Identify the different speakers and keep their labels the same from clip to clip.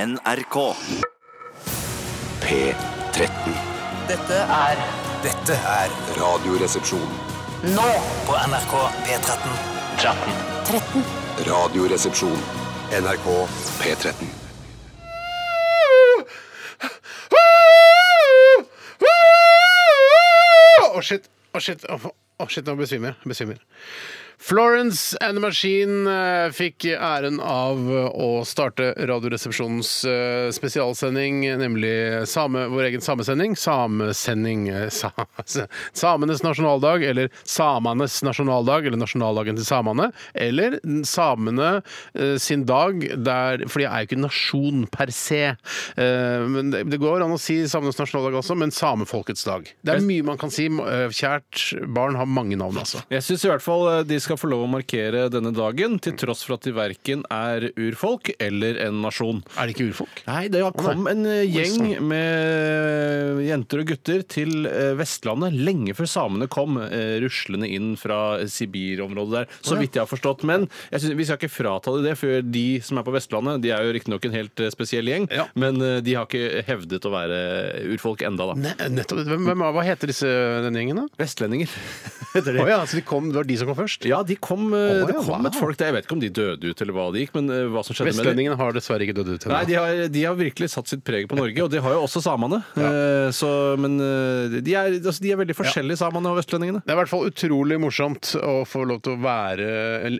Speaker 1: NRK.
Speaker 2: P13.
Speaker 3: Dette er
Speaker 4: Dette er
Speaker 2: Radioresepsjon.
Speaker 3: nå på NRK P13.
Speaker 2: Radioresepsjon. NRK P13.
Speaker 5: Å, shit. Å, shit. Å, å, shit. Nå besvimer jeg. Besvimer. Florence and the Machine eh, fikk æren av eh, å starte Radioresepsjonens eh, spesialsending, nemlig same, vår egen samesending. Samesending eh, sa, Samenes nasjonaldag, eller samenes nasjonaldag, eller nasjonaldagen til samene. Eller samene eh, sin dag, der, for de er jo ikke en nasjon per se. Eh, Men det det går an å si samenes nasjonaldag også, men samefolkets dag. Det er mye man kan si. Eh, Kjært barn har mange navn, altså.
Speaker 6: Jeg syns i hvert fall eh, de skal få lov å markere denne dagen, til tross for at de verken er urfolk eller en nasjon.
Speaker 5: Er det ikke urfolk?
Speaker 6: Nei, det kom en eh, gjeng med eh, jenter og gutter til eh, Vestlandet lenge før samene kom eh, ruslende inn fra Sibir-området der, så vidt jeg har forstått. Men jeg synes, vi skal ikke frata dem det, for de som er på Vestlandet, de er jo riktignok en helt eh, spesiell gjeng,
Speaker 5: Ja.
Speaker 6: men eh, de har ikke hevdet å være urfolk enda da.
Speaker 5: Ne nettopp. Hvem, hvem, hva heter disse, denne gjengen, da?
Speaker 6: Vestlendinger heter de.
Speaker 5: Å ja, så de kom, det var de som kom først?
Speaker 6: Ja, de kom, eh,
Speaker 5: Å, ja,
Speaker 6: det kom
Speaker 5: wow.
Speaker 6: et folk der. Jeg vet ikke om de døde ut, eller hva de gikk, men eh, hva som skjedde med dem.
Speaker 5: Vestlendingene har dessverre ikke dødd ut
Speaker 6: Nei, de
Speaker 5: ennå.
Speaker 6: har, de har virkelig satt sitt preg på Norge, og det har jo også samene. Eh, Så, men eh, de er, altså, de er veldig forskjellige, samene og vestlendingene.
Speaker 5: Det er i hvert fall utrolig morsomt å få lov til å være,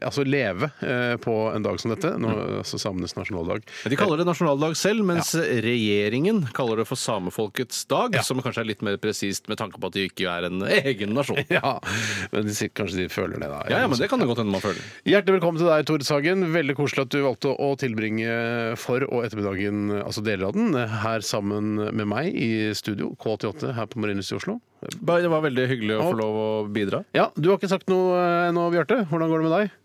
Speaker 5: altså leve eh, på en dag som dette. Nå,
Speaker 6: Mm.
Speaker 5: altså Samenes nasjonaldag.
Speaker 6: De kaller det nasjonaldag selv, mens regjeringen kaller det for samefolkets dag, som kanskje er litt mer presist med tanke på at de ikke er en egen nasjon.
Speaker 5: Ja, men de, sier- kanskje de føler det, da.
Speaker 6: Ja, ja, men det kan det godt hende man føler.
Speaker 5: Hjertelig velkommen til deg, Tore Sagen. Veldig koselig at du valgte å tilbringe for- og ettermiddagen, altså deler av den, her sammen med meg i studio, K88 her på Marienlyst i Oslo.
Speaker 6: Bare Det var veldig hyggelig å
Speaker 5: Og-
Speaker 6: få lov å bidra.
Speaker 5: Ja, du har ikke sagt noe eh, ennå, Bjarte. Hvordan går det med deg?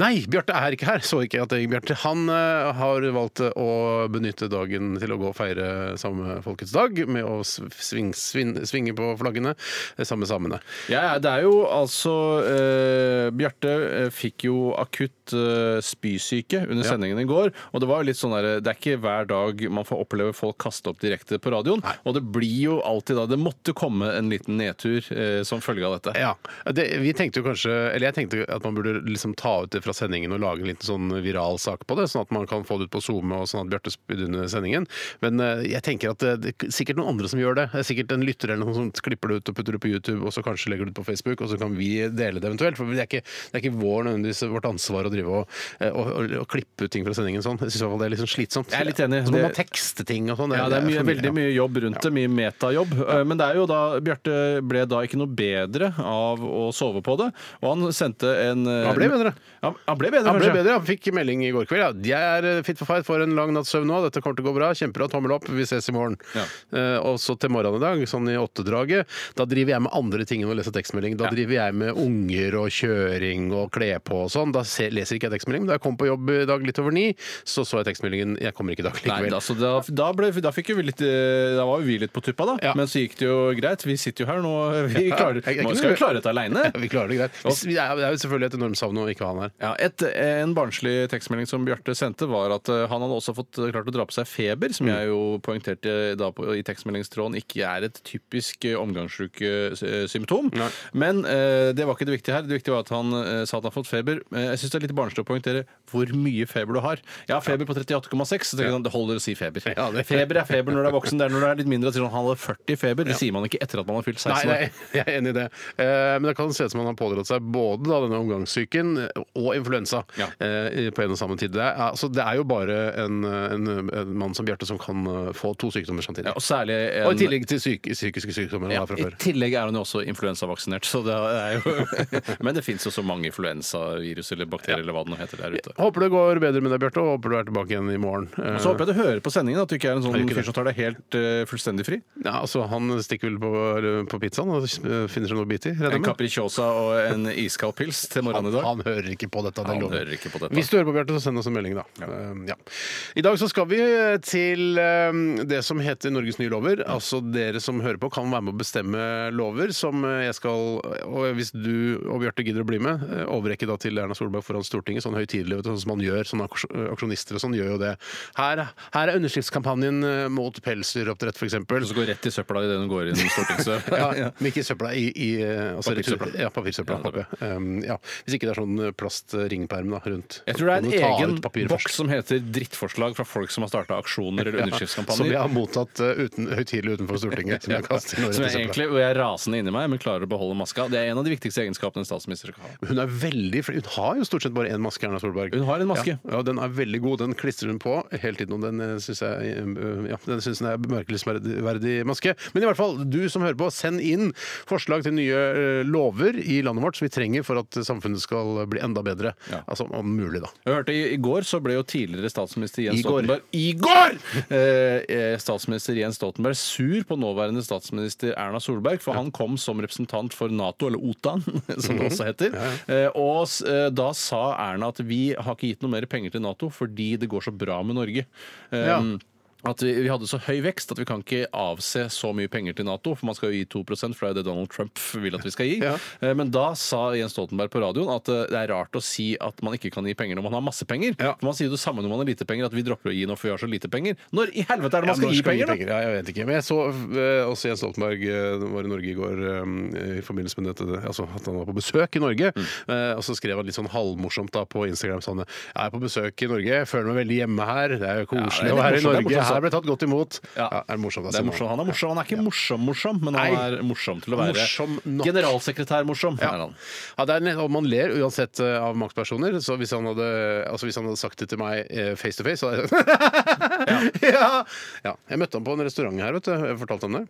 Speaker 5: Nei, Bjarte er ikke her. Så ikke at det gikk Bjarte. Han eh, har valgt å benytte dagen til å gå og feire samefolkets dag med å svinge, svinge på flaggene eh, sammen med samene.
Speaker 6: Ja, ja, det er jo altså eh, Bjarte eh, fikk jo akutt eh, spysyke under sendingen i går. Og det var jo litt sånn der, det er ikke hver dag man får oppleve folk kaste opp direkte på radioen. Og det blir jo alltid da Det måtte komme en liten nedtur eh, som følge av dette.
Speaker 5: Ja, det, vi tenkte jo kanskje, eller Jeg tenkte at man burde liksom ta ut det fra sendingen og lage en liten sånn viral sak på det, sånn at man kan få det ut på SoMe og sånn at Bjarte spydde under sendingen. Men eh, jeg tenker at det, det er sikkert noen andre som gjør det. det er sikkert en lytter eller noen som klipper det ut og putter det på YouTube, og så kanskje legger det ut på Facebook, og så kan vi dele det eventuelt. For det er ikke, det er ikke vår, nødvendigvis vårt ansvar å drive og, eh, og, og, og klippe ut ting fra sendingen sånn. Jeg syns i hvert fall det er litt sånn slitsomt.
Speaker 6: Jeg er litt enig.
Speaker 5: Så må man
Speaker 6: Det-
Speaker 5: tekste ting og sånn.
Speaker 6: Ja, Eh, det er mye,
Speaker 5: for
Speaker 6: veldig mye jobb rundt det. Mye metajobb. Eh, Men det er jo da Bjarte ble da ikke noe bedre av å sove på det. Og han sendte en eh,
Speaker 5: Han ble bedre.
Speaker 6: Ja, han ble bedre,
Speaker 5: Han ble
Speaker 6: kanskje.
Speaker 5: bedre, han fikk melding i går kveld. Ja. 'Jeg er eh, fit for fight for en lang natts søvn nå. Dette kommer til å gå bra. Kjempebra. Tommel opp. Vi ses i morgen.'
Speaker 6: Ja.
Speaker 5: Eh, og så til morgenen i dag, sånn i åttedraget, da driver jeg med andre ting enn å lese tekstmelding. Da driver jeg med unger og kjøring og kle på og sånn. Da se, leser ikke jeg tekstmelding. Men da jeg kom på jobb i dag litt over ni, så så jeg tekstmeldingen 'Jeg kommer ikke i dag
Speaker 6: Nei,
Speaker 5: likevel'.
Speaker 6: altså, da, da, ble, da, fikk jo vi litt, eh, da var jo vi litt på tuppa, da.
Speaker 5: Ja.
Speaker 6: Men så gikk det jo greit. Vi sitter jo her nå. Vi klarer,
Speaker 5: jeg- jeg
Speaker 6: man
Speaker 5: kunne-
Speaker 6: skal jo klare dette aleine.
Speaker 5: Ja, vi klarer det greit. Vi- Det er det er jo selvfølgelig et enormt savn å ikke ha han her.
Speaker 6: Ja, et, en barnslig tekstmelding som Bjarte sendte, var at eh, han hadde også fått eh, klart å dra på seg feber,
Speaker 5: Mm.
Speaker 6: som jeg jo poengterte eh, da på, i tekstmeldingstråden ikke er et typisk eh, omgangssykesymptom.
Speaker 5: Nei.
Speaker 6: Men eh, det var ikke det viktige her. Det viktige var at han eh, sa at han har fått feber. Eh, jeg syns det er litt barnslig å poengtere hvor mye feber du har. Jeg har feber på 38,6, så tenker han det holder å si feber.
Speaker 5: Ja, det-
Speaker 6: Feber er feber når du er voksen, det er når du er litt mindre. og sier han, Han hadde 40 feber. Det sier man ikke etter at man har fylt 16
Speaker 5: Nei,
Speaker 6: år.
Speaker 5: nei, jeg er enig i det. Eh, Men det kan se ut som han har pådratt seg både da, denne omgangssyken eh, og influensa
Speaker 6: Ja.
Speaker 5: eh, i- på en og samme tid. Det er, altså, det er jo bare en, en, en mann som Bjarte som kan eh, få to sykdommer samtidig.
Speaker 6: Ja, og særlig en,
Speaker 5: og i tillegg til psyk psykiske sykdommer han
Speaker 6: Ja,
Speaker 5: har fra
Speaker 6: I
Speaker 5: før.
Speaker 6: tillegg er hun jo også influensavaksinert. Så det er jo... Men det fins jo så mange influensavirus eller bakterier eller hva det nå heter der ute.
Speaker 5: Håper det går bedre med deg, Bjarte, og håper du er tilbake igjen i morgen. Eh,
Speaker 6: Og så håper jeg du hører på sendingen at du ikke er en
Speaker 5: Er det
Speaker 6: sånn
Speaker 5: ikke
Speaker 6: fyr
Speaker 5: det?
Speaker 6: som tar deg helt eh, fullstendig fri.
Speaker 5: ja, altså, han stikker vel på, på pizzaen og eh, finner seg noe å bite i. regner jeg
Speaker 6: En
Speaker 5: med.
Speaker 6: capricciosa og en iskald pils til morgenen i dag.
Speaker 5: Han hører ikke på på dette. det
Speaker 6: Han
Speaker 5: lover jeg.
Speaker 6: hører ikke på dette.
Speaker 5: Hvis du hører på, Bjarte, så send oss en melding, da. Eh, ja. I dag så skal vi til eh, det som heter Norges nye lover. Altså dere som hører på, kan være med å bestemme lover som eh, jeg skal Og hvis du og Bjarte gidder å bli med, eh, overrekke da til Erna Solberg foran Stortinget, sånn høytidelig, vet du, sånn som man gjør. Sånne aks- aksjonister og sånn gjør jo det. Her, her er underskriftskampanjen eh, mot pelsdyroppdrett,
Speaker 6: Og
Speaker 5: f.eks.
Speaker 6: så går rett i søpla idet hun går inn i Stortinget.
Speaker 5: Ja, men ikke i søpla. I, i eh, altså, rett i søpla.
Speaker 6: Papirsøpla.
Speaker 5: Ja, papirsøpla.
Speaker 6: Ja, det
Speaker 5: papir. Um, ja. Hvis ikke det er sånn eh, plastringperm da, rundt.
Speaker 6: Jeg tror det
Speaker 5: Kan du
Speaker 6: er
Speaker 5: ta
Speaker 6: en egen
Speaker 5: ut papiret
Speaker 6: boks
Speaker 5: først?
Speaker 6: som heter 'drittforslag' fra folk som har starta aksjoner eller
Speaker 5: Som jeg
Speaker 6: underskriftskampanjer.
Speaker 5: har mottatt eh, uten, høytidelig utenfor Stortinget. Som jeg kaster nå rett
Speaker 6: Som
Speaker 5: i
Speaker 6: jeg
Speaker 5: søpla.
Speaker 6: egentlig, og jeg er rasende inni meg, men klarer å beholde maska. Det er en av de viktigste egenskapene en statsminister skal ha.
Speaker 5: Men Hun er veldig flink. Hun har jo stort sett bare én maske, Erna Solberg.
Speaker 6: Hun har en maske.
Speaker 5: Ja, ja den er veldig god. Den klistrer hun på hele tiden, og den eh, syns jeg eh, ja, den synes den er bemerkelsesverdig maske. Men i hvert fall, du som hører på, send inn forslag til nye eh, lover i landet vårt som vi trenger for at samfunnet skal bli enda bedre.
Speaker 6: Ja.
Speaker 5: Altså om mulig, da.
Speaker 6: Jeg hørte i, I går så ble jo tidligere statsminister Jens
Speaker 5: I går.
Speaker 6: Stoltenberg I går! Eh, eh, statsminister Jens Stoltenberg sur på nåværende statsminister Erna Solberg, for han kom som representant for Nato, eller OTAN, som det
Speaker 5: Mhm.
Speaker 6: også heter. Eh, og s- eh, da sa Erna at vi har ikke gitt noe mer penger til Nato fordi det går så bra med Norge. Eh,
Speaker 5: Ja.
Speaker 6: At vi, vi hadde så høy vekst at vi kan ikke avse så mye penger til Nato. For man skal jo gi 2 for det er jo det Donald Trump vil at vi skal gi.
Speaker 5: Ja.
Speaker 6: Eh, Men da sa Jens Stoltenberg på radioen at eh, det er rart å si at man ikke kan gi penger når man har masse penger.
Speaker 5: Ja.
Speaker 6: For man sier jo det samme når man har lite penger, at vi dropper å gi nå for vi har så lite penger. Når i helvete er det
Speaker 5: Ja,
Speaker 6: man skal
Speaker 5: når
Speaker 6: gi penger, da?
Speaker 5: Ja, jeg vet ikke. Men jeg så eh, også Jens Stoltenberg eh, var i Norge i går eh, i forbindelse med dette, altså at han var på besøk i Norge.
Speaker 6: Mm.
Speaker 5: Eh, og så skrev han litt sånn halvmorsomt da på Instagram sånn Jeg er på besøk i Norge, jeg føler meg veldig hjemme her. Det er jo
Speaker 6: Ja, det
Speaker 5: koselig
Speaker 6: er
Speaker 5: å være i
Speaker 6: litt
Speaker 5: Norge.
Speaker 6: morsomt, det er morsomt.
Speaker 5: Her ble jeg tatt godt imot. Ja,
Speaker 6: Ja.
Speaker 5: er det morsomt, altså. da,
Speaker 6: Det er
Speaker 5: Simon?
Speaker 6: morsom. Han er morsom. Han er ikke morsom-morsom, men han
Speaker 5: Nei.
Speaker 6: er morsom til å være
Speaker 5: Morsom nok.
Speaker 6: generalsekretær-morsom.
Speaker 5: Ja.
Speaker 6: er han.
Speaker 5: Ja, det er, nett- og man ler uansett eh, av maktpersoner. Så hvis han hadde, altså hvis han hadde sagt det til meg eh, face to face, så hadde jeg ja. ja. Jeg møtte ham på en restaurant her, vet du. Jeg fortalte ham det.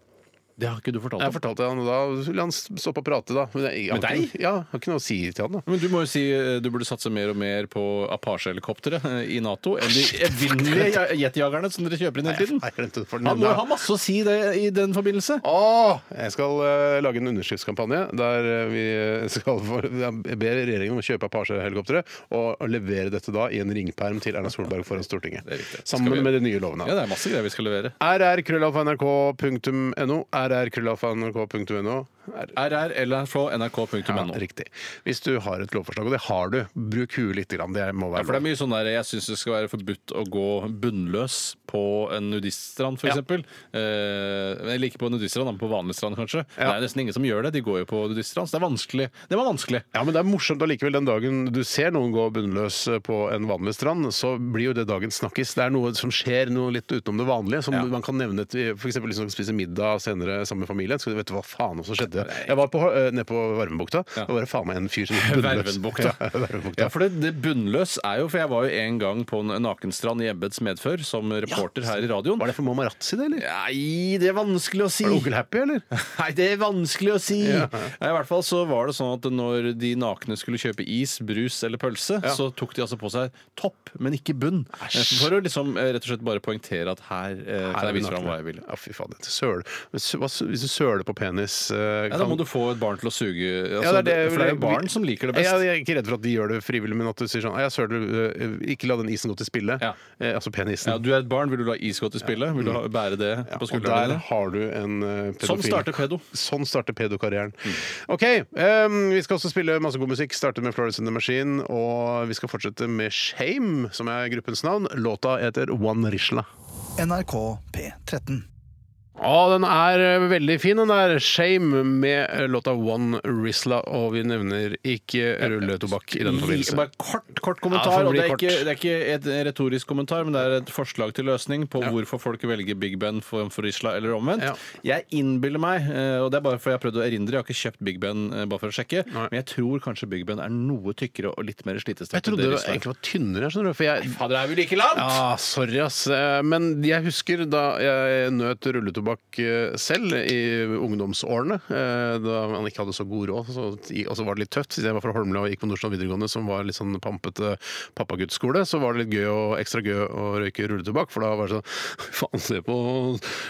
Speaker 6: Det har ikke du fortalt
Speaker 5: Jeg
Speaker 6: om.
Speaker 5: fortalte han, og da ville han stoppe å prate, da. Men jeg, jeg,
Speaker 6: Med
Speaker 5: har ikke- Ja, jeg har ikke noe å si til han, da.
Speaker 6: Men du må jo si eh, du burde satse mer og mer på Apache-helikoptre eh, i Nato enn de evinnelige ja- jetjagerne som dere kjøper inn hele tiden.
Speaker 5: Jeg glemte det for den
Speaker 6: Han må jo
Speaker 5: enda.
Speaker 6: ha masse å si det i den forbindelse.
Speaker 5: Åh! Jeg skal eh, lage en underskriftskampanje der eh, vi skal for, jeg ber regjeringen om å kjøpe Apache-helikoptre og, og levere dette da i en ringperm til Erna Solberg foran Stortinget.
Speaker 6: Det er riktig. Skal
Speaker 5: Sammen
Speaker 6: vi-
Speaker 5: med de nye lovene.
Speaker 6: Ja, det er masse greier vi skal levere.
Speaker 5: rrkrøllalfa.nrk.no. rrkrøllalfa.nrk.no. Er-
Speaker 6: RR eller fra nrk.no.
Speaker 5: Ja, riktig. Hvis du har et lovforslag, og det har du, bruk huet litt. Grann. Det må
Speaker 6: Ja,
Speaker 5: være
Speaker 6: for det er mye sånn der, Jeg syns det skal være forbudt å gå bunnløs på en nudiststrand, f.eks.
Speaker 5: Ja.
Speaker 6: eksempel Eh, men ikke på nudiststrand, men på vanlig strand, kanskje.
Speaker 5: Ja.
Speaker 6: Det er nesten ingen som gjør det. De går jo på nudiststrand, så det er vanskelig. Det var vanskelig.
Speaker 5: Ja, men det er morsomt allikevel. Den dagen du ser noen gå bunnløs eh, på en vanlig strand, så blir jo det dagen snakkes. Det er noe som skjer noe litt utenom det vanlige, som
Speaker 6: Ja.
Speaker 5: man kan nevne til f.eks. hvis liksom spise middag senere sammen med familien. Så vet du hva faen som skjedde? Jeg var på, eh, nede på Varmebukta. Da var det faen meg en fyr som gikk bunnløs.
Speaker 6: Vervenbukta.
Speaker 5: Ja, Vervenbukta.
Speaker 6: Ja, for det, det bunnløs er jo For jeg var jo en gang på en nakenstrand i embets medfør som reporter her i radioen.
Speaker 5: Var det for Mamarazzi, det, eller?
Speaker 6: Nei, det er vanskelig å si.
Speaker 5: Var det Onkel Happy, eller?
Speaker 6: Nei, det er vanskelig å si!
Speaker 5: Ja.
Speaker 6: Nei, I hvert fall så var det sånn at når de nakne skulle kjøpe is, brus eller pølse, så tok de altså på seg topp, men ikke bunn. For å liksom eh, rett og slett bare poengtere at her eh, kan jeg vise fram hva jeg vil.
Speaker 5: Ja, fy faen. det er Søl. Men sø- hva s- Hvis du søler på penis eh,
Speaker 6: Ja, da må du få et barn til å suge altså,
Speaker 5: Ja, det er det-
Speaker 6: For det er jo barn som liker det best.
Speaker 5: Ja, jeg er ikke redd for at de gjør det frivillig, men at du sier sånn «Nei, jeg søler, øh, Ikke la den isen gå til spille.
Speaker 6: Ja.
Speaker 5: Eh, Altså penisen.
Speaker 6: Ja, du er et barn, vil du la is gå til spille? Vil du ha- bære det
Speaker 5: Mm. Ja, og
Speaker 6: på
Speaker 5: der
Speaker 6: skuldrene dine?
Speaker 5: har du en eh, pedofil.
Speaker 6: Sånn starter pedo.
Speaker 5: Sånn starter pedokarrieren. OK, ehm, vi skal også spille masse god musikk. Starter med Florence and the Machine. Og vi skal fortsette med Shame, som er gruppens navn. Låta heter One Rishla.
Speaker 3: NRK P13.
Speaker 5: Ja, den er eh, veldig fin, den der. Shame med eh, låta One Risla. Og vi nevner ikke rulletobakk i denne
Speaker 6: Gi-
Speaker 5: forbindelse.
Speaker 6: Bare kort, kort
Speaker 5: Ja,
Speaker 6: kommentar.
Speaker 5: det får
Speaker 6: og
Speaker 5: bli
Speaker 6: det, er
Speaker 5: kort.
Speaker 6: ikke, det er ikke et eh, retorisk kommentar, men det er et forslag til løsning på hvorfor folk velger Big Ben fremfor Isla, eller omvendt.
Speaker 5: Ja.
Speaker 6: Jeg innbiller meg, eh, og det er bare fordi jeg har prøvd å erindre, jeg har ikke kjøpt Big Ben eh, bare for å sjekke, men jeg tror kanskje Big Ben er noe tykkere og litt mer slitesterk.
Speaker 5: Jeg trodde det var- egentlig var tynnere, skjønner du. For jeg Ah,
Speaker 6: Fader, er vi like langt?
Speaker 5: Ja, sorry, ass. Eh, Men jeg husker da jeg nøt rulletobakk tobakk eh, selv i ungdomsårene, eh, da man ikke hadde så god råd. Så, og så var det litt tøft. Siden jeg var fra Holmlia og gikk på Nordstrand videregående, som var litt sånn pampete pappaguttskole, så var det litt gøy og ekstra gøy å røyke rulletobakk. For da var det sånn Faen, se på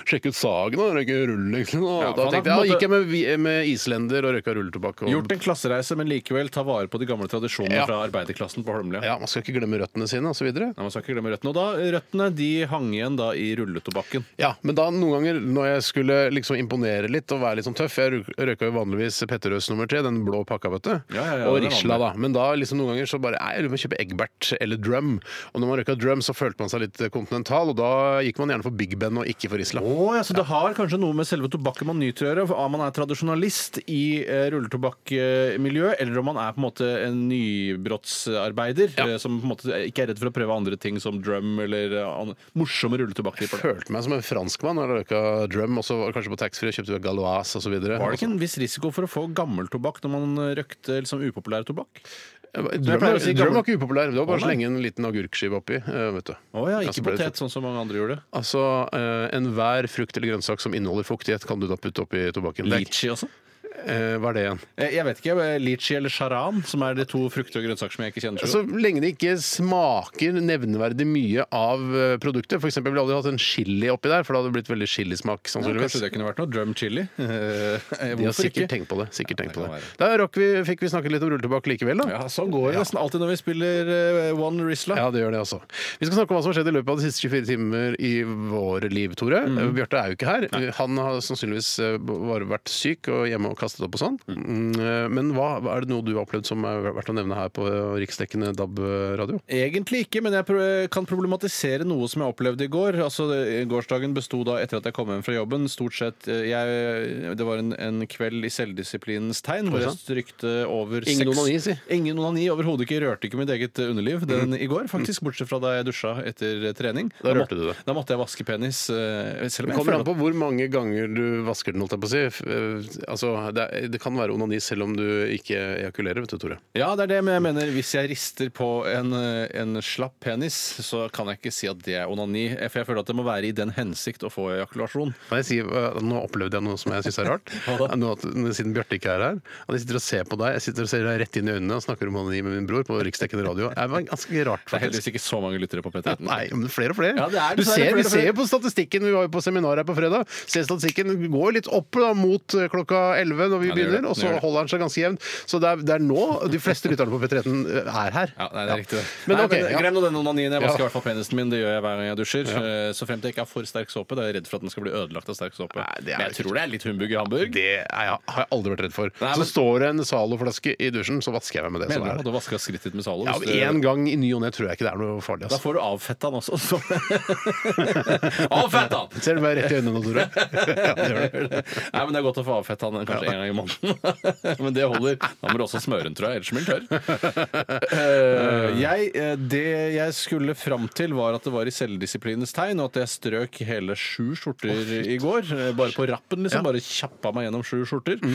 Speaker 5: Sjekke ut sagen og røyke rull, liksom. Og
Speaker 6: Ja,
Speaker 5: da
Speaker 6: faen, det er
Speaker 5: tenkte
Speaker 6: på en
Speaker 5: jeg,
Speaker 6: måte-
Speaker 5: da gikk jeg med, vi- med islender og røyka rulletobakk. Og,
Speaker 6: Gjort en klassereise, men likevel ta vare på de gamle tradisjonene
Speaker 5: Ja.
Speaker 6: fra arbeiderklassen på Holmlia.
Speaker 5: Ja, man skal ikke glemme røttene sine, osv.
Speaker 6: Nei, man skal ikke glemme røttene. Og da, røttene de hang igjen da i rulletobakken.
Speaker 5: Ja, men da noen ganger når jeg skulle liksom imponere litt og være litt sånn tøff Jeg røy- røyka jo vanligvis Petterøes nummer tre, den blå pakka, vet du.
Speaker 6: Ja, ja, ja,
Speaker 5: og
Speaker 6: det er
Speaker 5: Risla,
Speaker 6: vanlig.
Speaker 5: da. Men da liksom noen ganger så bare Nei, jeg lurer på om jeg kjøper Egbert eller Drum. Og når man røyka Drum, så følte man seg litt kontinental, og da gikk man gjerne for Big Ben og ikke for Risla.
Speaker 6: Å, ja, så det har kanskje noe med selve tobakken man nyter å gjøre? for Om man er tradisjonalist i eh, rulletobakkmiljøet, eller om man er på en måte en nybrottsarbeider
Speaker 5: Ja.
Speaker 6: eh, som på en måte ikke er redd for å prøve andre ting som drum eller eh, an- morsomme rulletobakkripper.
Speaker 5: Følte meg som en franskmann da jeg røyka Drum, og så var det kanskje på taxfree og kjøpte Galois osv.
Speaker 6: Var det ikke en viss risiko for å få gammeltobakk når man røkte liksom, upopulær tobakk? Jeg
Speaker 5: Drum,
Speaker 6: pleier
Speaker 5: var-
Speaker 6: å si
Speaker 5: Drum
Speaker 6: gammel-
Speaker 5: var ikke upopulær. Det var bare
Speaker 6: Å,
Speaker 5: å
Speaker 6: nei.
Speaker 5: slenge en liten agurkskive oppi. eh, Vet du.
Speaker 6: Å ja,
Speaker 5: så
Speaker 6: ikke
Speaker 5: ble det
Speaker 6: potet, sånn som mange andre gjorde.
Speaker 5: Altså, eh, enhver frukt eller grønnsak som inneholder fuktighet, kan du da putte oppi tobakken. Det er-
Speaker 6: Litchi også?
Speaker 5: Eh, hva er det igjen?
Speaker 6: Eh, Jeg vet ikke. eh, Litchi eller charan, som er de to frukter og grønnsaker som jeg ikke kjenner så
Speaker 5: Så Altså, lenge det ikke smaker nevneverdig mye av eh, produktet. For eksempel, jeg ville aldri hatt en chili oppi der, for da hadde det blitt veldig chilismak.
Speaker 6: Ja,
Speaker 5: sannsynligvis.
Speaker 6: kanskje det kunne vært noe drum chili?
Speaker 5: De
Speaker 6: Eh,
Speaker 5: har
Speaker 6: hvorfor
Speaker 5: sikkert
Speaker 6: ikke?
Speaker 5: tenkt på det. sikkert
Speaker 6: Ja,
Speaker 5: tenkt
Speaker 6: det
Speaker 5: på
Speaker 6: kan
Speaker 5: det. Der rakk vi, fikk vi snakket litt om rulletobakk likevel, da.
Speaker 6: Ja, sånn går det nesten alltid når vi spiller eh, One Risla.
Speaker 5: Ja, det gjør det, altså. Vi skal snakke om hva som har skjedd i løpet av de siste 24 timer i våre liv, Tore. Eh, Bjarte er jo ikke her. Han har sannsynligvis eh, bare vært syk og hjemme og kastet opp og sånn. Mm, eh, Men hva, hva er det noe du har opplevd som er verdt å nevne her på eh, riksdekkende DAB-radio?
Speaker 6: Egentlig ikke, men jeg pro- kan problematisere noe som jeg opplevde i går. Altså, det- Gårsdagen besto da etter at jeg kom hjem fra jobben. Stort sett eh, jeg, Det var en, en kveld i selvdisiplinens tegn hvor jeg strykte over
Speaker 5: Ingen onani, si. Mm.
Speaker 6: Ingen onani. Overhodet ikke. Rørte ikke mitt eget eh, underliv den i går, faktisk. Bortsett fra da jeg dusja etter eh, trening.
Speaker 5: Da rørte
Speaker 6: måtte-
Speaker 5: du det.
Speaker 6: Da måtte jeg vaske penis. eh, Selv
Speaker 5: Det
Speaker 6: om jeg
Speaker 5: kommer
Speaker 6: føler
Speaker 5: an på hvor mange ganger du vasker den. holdt jeg på å si. F- eh, Altså, det, er- det kan være onani selv om du ikke ejakulerer, vet du, Tore.
Speaker 6: Ja, det er det, men jeg mener hvis jeg rister på en, eh, en slapp penis, så kan jeg ikke si at det er onani. eh, For jeg føler at det må være i den hensikt å få ejakulasjon.
Speaker 5: Kan jeg si, eh, nå opplevde jeg noe som jeg syns er rart.
Speaker 6: Hva da?
Speaker 5: Nå at, siden Bjarte ikke er her. At jeg sitter og ser på deg jeg sitter og ser deg rett inn i øynene og snakker om onani med min bror på riksdekkende radio. Det var ganske rart.
Speaker 6: Det er
Speaker 5: faktisk.
Speaker 6: heldigvis ikke så mange lyttere på P13.
Speaker 5: Nei, men flere og flere.
Speaker 6: Ja, det er
Speaker 5: du
Speaker 6: dessverre
Speaker 5: ser,
Speaker 6: flere
Speaker 5: vi
Speaker 6: og flere.
Speaker 5: ser jo på statistikken. Vi var jo på seminar her på fredag. Ser statistikken går litt opp da, mot eh, klokka 11 når vi
Speaker 6: Ja, det gjør det.
Speaker 5: begynner, og
Speaker 6: Det
Speaker 5: så
Speaker 6: gjør det.
Speaker 5: holder den seg ganske jevn. Så det er, det er nå de fleste lytterne på P13 eh, er her.
Speaker 6: Ja, nei, det er riktig det.
Speaker 5: Men
Speaker 6: nei,
Speaker 5: ok,
Speaker 6: men eh,
Speaker 5: ja.
Speaker 6: Glem nå den onanien. Jeg vasker i
Speaker 5: Ja.
Speaker 6: hvert fall penisen min. Det gjør jeg hver gang jeg dusjer. Eh, Så frem til jeg ikke har for sterk såpe. Da er jeg redd for at den skal bli ødelagt av sterk såpe.
Speaker 5: Nei, det er
Speaker 6: Men jeg
Speaker 5: ikke-
Speaker 6: tror det er litt humbug i Hamburg.
Speaker 5: Det er, jeg- har jeg aldri vært redd for.
Speaker 6: Nei, men-
Speaker 5: Så står det en Zalo-flaske i dusjen, så vasker jeg meg med det.
Speaker 6: Mener
Speaker 5: Sånn
Speaker 6: du at du
Speaker 5: er. det.
Speaker 6: har vasket skrittet med Zalo?
Speaker 5: Ja,
Speaker 6: hvis
Speaker 5: men
Speaker 6: det-
Speaker 5: En gang i ny og ne tror jeg ikke det er noe farlig.
Speaker 6: Da
Speaker 5: Altså.
Speaker 6: får du avfetta den også. så- Avfett den!
Speaker 5: Ser du meg rett i øynene nå, Tore? ja, det gjør det.
Speaker 6: Nei, men Det er godt å få avfett han kanskje en gang i måneden. men det holder. Da må du også smøre den, tror jeg. Ellers blir den tørr. Eh, jeg, eh, det jeg skulle fram til, var at det var i selvdisiplinens tegn, og at jeg strøk hele sju skjorter i går. eh, Bare på rappen, liksom. Bare kjappa meg gjennom sju skjorter.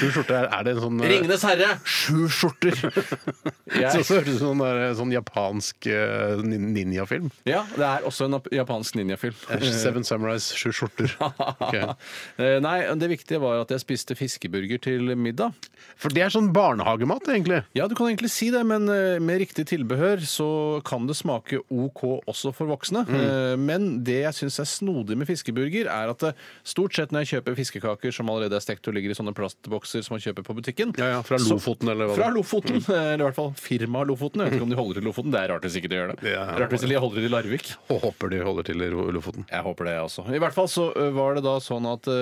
Speaker 5: Sju skjorter, er- er det en sånn eh,
Speaker 6: Mm. Ringenes herre! Sju skjorter!
Speaker 5: Så
Speaker 6: jeg,
Speaker 5: så høres det ut som sånn, der, sånn japansk eh, nin- ninjafilm.
Speaker 6: ja, det er også en japansk ninjafilm.
Speaker 5: Seven Samurais, sju skjorter. Ok.
Speaker 6: Eh, Nei, det viktige var at jeg spiste fiskeburger til middag.
Speaker 5: For det er sånn barnehagemat, egentlig.
Speaker 6: Ja, du kan egentlig si det, men eh, med riktig tilbehør så kan det smake OK også for voksne.
Speaker 5: Mm.
Speaker 6: Eh, Men det jeg syns er snodig med fiskeburger, er at det, stort sett når jeg kjøper fiskekaker som allerede er stekt og ligger i sånne plastbokser som man kjøper på butikken
Speaker 5: Ja, ja, fra
Speaker 6: så-
Speaker 5: Lofoten, eller hva det-
Speaker 6: Fra Lofoten, eller i hvert fall firma Lofoten. Jeg vet ikke om de holder til Lofoten. Det er rart hvis ikke de gjør det.
Speaker 5: Ja, ja.
Speaker 6: Rart hvis de holder til i Larvik.
Speaker 5: Og håper de holder til i Ro- Lofoten.
Speaker 6: Jeg håper det, altså. I hvert fall så ø, var det da sånn at ø,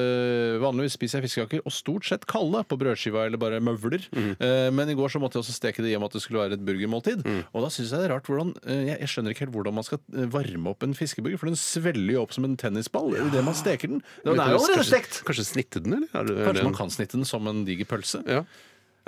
Speaker 6: vanligvis spiser jeg fiskekaker, og stort sett kalde, på brødskiva eller bare møvler.
Speaker 5: Mhm.
Speaker 6: Eh, men i går så måtte jeg også steke det i og med at det skulle være et burgermåltid.
Speaker 5: Mhm.
Speaker 6: Og da syns jeg det er rart hvordan ø, jeg, jeg skjønner ikke helt hvordan man skal ø, varme opp en fiskeburger, for den svelger jo opp som en tennisball i det man steker den. Den er jo allerede
Speaker 5: Kanskje-
Speaker 6: stekt!
Speaker 5: Kanskje snittet den, eller? Er det- er det
Speaker 6: Kanskje
Speaker 5: en-
Speaker 6: man kan snitte den som en diger pølse?
Speaker 5: Ja.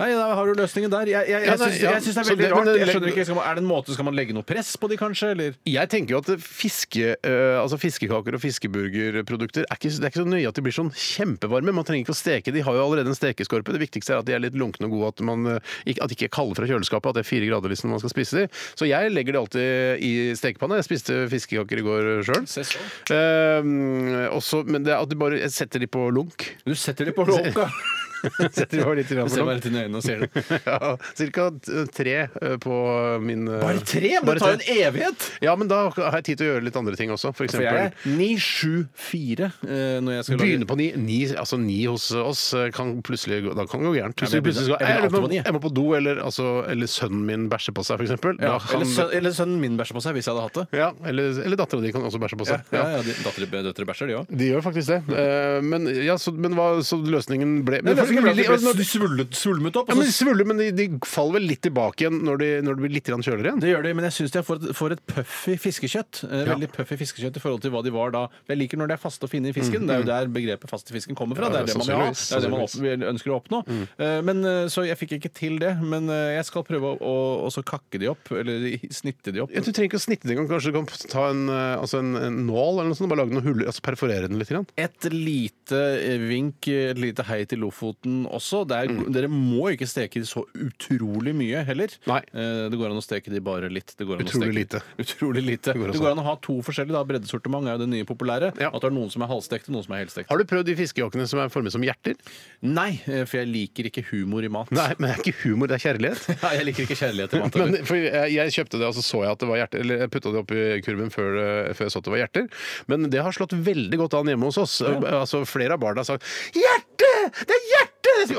Speaker 6: Nei, da har du løsningen der. Jeg, jeg, jeg,
Speaker 5: Ja, nei,
Speaker 6: syns,
Speaker 5: ja.
Speaker 6: jeg syns det er
Speaker 5: Så
Speaker 6: veldig
Speaker 5: det- men
Speaker 6: rart.
Speaker 5: det-
Speaker 6: Jeg skjønner ikke, skal man, er det en måte, Skal man legge noe press på de, kanskje? Eller?
Speaker 5: Jeg tenker jo at fiske, eh, altså fiskekaker og fiskeburgerprodukter er ikke, Det er ikke så nøye at de blir sånn kjempevarme. Man trenger ikke å steke. De har jo allerede en stekeskorpe. Det viktigste er at de er litt lunkne og gode, at, man, eh, ikke- at de ikke er kalde fra kjøleskapet. At det er fire grader liksom, når man skal spise de. Så jeg legger de alltid i stekepanna. Jeg spiste fiskekaker i går sjøl.
Speaker 6: Se så.
Speaker 5: men det er at du bare jeg setter de på lunk.
Speaker 6: Du setter det på råka!
Speaker 5: Setter de på litt grann
Speaker 6: Jeg
Speaker 5: på
Speaker 6: ser
Speaker 5: lunk.
Speaker 6: bare rett inn i øynene og ser det.
Speaker 5: Ja, Cirka t- tre eh, på min eh,
Speaker 6: Bare tre? Men
Speaker 5: bare
Speaker 6: det
Speaker 5: tre.
Speaker 6: tar jo en evighet!
Speaker 5: Ja, men da har jeg tid til å gjøre litt andre ting også. For
Speaker 6: For
Speaker 5: eksempel
Speaker 6: jeg er 9-7-4 eh, når jeg skal
Speaker 5: Begynne på ni. ni. Altså ni hos oss eh, kan plutselig gå- Da kan det gå gærent. Hvis
Speaker 6: Ja, men jeg
Speaker 5: du plutselig skal jeg, må,
Speaker 6: begynner- jeg begynner alltid på ni, jeg.
Speaker 5: jeg må på do, eller, altså, eller sønnen min bæsjer på seg, for eksempel.
Speaker 6: Ja,
Speaker 5: Da kan,
Speaker 6: eller, søn, eller sønnen min bæsjer på seg, hvis jeg hadde hatt det.
Speaker 5: ja, eller, eller dattera di kan også bæsje på
Speaker 6: Ja,
Speaker 5: seg.
Speaker 6: ja,
Speaker 5: Ja.
Speaker 6: ja, de- Døtre døtre bæsjer, de òg.
Speaker 5: De gjør faktisk det. Eh, Men, ja, så, men hva, så løsningen ble men folk blir litt- når-
Speaker 6: svulmet opp.
Speaker 5: ja, men de svulmer, men de, de faller vel litt tilbake igjen når, de, når det blir litt grann kjøligere igjen.
Speaker 6: Det gjør de, men jeg syns de får et, får et puffy fiskekjøtt. Eh,
Speaker 5: Ja.
Speaker 6: Veldig puffy fiskekjøtt i forhold til hva de var da. Jeg liker når det er faste og fine i fisken. Det er jo der begrepet faste fisken kommer fra.
Speaker 5: Mm, Ja,
Speaker 6: det er det man vil ha. Det er det man opp, vil- ønsker å oppnå.
Speaker 5: Mm.
Speaker 6: Eh, Men, eh, så jeg fikk ikke til det. Men eh, jeg skal prøve å, å og så kakke de opp, eller snitte de opp.
Speaker 5: Ja, Du trenger ikke å snitte den engang. Kanskje du kan ta en, eh, altså en, en nål eller noe sånt, og bare lage noen huller, altså perforere den litt. Grann.
Speaker 6: Et lite eh, vink, eh, et lite hei til Lofoten også. Det er,
Speaker 5: Mm.
Speaker 6: Dere må ikke steke de så utrolig mye heller.
Speaker 5: Nei.
Speaker 6: Eh, Det går an å steke de bare litt. Det går an
Speaker 5: Utrolig
Speaker 6: å steke.
Speaker 5: lite.
Speaker 6: Utrolig lite. Det
Speaker 5: går
Speaker 6: går,
Speaker 5: også.
Speaker 6: an å ha to forskjellige. da. Breddesortiment er jo det nye populære.
Speaker 5: Ja.
Speaker 6: At det er noen som er halvstekte, noen som er helstekte.
Speaker 5: Har du prøvd de fiskejakkene som er formet som hjerter?
Speaker 6: Nei, eh, for jeg liker ikke humor i mat.
Speaker 5: Nei, men det er ikke humor, det er kjærlighet.
Speaker 6: Nei, jeg liker ikke kjærlighet i mat.
Speaker 5: Men,
Speaker 6: heller.
Speaker 5: for jeg, jeg kjøpte det, og så så jeg at det var hjerter. Eller jeg putta det oppi kurven før, det- før jeg så at det var hjerter. Men det har slått veldig godt an hjemme hos oss. Altså, flere av barna har sagt 'Hjerte! Det er hjerte!'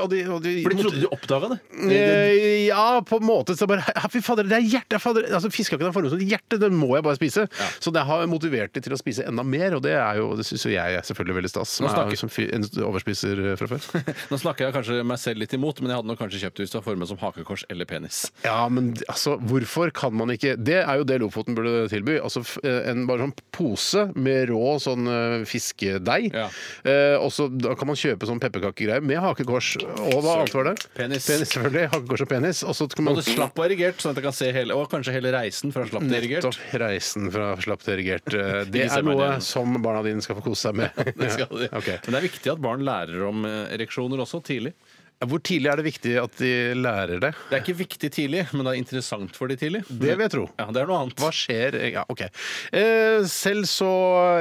Speaker 5: Og de, og de,
Speaker 6: For de trodde de oppdaga det.
Speaker 5: Eh, Ja, på en måte. Så bare, «Hæ, Fy fader, det er hjerte! Fader. Altså, Fiskekaken er formet som et hjerte, den må jeg bare spise. Så det har motivert de til å spise enda mer, og det er jo, det syns jo jeg er selvfølgelig veldig stas. Som,
Speaker 6: Nå snakker-
Speaker 5: er, som fy- en overspiser eh, fra før.
Speaker 6: Nå snakker jeg kanskje meg selv litt imot, men jeg hadde nok kanskje kjøpt det hvis det var formet som hakekors eller penis.
Speaker 5: Ja, men altså, hvorfor kan man ikke Det er jo det Lofoten burde tilby. Altså f- eh, en bare sånn pose med rå sånn eh, fiskedeig.
Speaker 6: Ja.
Speaker 5: Eh, og så da kan man kjøpe sånn pepperkakegreier med hakekors. Og hva annet var det?
Speaker 6: Penis.
Speaker 5: selvfølgelig. Hakekors og penis. Og så kan man
Speaker 6: Både slapp og erigert, sånn at jeg kan se hele, og kanskje hele reisen fra slapp til erigert.
Speaker 5: Nettopp reisen fra slapp til erigert. Eh, Det
Speaker 6: Ikke se
Speaker 5: er
Speaker 6: meg
Speaker 5: noe
Speaker 6: ned.
Speaker 5: som barna dine skal få kose seg med.
Speaker 6: Det skal de.
Speaker 5: Ok.
Speaker 6: Men det er viktig at barn lærer om eh, ereksjoner også tidlig.
Speaker 5: Hvor tidlig er det viktig at de lærer det?
Speaker 6: Det er ikke viktig tidlig, men det er interessant for de tidlig.
Speaker 5: Det vil jeg tro.
Speaker 6: Ja, det er noe annet.
Speaker 5: Hva skjer Ja, OK. Eh, Selv så,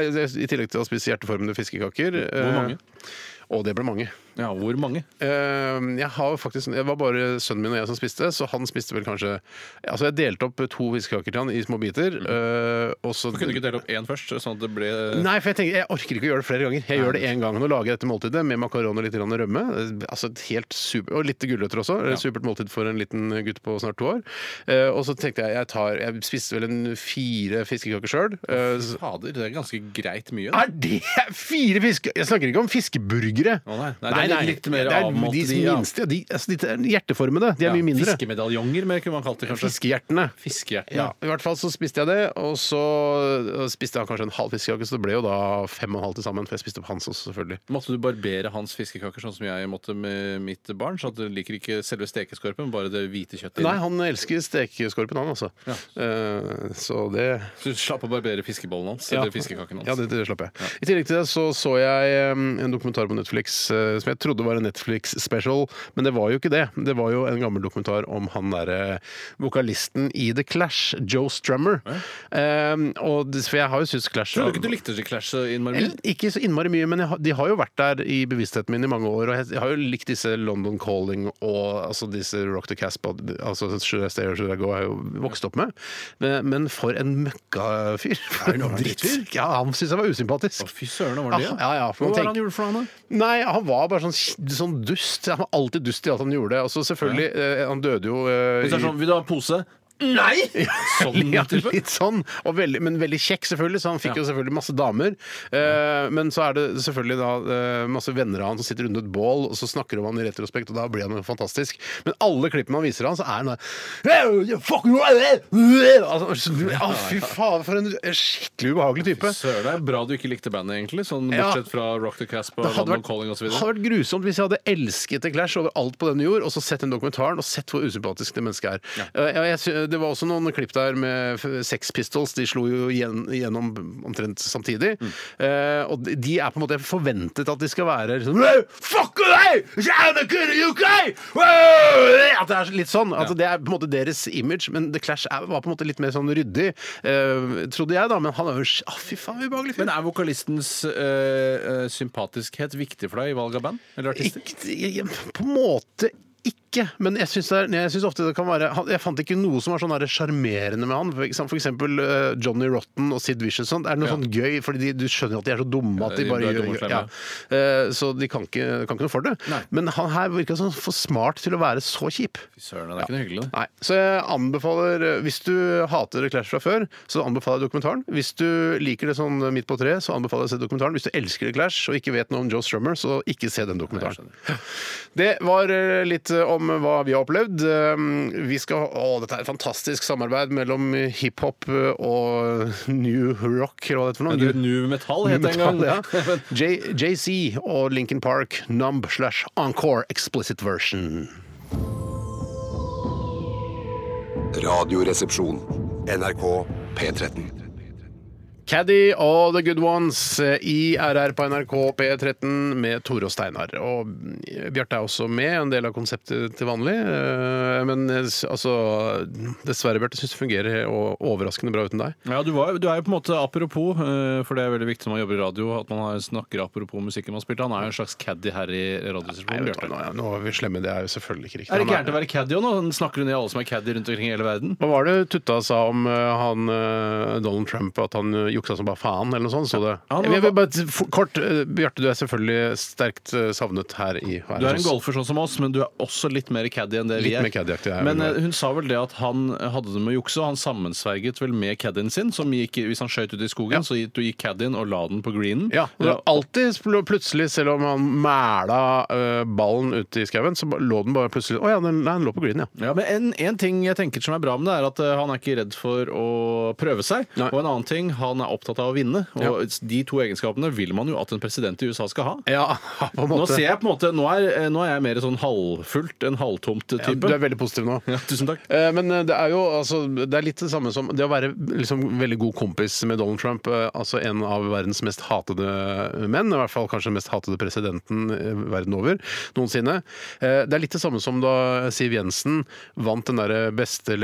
Speaker 5: eh, i tillegg til å spise hjerteformede fiskekaker eh, Hvor
Speaker 6: mange?
Speaker 5: Og det ble mange.
Speaker 6: Ja, hvor mange?
Speaker 5: Eh, Jeg har faktisk, det var bare sønnen min og jeg som spiste, så han spiste vel kanskje Altså, jeg delte opp to fiskekaker til han i små biter. eh, Og så
Speaker 6: Mhm. Kunne du ikke dele opp én først, sånn at det ble
Speaker 5: Nei, for jeg tenker, jeg orker ikke å gjøre det flere ganger. Jeg gjør det én gang. Nå lager jeg dette måltidet med makaron og litt grann rømme. Eh, Altså et helt super, Og litt gulrøtter også. Et Supert måltid for en liten gutt på snart to år. Eh, og så tenkte jeg jeg tar Jeg spiste vel en fire fiskekaker eh, sjøl.
Speaker 6: Fader, det er ganske greit mye. da.
Speaker 5: er det fire fiske... Jeg snakker ikke om fiskeburgere.
Speaker 6: Å, nei. Nei, det er litt mer
Speaker 5: det er
Speaker 6: avmålt,
Speaker 5: de,
Speaker 6: de, ja.
Speaker 5: minste. De, altså, de er hjerteformede. De er mye mindre.
Speaker 6: Fiskemedaljonger, mer kunne man kalt det kanskje.
Speaker 5: Fiskehjertene.
Speaker 6: Fiskehjertene.
Speaker 5: Ja, I hvert fall så spiste jeg det, og så spiste jeg kanskje en halv fiskekake, så det ble jo da fem og en halv til sammen, for jeg spiste opp hans også, selvfølgelig.
Speaker 6: Måtte du barbere hans fiskekaker sånn som jeg måtte med mitt barn? Så at du liker ikke selve stekeskorpen, bare det hvite kjøttet?
Speaker 5: Nei, han elsker stekeskorpen, han altså. Eh, så det
Speaker 6: Så du slapp å barbere fiskebollen hans? Eller fiskekaken hans?
Speaker 5: Ja, det, det slapp jeg. I tillegg til det så så jeg um, en dokumentar på Netflix eh, som jeg trodde var en Netflix-special, men det var jo ikke det. Det var jo en gammel dokumentar om han derre vokalisten i The Clash, Joe Strummer. Um, og, det- for jeg har jo syntes Clash
Speaker 6: Tror du ikke du likte The Clash in Marmel?
Speaker 5: Eller, Mm. ikke så innmari mye, men jeg, har- de har jo vært der i bevisstheten min i mange år. Og jeg, jeg har jo likt disse London Calling og altså disse Rock the Casp og- altså Should I Stay or Should I Go har jeg jo vokst opp med. Men, men for en møkkafyr. For en drittfyr. Ja, han syntes jeg var usympatisk.
Speaker 6: Fy søren, var det
Speaker 5: Ja, ja, ja, for man
Speaker 6: Hva var det
Speaker 5: tenker-
Speaker 6: han gjorde for noe? da?
Speaker 5: Nei, han var bare sånn, sånn dust. Han var alltid dust i alt han gjorde. Og så selvfølgelig, eh, han døde jo eh,
Speaker 6: Hvis det er
Speaker 5: i-
Speaker 6: sånn, Vil du ha pose?
Speaker 5: Nei!
Speaker 6: Sånn
Speaker 5: ja,
Speaker 6: type?
Speaker 5: litt sånn. Og veldig, men veldig kjekk, selvfølgelig, så han fikk jo selvfølgelig masse damer. Eh, men så er det selvfølgelig da eh, masse venner av han som sitter rundt et bål, og så snakker om han i retrospekt, og da blir han jo fantastisk. Men alle klippene han viser han, så er han der Fuck you! altså, så- Å, fy faen, for en skikkelig ubehagelig type.
Speaker 6: Søren, det er bra du ikke likte bandet, egentlig. Sånn
Speaker 5: Ja.
Speaker 6: Bortsett fra Rock the Casp og
Speaker 5: Det hadde
Speaker 6: London
Speaker 5: vært,
Speaker 6: Calling osv.
Speaker 5: hadde vært grusomt hvis jeg hadde elsket The Clash over alt på denne jord, og så sett den dokumentaren og sett hvor usympatisk det mennesket er. Eh, ja, jeg, sy- det var også noen klipp der med f- Sex Pistols. De slo jo igjen, igjennom omtrent samtidig.
Speaker 6: Mm.
Speaker 5: Eh, og de- de er på en måte forventet at de skal være sånn «Hey, Fuck deg! Yeah, the good UK! Wow!» At det er litt sånn. At det er på en måte deres image, men The Clash er, var på en måte litt mer sånn ryddig, eh, trodde jeg, da. Men han er jo sj- ah, Fy faen, ubehagelig fyr.
Speaker 6: Men er vokalistens eh, eh, sympatiskhet viktig for deg i valg av band? Eller artister?
Speaker 5: Ikke, på en måte ikke, men jeg syns, det er, jeg syns ofte det kan være han- Jeg fant ikke noe som var sånn der sjarmerende med han. For eksem- for eksempel eh, Johnny Rotten og Sid Vicious. Sånn. Det er noe
Speaker 6: Ja.
Speaker 5: sånn gøy, fordi de, du skjønner at de er så dumme at
Speaker 6: Ja,
Speaker 5: de
Speaker 6: de
Speaker 5: bare
Speaker 6: ble
Speaker 5: gjør
Speaker 6: dumme
Speaker 5: ja.
Speaker 6: slemme.
Speaker 5: Eh, Så de kan ikke, kan ikke noe for det.
Speaker 6: Nei.
Speaker 5: Men han her virka sånn for smart til å være så kjip.
Speaker 6: Fy Søren, det er ikke noe hyggelig, det.
Speaker 5: Nei, så jeg anbefaler eh, Hvis du hater The Clash fra før, så anbefaler jeg dokumentaren. Hvis du liker det sånn midt på treet, så anbefaler jeg å se dokumentaren. Hvis du elsker The Clash og ikke vet noe om Joe Strummer, så ikke se den dokumentaren. Det var eh, litt eh, om hva vi har opplevd. Eh, Vi skal Å, dette er et fantastisk samarbeid mellom hiphop eh, og new rock, eller hva det heter for noe.
Speaker 6: Men du, Nu Metal het det en gang.
Speaker 5: Metal, ja. J- JC og Lincoln Park, Numb slash Encore explicit version.
Speaker 2: Radioresepsjon. NRK P13.
Speaker 5: Caddy og The Good Ones eh, i RR på NRK P13 med Tore og Steinar. Og eh, Bjarte er også med, en del av konseptet til vanlig. Eh, Men eh, s- altså Dessverre, Bjarte, syns det fungerer og overraskende bra uten deg.
Speaker 6: Ja, du, var, du er jo på en måte apropos, eh, for det er veldig viktig når man jobber i radio at man har- snakker apropos musikken man spilte. Han er jo en slags caddy her i
Speaker 5: Nei,
Speaker 6: Radioresepsjonen.
Speaker 5: vet du,
Speaker 6: Bjarte.
Speaker 5: nå, er- nå er vi slemme, det er jo selvfølgelig ikke riktig.
Speaker 6: Er det
Speaker 5: Han
Speaker 6: gærent å være caddy òg nå? Han Snakker du ned alle som er caddy rundt omkring i hele verden?
Speaker 5: hva var det Tutta sa om eh, han eh, Donald Trump, at han eh, juksa som bare faen, eller noe sånt? Så det.
Speaker 6: han var-
Speaker 5: Jeg vil bare, f- kort, eh, Bjarte, du er selvfølgelig sterkt eh, savnet her i her
Speaker 6: Du er
Speaker 5: hos
Speaker 6: en
Speaker 5: oss.
Speaker 6: golfer sånn som oss, men du er også litt mer caddy enn det vi
Speaker 5: Litt
Speaker 6: er.
Speaker 5: mer caddyaktig er jeg,
Speaker 6: men
Speaker 5: men-
Speaker 6: eh, hun sa vel det at han eh, hadde det med å jukse, og han sammensverget vel med caddien sin. Som gikk, hvis han skøyt ut i skogen,
Speaker 5: Ja.
Speaker 6: så gikk, du gikk caddien og la den på greenen.
Speaker 5: Ja, og det var alltid spl- plutselig, selv om han mæla eh, ballen ute i skauen, så ba- lå den bare plutselig Å ja, den, nei, den lå på green, ja.
Speaker 6: Ja, men en, en ting jeg tenker som er bra med det, er at eh, han er ikke redd for å prøve seg.
Speaker 5: Nei.
Speaker 6: Og en annen ting, han er opptatt av å vinne. Og de to egenskapene vil man jo at en president i USA skal ha.
Speaker 5: Ja, på en
Speaker 6: Nå
Speaker 5: måte.
Speaker 6: ser jeg på en måte, nå er, eh, nå er jeg mer sånn halvfullt enn halvtomt
Speaker 5: Ja,
Speaker 6: type.
Speaker 5: du er veldig positiv nå.
Speaker 6: Ja, tusen takk.
Speaker 5: Eh, Men eh, det er jo altså, det er litt det samme som det å være liksom, veldig god kompis med Donald Trump. eh, Altså en av verdens mest hatede menn, i hvert fall kanskje den mest hatede presidenten eh, verden over noensinne. Eh, Det er litt det samme som da Siv Jensen vant den derre beste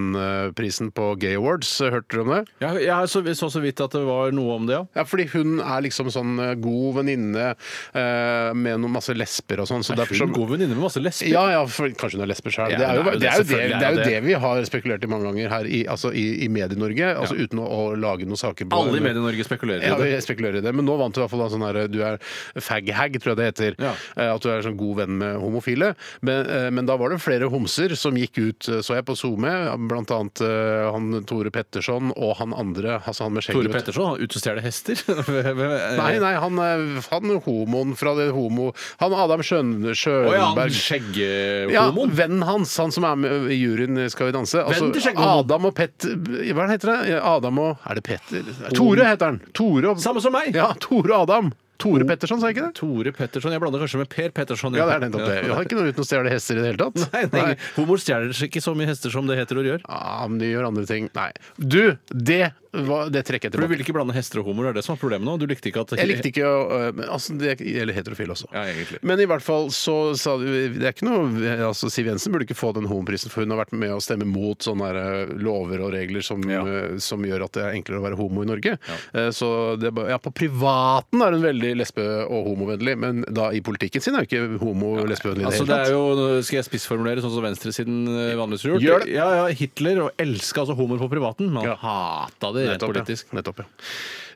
Speaker 5: lesbevennprisen på Gay Awards. eh, Hørte dere om det?
Speaker 6: Jeg, jeg har så, så så vidt at det var noe om det, ja.
Speaker 5: Ja, fordi hun er liksom sånn eh, god venninne eh, med noen masse lesber og sånn. Så
Speaker 6: Er
Speaker 5: derfor
Speaker 6: hun
Speaker 5: så
Speaker 6: en god venninne med masse lesber?
Speaker 5: ja, ja, for kanskje hun er lesber sjøl.
Speaker 6: Ja,
Speaker 5: det, er jo-
Speaker 6: hun er jo
Speaker 5: det, er jo
Speaker 6: det,
Speaker 5: det,
Speaker 6: selvfølgelig
Speaker 5: det er jo
Speaker 6: er
Speaker 5: det
Speaker 6: det.
Speaker 5: vi har spekulert i mange ganger her i, altså i, i Medie-Norge, altså uten å, å lage noen saker på
Speaker 6: Alle i Medie-Norge spekulerer
Speaker 5: ja,
Speaker 6: i det.
Speaker 5: vi spekulerer i det, men nå vant du i hvert fall da sånn her Du er fag-hag, tror jeg det heter.
Speaker 6: Ja.
Speaker 5: Eh, At du er sånn god venn med homofile. Men, eh, men da var det flere homser som gikk ut, eh, så jeg på SoMe, blant annet eh, han Tore Petterson og han andre, altså han med skjegget.
Speaker 6: Tore Petterson, han ute og stjeler hester? Hvem- hvem- eh,
Speaker 5: Nei, nei, han, er- han er homoen fra det homo... Han Adam Sjøn,
Speaker 6: Å ja, han
Speaker 5: Sjøenberg. Ja,
Speaker 6: skjegghomoen.
Speaker 5: vennen hans, han som er med i juryen i Skal vi danse. Altså,
Speaker 6: Vennen til skjegghomoen.
Speaker 5: Adam og Petter Hva heter det? Adam og Er det Petter? Tore heter han. Tore og,
Speaker 6: Samme som meg!
Speaker 5: ja, Tore og Adam. Tore Petterson, sa jeg ikke det?
Speaker 6: Tore Petterson. Jeg blander kanskje med Per Petterson.
Speaker 5: Ja, det er nettopp det. Jeg har ikke noe uten å stjele hester i det hele tatt.
Speaker 6: Nei, nei. Homor stjeler ikke så mye hester som det heter og gjør.
Speaker 5: Ah, men de gjør andre ting. Nei. Du, det, var, det trekker jeg
Speaker 6: For Du
Speaker 5: tilbake.
Speaker 6: ville ikke blande hester og homoer, er det som er problemet nå? Du likte ikke at
Speaker 5: Jeg likte ikke å øh, men, altså, Det gjelder heterofile også.
Speaker 6: Ja, egentlig.
Speaker 5: men i hvert fall så sa du Det er ikke noe altså, Siv Jensen burde ikke få den homoprisen, for hun har vært med å stemme mot sånne her, øh, lover og regler som,
Speaker 6: Ja.
Speaker 5: øh, som gjør at det er enklere å være homo i Norge. Eh, Så det er bare- ja, på privaten er hun veldig lesbe- og homovennlig, men da i politikken sin er hun ikke homo- og lesbevennlig i det
Speaker 6: Altså, det
Speaker 5: hele tatt.
Speaker 6: er jo, nå Skal jeg spissformulere sånn som venstresiden eh, vanligvis har gjort?
Speaker 5: Gjør det.
Speaker 6: Ja, ja, Hitler og elska altså homoer på privaten, men han
Speaker 5: Ja.
Speaker 6: hata de det rent
Speaker 5: Nettopp,
Speaker 6: politisk.
Speaker 5: Ja. Nettopp, ja.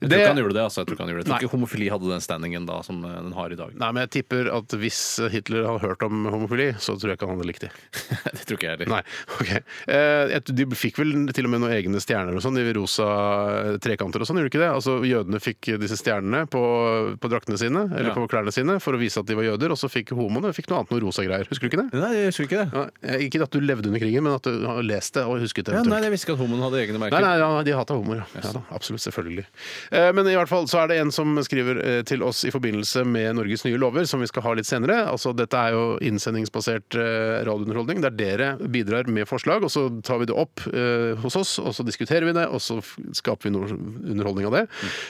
Speaker 6: Jeg tror
Speaker 5: Det-
Speaker 6: ikke han gjorde det. altså. Jeg tror ikke han gjorde det. Jeg
Speaker 5: Nei.
Speaker 6: tror ikke homofili hadde den standingen da som eh, den har i dag.
Speaker 5: Nei, men jeg tipper at hvis Hitler hadde hørt om homofili, så tror jeg ikke han hadde likt det.
Speaker 6: det tror ikke jeg heller.
Speaker 5: Nei, ok. Eh, jeg- De fikk vel til og med noen egne stjerner og sånn, i rosa trekanter og sånn, gjorde de ikke det? Altså, Jødene fikk disse stjernene på, på draktene sine, eller
Speaker 6: Ja.
Speaker 5: på klærne sine, for å vise at de var jøder, og så fikk homoene fikk noe annet, noe rosa greier. Husker du ikke det?
Speaker 6: Nei, jeg husker ikke det.
Speaker 5: Ja, eh, ikke at du levde under krigen, men at du har lest det og husket det.
Speaker 6: Ja,
Speaker 5: eventuelt.
Speaker 6: nei, jeg visste ikke at homoen hadde egne
Speaker 5: Nei,
Speaker 6: merker.
Speaker 5: nei, ja, de hater homoer. Ja. Ja, da, absolutt, selvfølgelig. Eh, Men i hvert fall så er det en som skriver eh, til oss i forbindelse med Norges nye lover, som vi skal ha litt senere. Altså, dette er jo innsendingsbasert eh, radiounderholdning, der dere bidrar med forslag, og så tar vi det opp eh, hos oss, og så diskuterer vi det, og så f- skaper vi noe underholdning av det.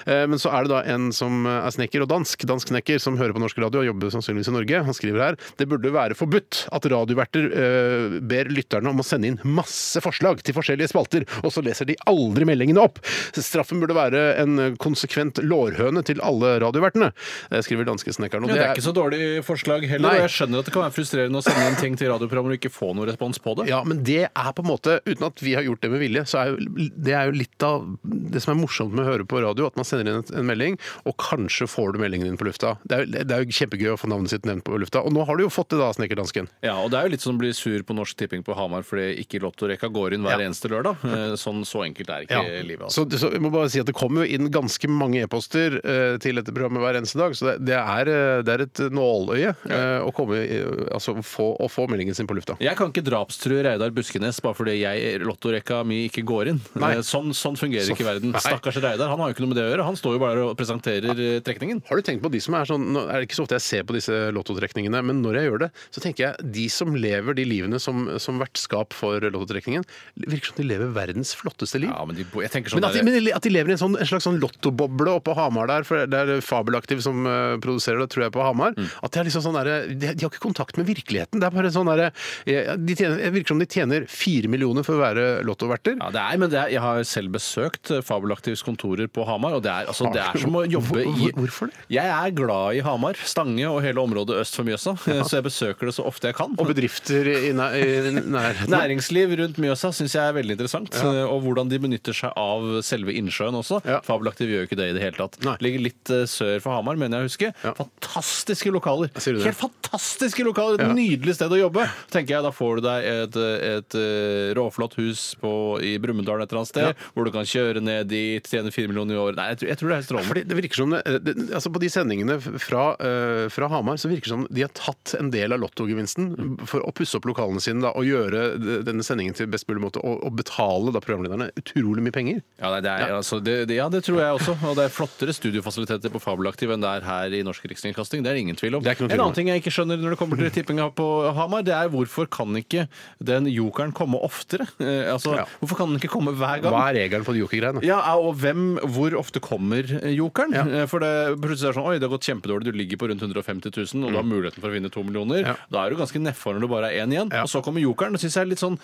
Speaker 5: Eh, Men så er det da en som eh, er snekker og dansk, dansk snekker, som hører på norsk radio og jobber sannsynligvis i Norge. Han skriver her det burde være forbudt at radioverter eh, ber lytterne om å sende inn masse forslag til forskjellige spalter, og så leser de aldri meldingene opp. Straffen burde være en konsekvent lårhøne til alle radiovertene, eh, skriver danskesnekkeren. Og
Speaker 6: Ja, det er ikke så dårlig forslag heller.
Speaker 5: Nei.
Speaker 6: og Jeg skjønner at det kan være frustrerende å sende inn ting til radioprogrammer og ikke få noe respons på det.
Speaker 5: Ja, men det er på en måte, uten at vi har gjort det med vilje, så er jo, det er jo litt av det som er morsomt med å høre på radio, at man sender inn en- en melding, og kanskje får du meldingen din på lufta. Det er, jo- det er jo kjempegøy å få navnet sitt nevnt på lufta, og nå har du jo fått det da, snekkerdansken.
Speaker 6: Ja, og Det er jo litt som å bli sur på Norsk Tipping på Hamar fordi ikke Lottorekka går inn hver
Speaker 5: Ja.
Speaker 6: eneste lørdag. Eh, Sånn Så enkelt er ikke livet. Altså.
Speaker 5: Så, så jeg må bare si at Det kommer jo inn ganske mange e-poster eh, til dette programmet hver eneste dag, så det, det, er, eh, det er et nåløye eh, å, komme, i- altså, få, å få meldingen sin på lufta.
Speaker 6: Jeg kan ikke drapstrue Reidar Buskenes bare fordi jeg, lottorekka mi ikke går inn.
Speaker 5: Nei.
Speaker 6: Eh, Sånn, sånn fungerer
Speaker 5: Så-
Speaker 6: ikke verden.
Speaker 5: Nei.
Speaker 6: Stakkars Reidar, han har jo ikke noe med det å gjøre. Han står jo bare og presenterer eh, trekningen.
Speaker 5: Har du tenkt på de som er sånn, nå er det ikke så ofte jeg ser på disse lottotrekningene, men når jeg gjør det, så tenker jeg de som lever de livene som, som vertskap for lottotrekningen, virker som de lever verdens flotteste liv.
Speaker 6: Ja, men de, bo- jeg tenker sånn
Speaker 5: Men at de,
Speaker 6: der-
Speaker 5: men at de lever i en, sånn, en slags sånn lottoboble oppe på Hamar der, for det er Fabelaktiv som eh, produserer det, tror jeg, på Hamar.
Speaker 6: Mm.
Speaker 5: At de, er liksom sånn der, de, de har ikke kontakt med virkeligheten. Det er bare sånn der, eh, de tjener, Det virker som de tjener fire millioner for å være lottoverter.
Speaker 6: Ja, det er, men det er, Jeg har selv besøkt eh, Fabelaktivs kontorer på Hamar, og det er, altså, det
Speaker 5: Har
Speaker 6: er
Speaker 5: du-
Speaker 6: som å jobbe i
Speaker 5: Hvor- hvorfor det?
Speaker 6: Jeg er glad i Hamar, Stange og hele området øst for Mjøsa, eh, så jeg besøker det så ofte jeg kan.
Speaker 5: Og bedrifter i, næ- i nærheten.
Speaker 6: Næringsliv rundt Mjøsa syns jeg er veldig interessant. eh, Og hvordan de benytter seg av selve innsjøen også.
Speaker 5: Ja.
Speaker 6: Fabelaktiv gjør jo ikke det i det hele tatt.
Speaker 5: Nei.
Speaker 6: Ligger litt eh, sør for Hamar, mener jeg å huske.
Speaker 5: Ja.
Speaker 6: Fantastiske lokaler.
Speaker 5: Sier du det?
Speaker 6: Helt fantastiske lokaler! Et nydelig sted å jobbe. Tenker jeg, Da får du deg et, eh, et eh, råflott hus på, i Brumunddal et eller annet sted, hvor du kan kjøre ned dit, tjene fire millioner i året. Nei, jeg tror, jeg tror det er strålende.
Speaker 5: Fordi det virker som det, det, altså På de sendingene fra, eh, fra Hamar så virker det som de har tatt en del av lottogevinsten for å pusse opp lokalene sine da, og gjøre de- denne sendingen til best mulig måte og, og betale da programlederne utrolig mye penger.
Speaker 6: Ja, nei, det er, Altså, det, det, ja, det tror jeg også. Og det er flottere studiofasiliteter på Fabelaktiv enn det er her i Norsk Rikskringkasting. Det er det ingen tvil om.
Speaker 5: Det er ikke noe tvil
Speaker 6: en
Speaker 5: om.
Speaker 6: annen ting jeg ikke skjønner når det kommer til tippinga på Hamar, det er hvorfor kan ikke den jokeren komme oftere? Eh, altså,
Speaker 5: Ja.
Speaker 6: Hvorfor kan den ikke komme hver gang?
Speaker 5: Hva er regelen på de jokergreiene?
Speaker 6: Ja, og hvem, hvor ofte kommer jokeren? Eh, For det plutselig er det sånn, oi, det har gått kjempedårlig, du ligger på rundt 150 000, og du har muligheten for å vinne to millioner.
Speaker 5: Mm. Ja.
Speaker 6: Da er du ganske nedfor når du bare er én igjen.
Speaker 5: Ja.
Speaker 6: Og så kommer jokeren. Det synes jeg er litt sånn,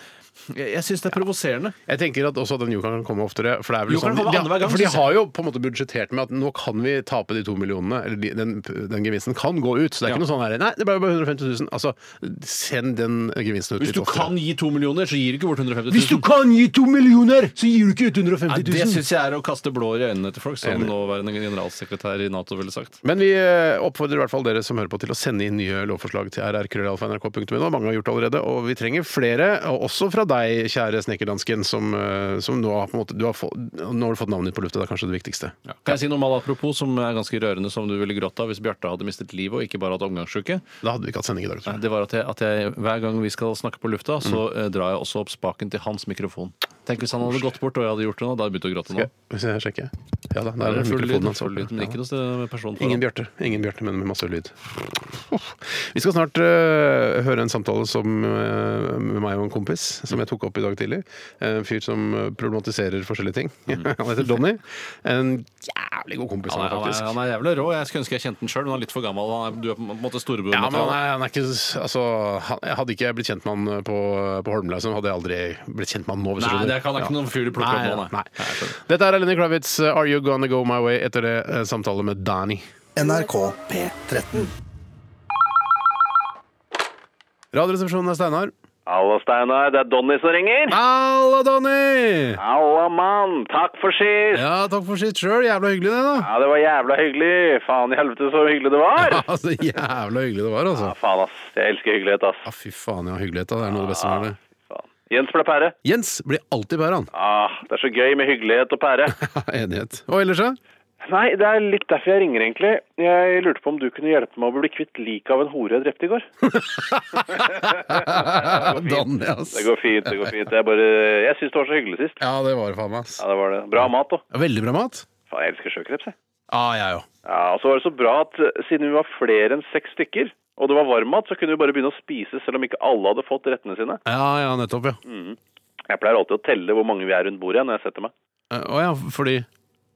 Speaker 6: jeg, jeg syns det er provoserende.
Speaker 5: Jeg tenker at også at den jokeren kan komme oftere. For, det er vel
Speaker 6: Jokeren
Speaker 5: sånn,
Speaker 6: kommer
Speaker 5: de,
Speaker 6: annenhver gang,
Speaker 5: for de
Speaker 6: synes jeg.
Speaker 5: har jo på en måte budsjettert med at nå kan vi tape de to millionene, eller de, den, den gevinsten kan gå ut. Så det er
Speaker 6: Ja.
Speaker 5: ikke noe sånn her Nei, det ble bare 150 000. Altså, send den gevinsten ut
Speaker 6: Hvis du kan gi to millioner, så gir du ikke bort 150 000.
Speaker 5: kan gi to millioner, så gir du ikke ut
Speaker 6: Nei,
Speaker 5: 150
Speaker 6: det syns jeg er å kaste blår i øynene til folk, som
Speaker 5: Enig.
Speaker 6: nåværende generalsekretær i Nato ville sagt.
Speaker 5: Men vi eh, oppfordrer i hvert fall dere som hører på til å sende inn nye lovforslag til rrkrøllalfa.nrk.no. Mange har gjort det allerede, og vi trenger flere. Og også fra deg, kjære snekkerdansken, som, eh, som nå, har på en måte, du har fått, nå har du fått navnet ditt på luftet. Det er kanskje det viktigste.
Speaker 6: Kan jeg si noe mal apropos som er ganske rørende, som du ville grått av hvis Bjarte hadde mistet livet og ikke bare hatt omgangssjuke?
Speaker 5: Da hadde vi ikke hatt sending i dag, tror jeg.
Speaker 6: Det var at jeg, at jeg hver gang vi skal snakke på lufta, så eh, drar jeg også opp spaken til hans mikrofon. Tenk hvis han hadde gått bort og jeg hadde gjort det nå, da hadde jeg begynt å gråte nå.
Speaker 5: Ja, Hvis jeg sjekker. Ja da, der er
Speaker 6: Det er full lyd,
Speaker 5: mikrofonen hans
Speaker 6: full
Speaker 5: oppe.
Speaker 6: lyd, men ikke
Speaker 5: Ja.
Speaker 6: noe sted- person foran.
Speaker 5: Ingen Bjarte, Ingen Bjarte, men med masse lyd. Uff. Vi skal snart øh, høre en samtale som, øh, med meg og en kompis, som jeg tok opp i dag tidlig. En fyr som øh, problematiserer forskjellige ting. han heter Donny. En jævlig god kompis,
Speaker 6: Mm.
Speaker 5: han
Speaker 6: Han er, han, er,
Speaker 5: faktisk.
Speaker 6: han er jævlig rå. Jeg skulle ønske jeg kjente den sjøl, men han er litt for gammel. Han er, du er på en måte storebror.
Speaker 5: Ja,
Speaker 6: mot
Speaker 5: men han
Speaker 6: han.
Speaker 5: er, han er ikke altså, han, Jeg hadde ikke blitt kjent med han på, på Holmlausen. Hadde jeg aldri blitt kjent med han nå. hvis du
Speaker 6: Nei,
Speaker 5: skjønner.
Speaker 6: det kan- han er ikke noen fyr du plukker
Speaker 5: Nei,
Speaker 6: opp nå, nei.
Speaker 5: Nei.
Speaker 6: Nei, jeg skjønner.
Speaker 5: Dette er Lenny Kravitz, eh, 'Are You Gonna Go My Way', etter det eh, samtale med Danny.
Speaker 3: NRK P13.
Speaker 5: Radioresepsjonen er Steinar.
Speaker 1: Hallo, Steinar. Det er Donny som ringer.
Speaker 5: Halla, Donny!
Speaker 1: Halla, mann. Takk for sist.
Speaker 5: Ja, takk for sitt sjøl. Jævla hyggelig, det, da.
Speaker 1: Ja, det var jævla hyggelig. Faen i helvete så hyggelig det var.
Speaker 5: Ja, så Altså, jævla hyggelig det var, altså.
Speaker 1: Ja, faen, ass. Jeg elsker hyggelighet, ass.
Speaker 5: Ja, fy faen, ja, hyggelighet. da. Det er noe av det beste med det.
Speaker 1: Faen. Jens ble pære.
Speaker 5: Jens blir alltid bærer, han.
Speaker 1: Ah, det er så gøy med hyggelighet og pære.
Speaker 5: Enighet. Og ellers, ja?
Speaker 1: Nei, det er litt derfor jeg ringer, egentlig. Jeg lurte på om du kunne hjelpe meg å bli kvitt liket av en hore jeg drepte i går.
Speaker 5: Donny, ass.
Speaker 1: Det går fint, det går fint. Jeg bare Jeg syns det var så hyggelig sist.
Speaker 5: Ja, det var det faen meg, ass.
Speaker 1: Ja, det var det. Bra mat, da.
Speaker 5: Veldig bra mat.
Speaker 1: Faen, jeg elsker sjøkreps, jeg.
Speaker 5: Ja, jeg òg.
Speaker 1: Ja, og så var det så bra at eh, siden vi var flere enn seks stykker, og det var varmmat, så kunne vi bare begynne å spise selv om ikke alle hadde fått rettene sine.
Speaker 5: Ja, ja, nettopp, ja.
Speaker 1: Jeg pleier alltid å telle hvor mange vi er rundt bordet når jeg setter meg.
Speaker 5: Eh, Å ja, fordi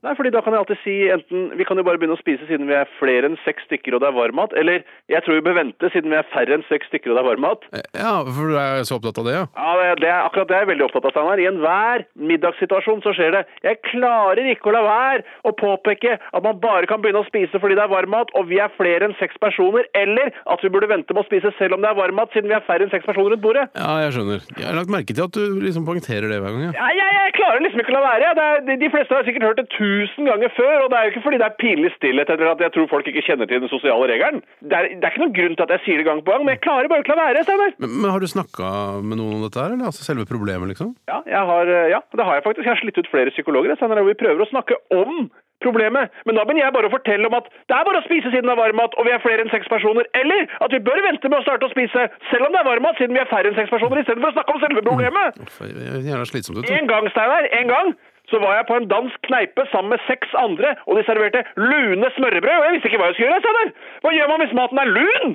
Speaker 1: Nei, fordi da kan jeg alltid si enten vi kan jo bare begynne å spise siden vi er flere enn seks stykker og det er varmmat, eller jeg tror vi bør vente siden vi er færre enn seks stykker og det er varmmat.
Speaker 5: eh, Ja, for du er så opptatt av det, ja?
Speaker 1: Ja, det, det er akkurat det jeg er veldig opptatt av, Steinar. I enhver middagssituasjon så skjer det. Jeg klarer ikke å la være å påpeke at man bare kan begynne å spise fordi det er varmmat, og vi er flere enn seks personer, eller at vi burde vente med å spise selv om det er varmmat, siden vi er færre enn seks personer rundt bordet.
Speaker 5: Ja, jeg skjønner. Jeg har lagt merke til at du liksom poengterer det hver gang. ja.
Speaker 1: Ja, jeg, jeg klarer liksom ikke å la være. Det er, de, de fleste har sikkert hørt det tusen ganger før, og det er jo ikke fordi det er pinlig stillhet eller at jeg tror folk ikke kjenner til den sosiale regelen. Det er, det er ikke noen grunn til at jeg sier det gang på gang, men jeg klarer bare ikke å la være, Steinar.
Speaker 5: Men, men har du snakka med noen om dette her, eller altså selve problemet, liksom?
Speaker 1: Ja, jeg har, eh, ja, det har jeg faktisk. Jeg har slitt ut flere psykologer. jeg, Steinar, og Vi prøver å snakke om problemet, men da begynner jeg bare å fortelle om at det er bare å spise siden det er varmmat, og vi er flere enn seks personer. Eller at vi bør vente med å starte å spise selv om det er varmmat, siden vi er færre enn seks personer, istedenfor å snakke om selve problemet.
Speaker 5: Uff, det er Jævla slitsomt ut. da.
Speaker 1: En gang, Steinar, en gang så var jeg på en dansk kneipe sammen med seks andre, og de serverte lune smørrebrød, og jeg visste ikke hva jeg skulle gjøre, Steinar. Hva gjør man hvis maten er lun?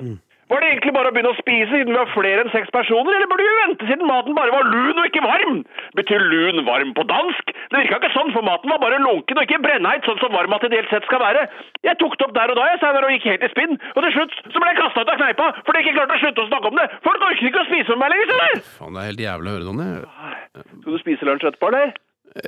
Speaker 1: Var det egentlig bare å begynne å spise siden vi var flere enn seks personer, eller burde vi vente siden maten bare var lun og ikke varm? Betyr lun varm på dansk? Det virka ikke sånn, for maten var bare lunken og ikke brennheit, sånn som varmmat ideelt sett skal være. Jeg tok det opp der og da, jeg, Steinar, og gikk helt i spinn, og til slutt så ble jeg kasta ut av kneipa fordi jeg ikke klarte å slutte å snakke om det. Folk orker ikke å spise med meg lenger, Steinar!
Speaker 5: Faen, det er helt jævlig å høre, Donny.
Speaker 1: Skal du spise lunsj etterpå, eller?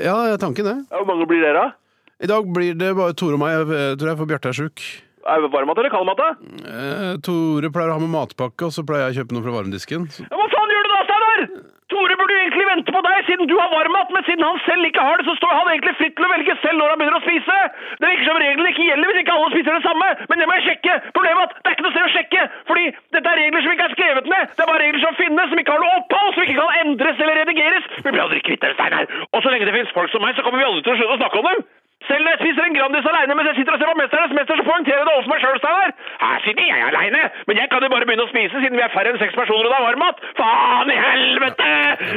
Speaker 5: Ja, det er tanken, det.
Speaker 1: Ja, Hvor mange blir dere, da?
Speaker 5: I dag blir det bare Tore og meg, jeg tror jeg, for Bjarte er sjuk.
Speaker 1: Er det Varmmat eller kaldmat, da?
Speaker 5: Eh, Tore pleier å ha med matpakke, og så pleier jeg å kjøpe noe fra varmdisken. Så-
Speaker 1: Ja, Hva faen gjør du da, Steinar? Tore burde jo egentlig vente på deg, siden du har varmmat, men siden han selv ikke har det, så står han egentlig fritt til å velge selv når han begynner å spise. Det virker som reglene ikke gjelder hvis ikke alle spiser det samme, men det må jeg sjekke. Problemet er at det er ikke noe sted å sjekke, fordi dette er regler som ikke er skrevet ned. Det er bare regler som finnes, som ikke har noe opphav, som ikke kan endres eller redigeres. Vi blir aldri kvitt dere, Steinar. Og så lenge det finnes folk som meg, så kommer vi aldri til å slutte å snakke om dem. Selv når jeg spiser en Grandis aleine mens jeg sitter og ser på Mesternes mester, så poengterer jeg det overfor meg sjøl, Steinar. Her sitter jeg aleine, men jeg kan jo bare begynne å spise siden vi er færre enn seks personer og det er varmmat. Faen i helvete!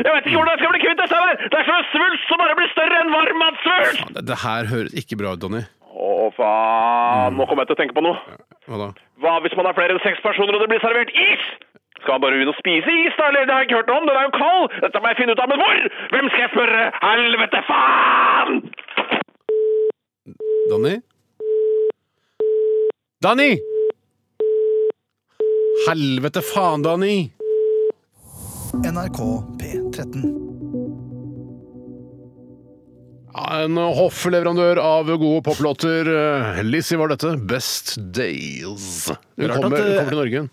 Speaker 1: Jeg vet ikke hvordan jeg skal bli kvitt det, Steinar. Det er som en svulst som bare blir større enn varmmatsvulst.
Speaker 5: Faen, det, det her høres ikke bra ut, Donny.
Speaker 1: Å, faen. Nå kommer jeg til å tenke på noe.
Speaker 5: Hva da?
Speaker 1: Hva hvis man er flere enn seks personer og det blir servert is? Skal man bare begynne å spise is, da? Eller det har jeg ikke hørt noe om. Den er jo kald. Dette må jeg finne ut av. Men hvor? Hvem skal jeg spørre? Helvete, faen!
Speaker 5: Danny? Danny! Helvete faen, Danny!
Speaker 3: NRK P13.
Speaker 5: Ja, En hoffleverandør av gode poplåter. Eh, Lizzie var dette. Best Days. Hun
Speaker 6: Rart at
Speaker 5: kommer, hun
Speaker 6: det-
Speaker 5: kommer til Norge, hun.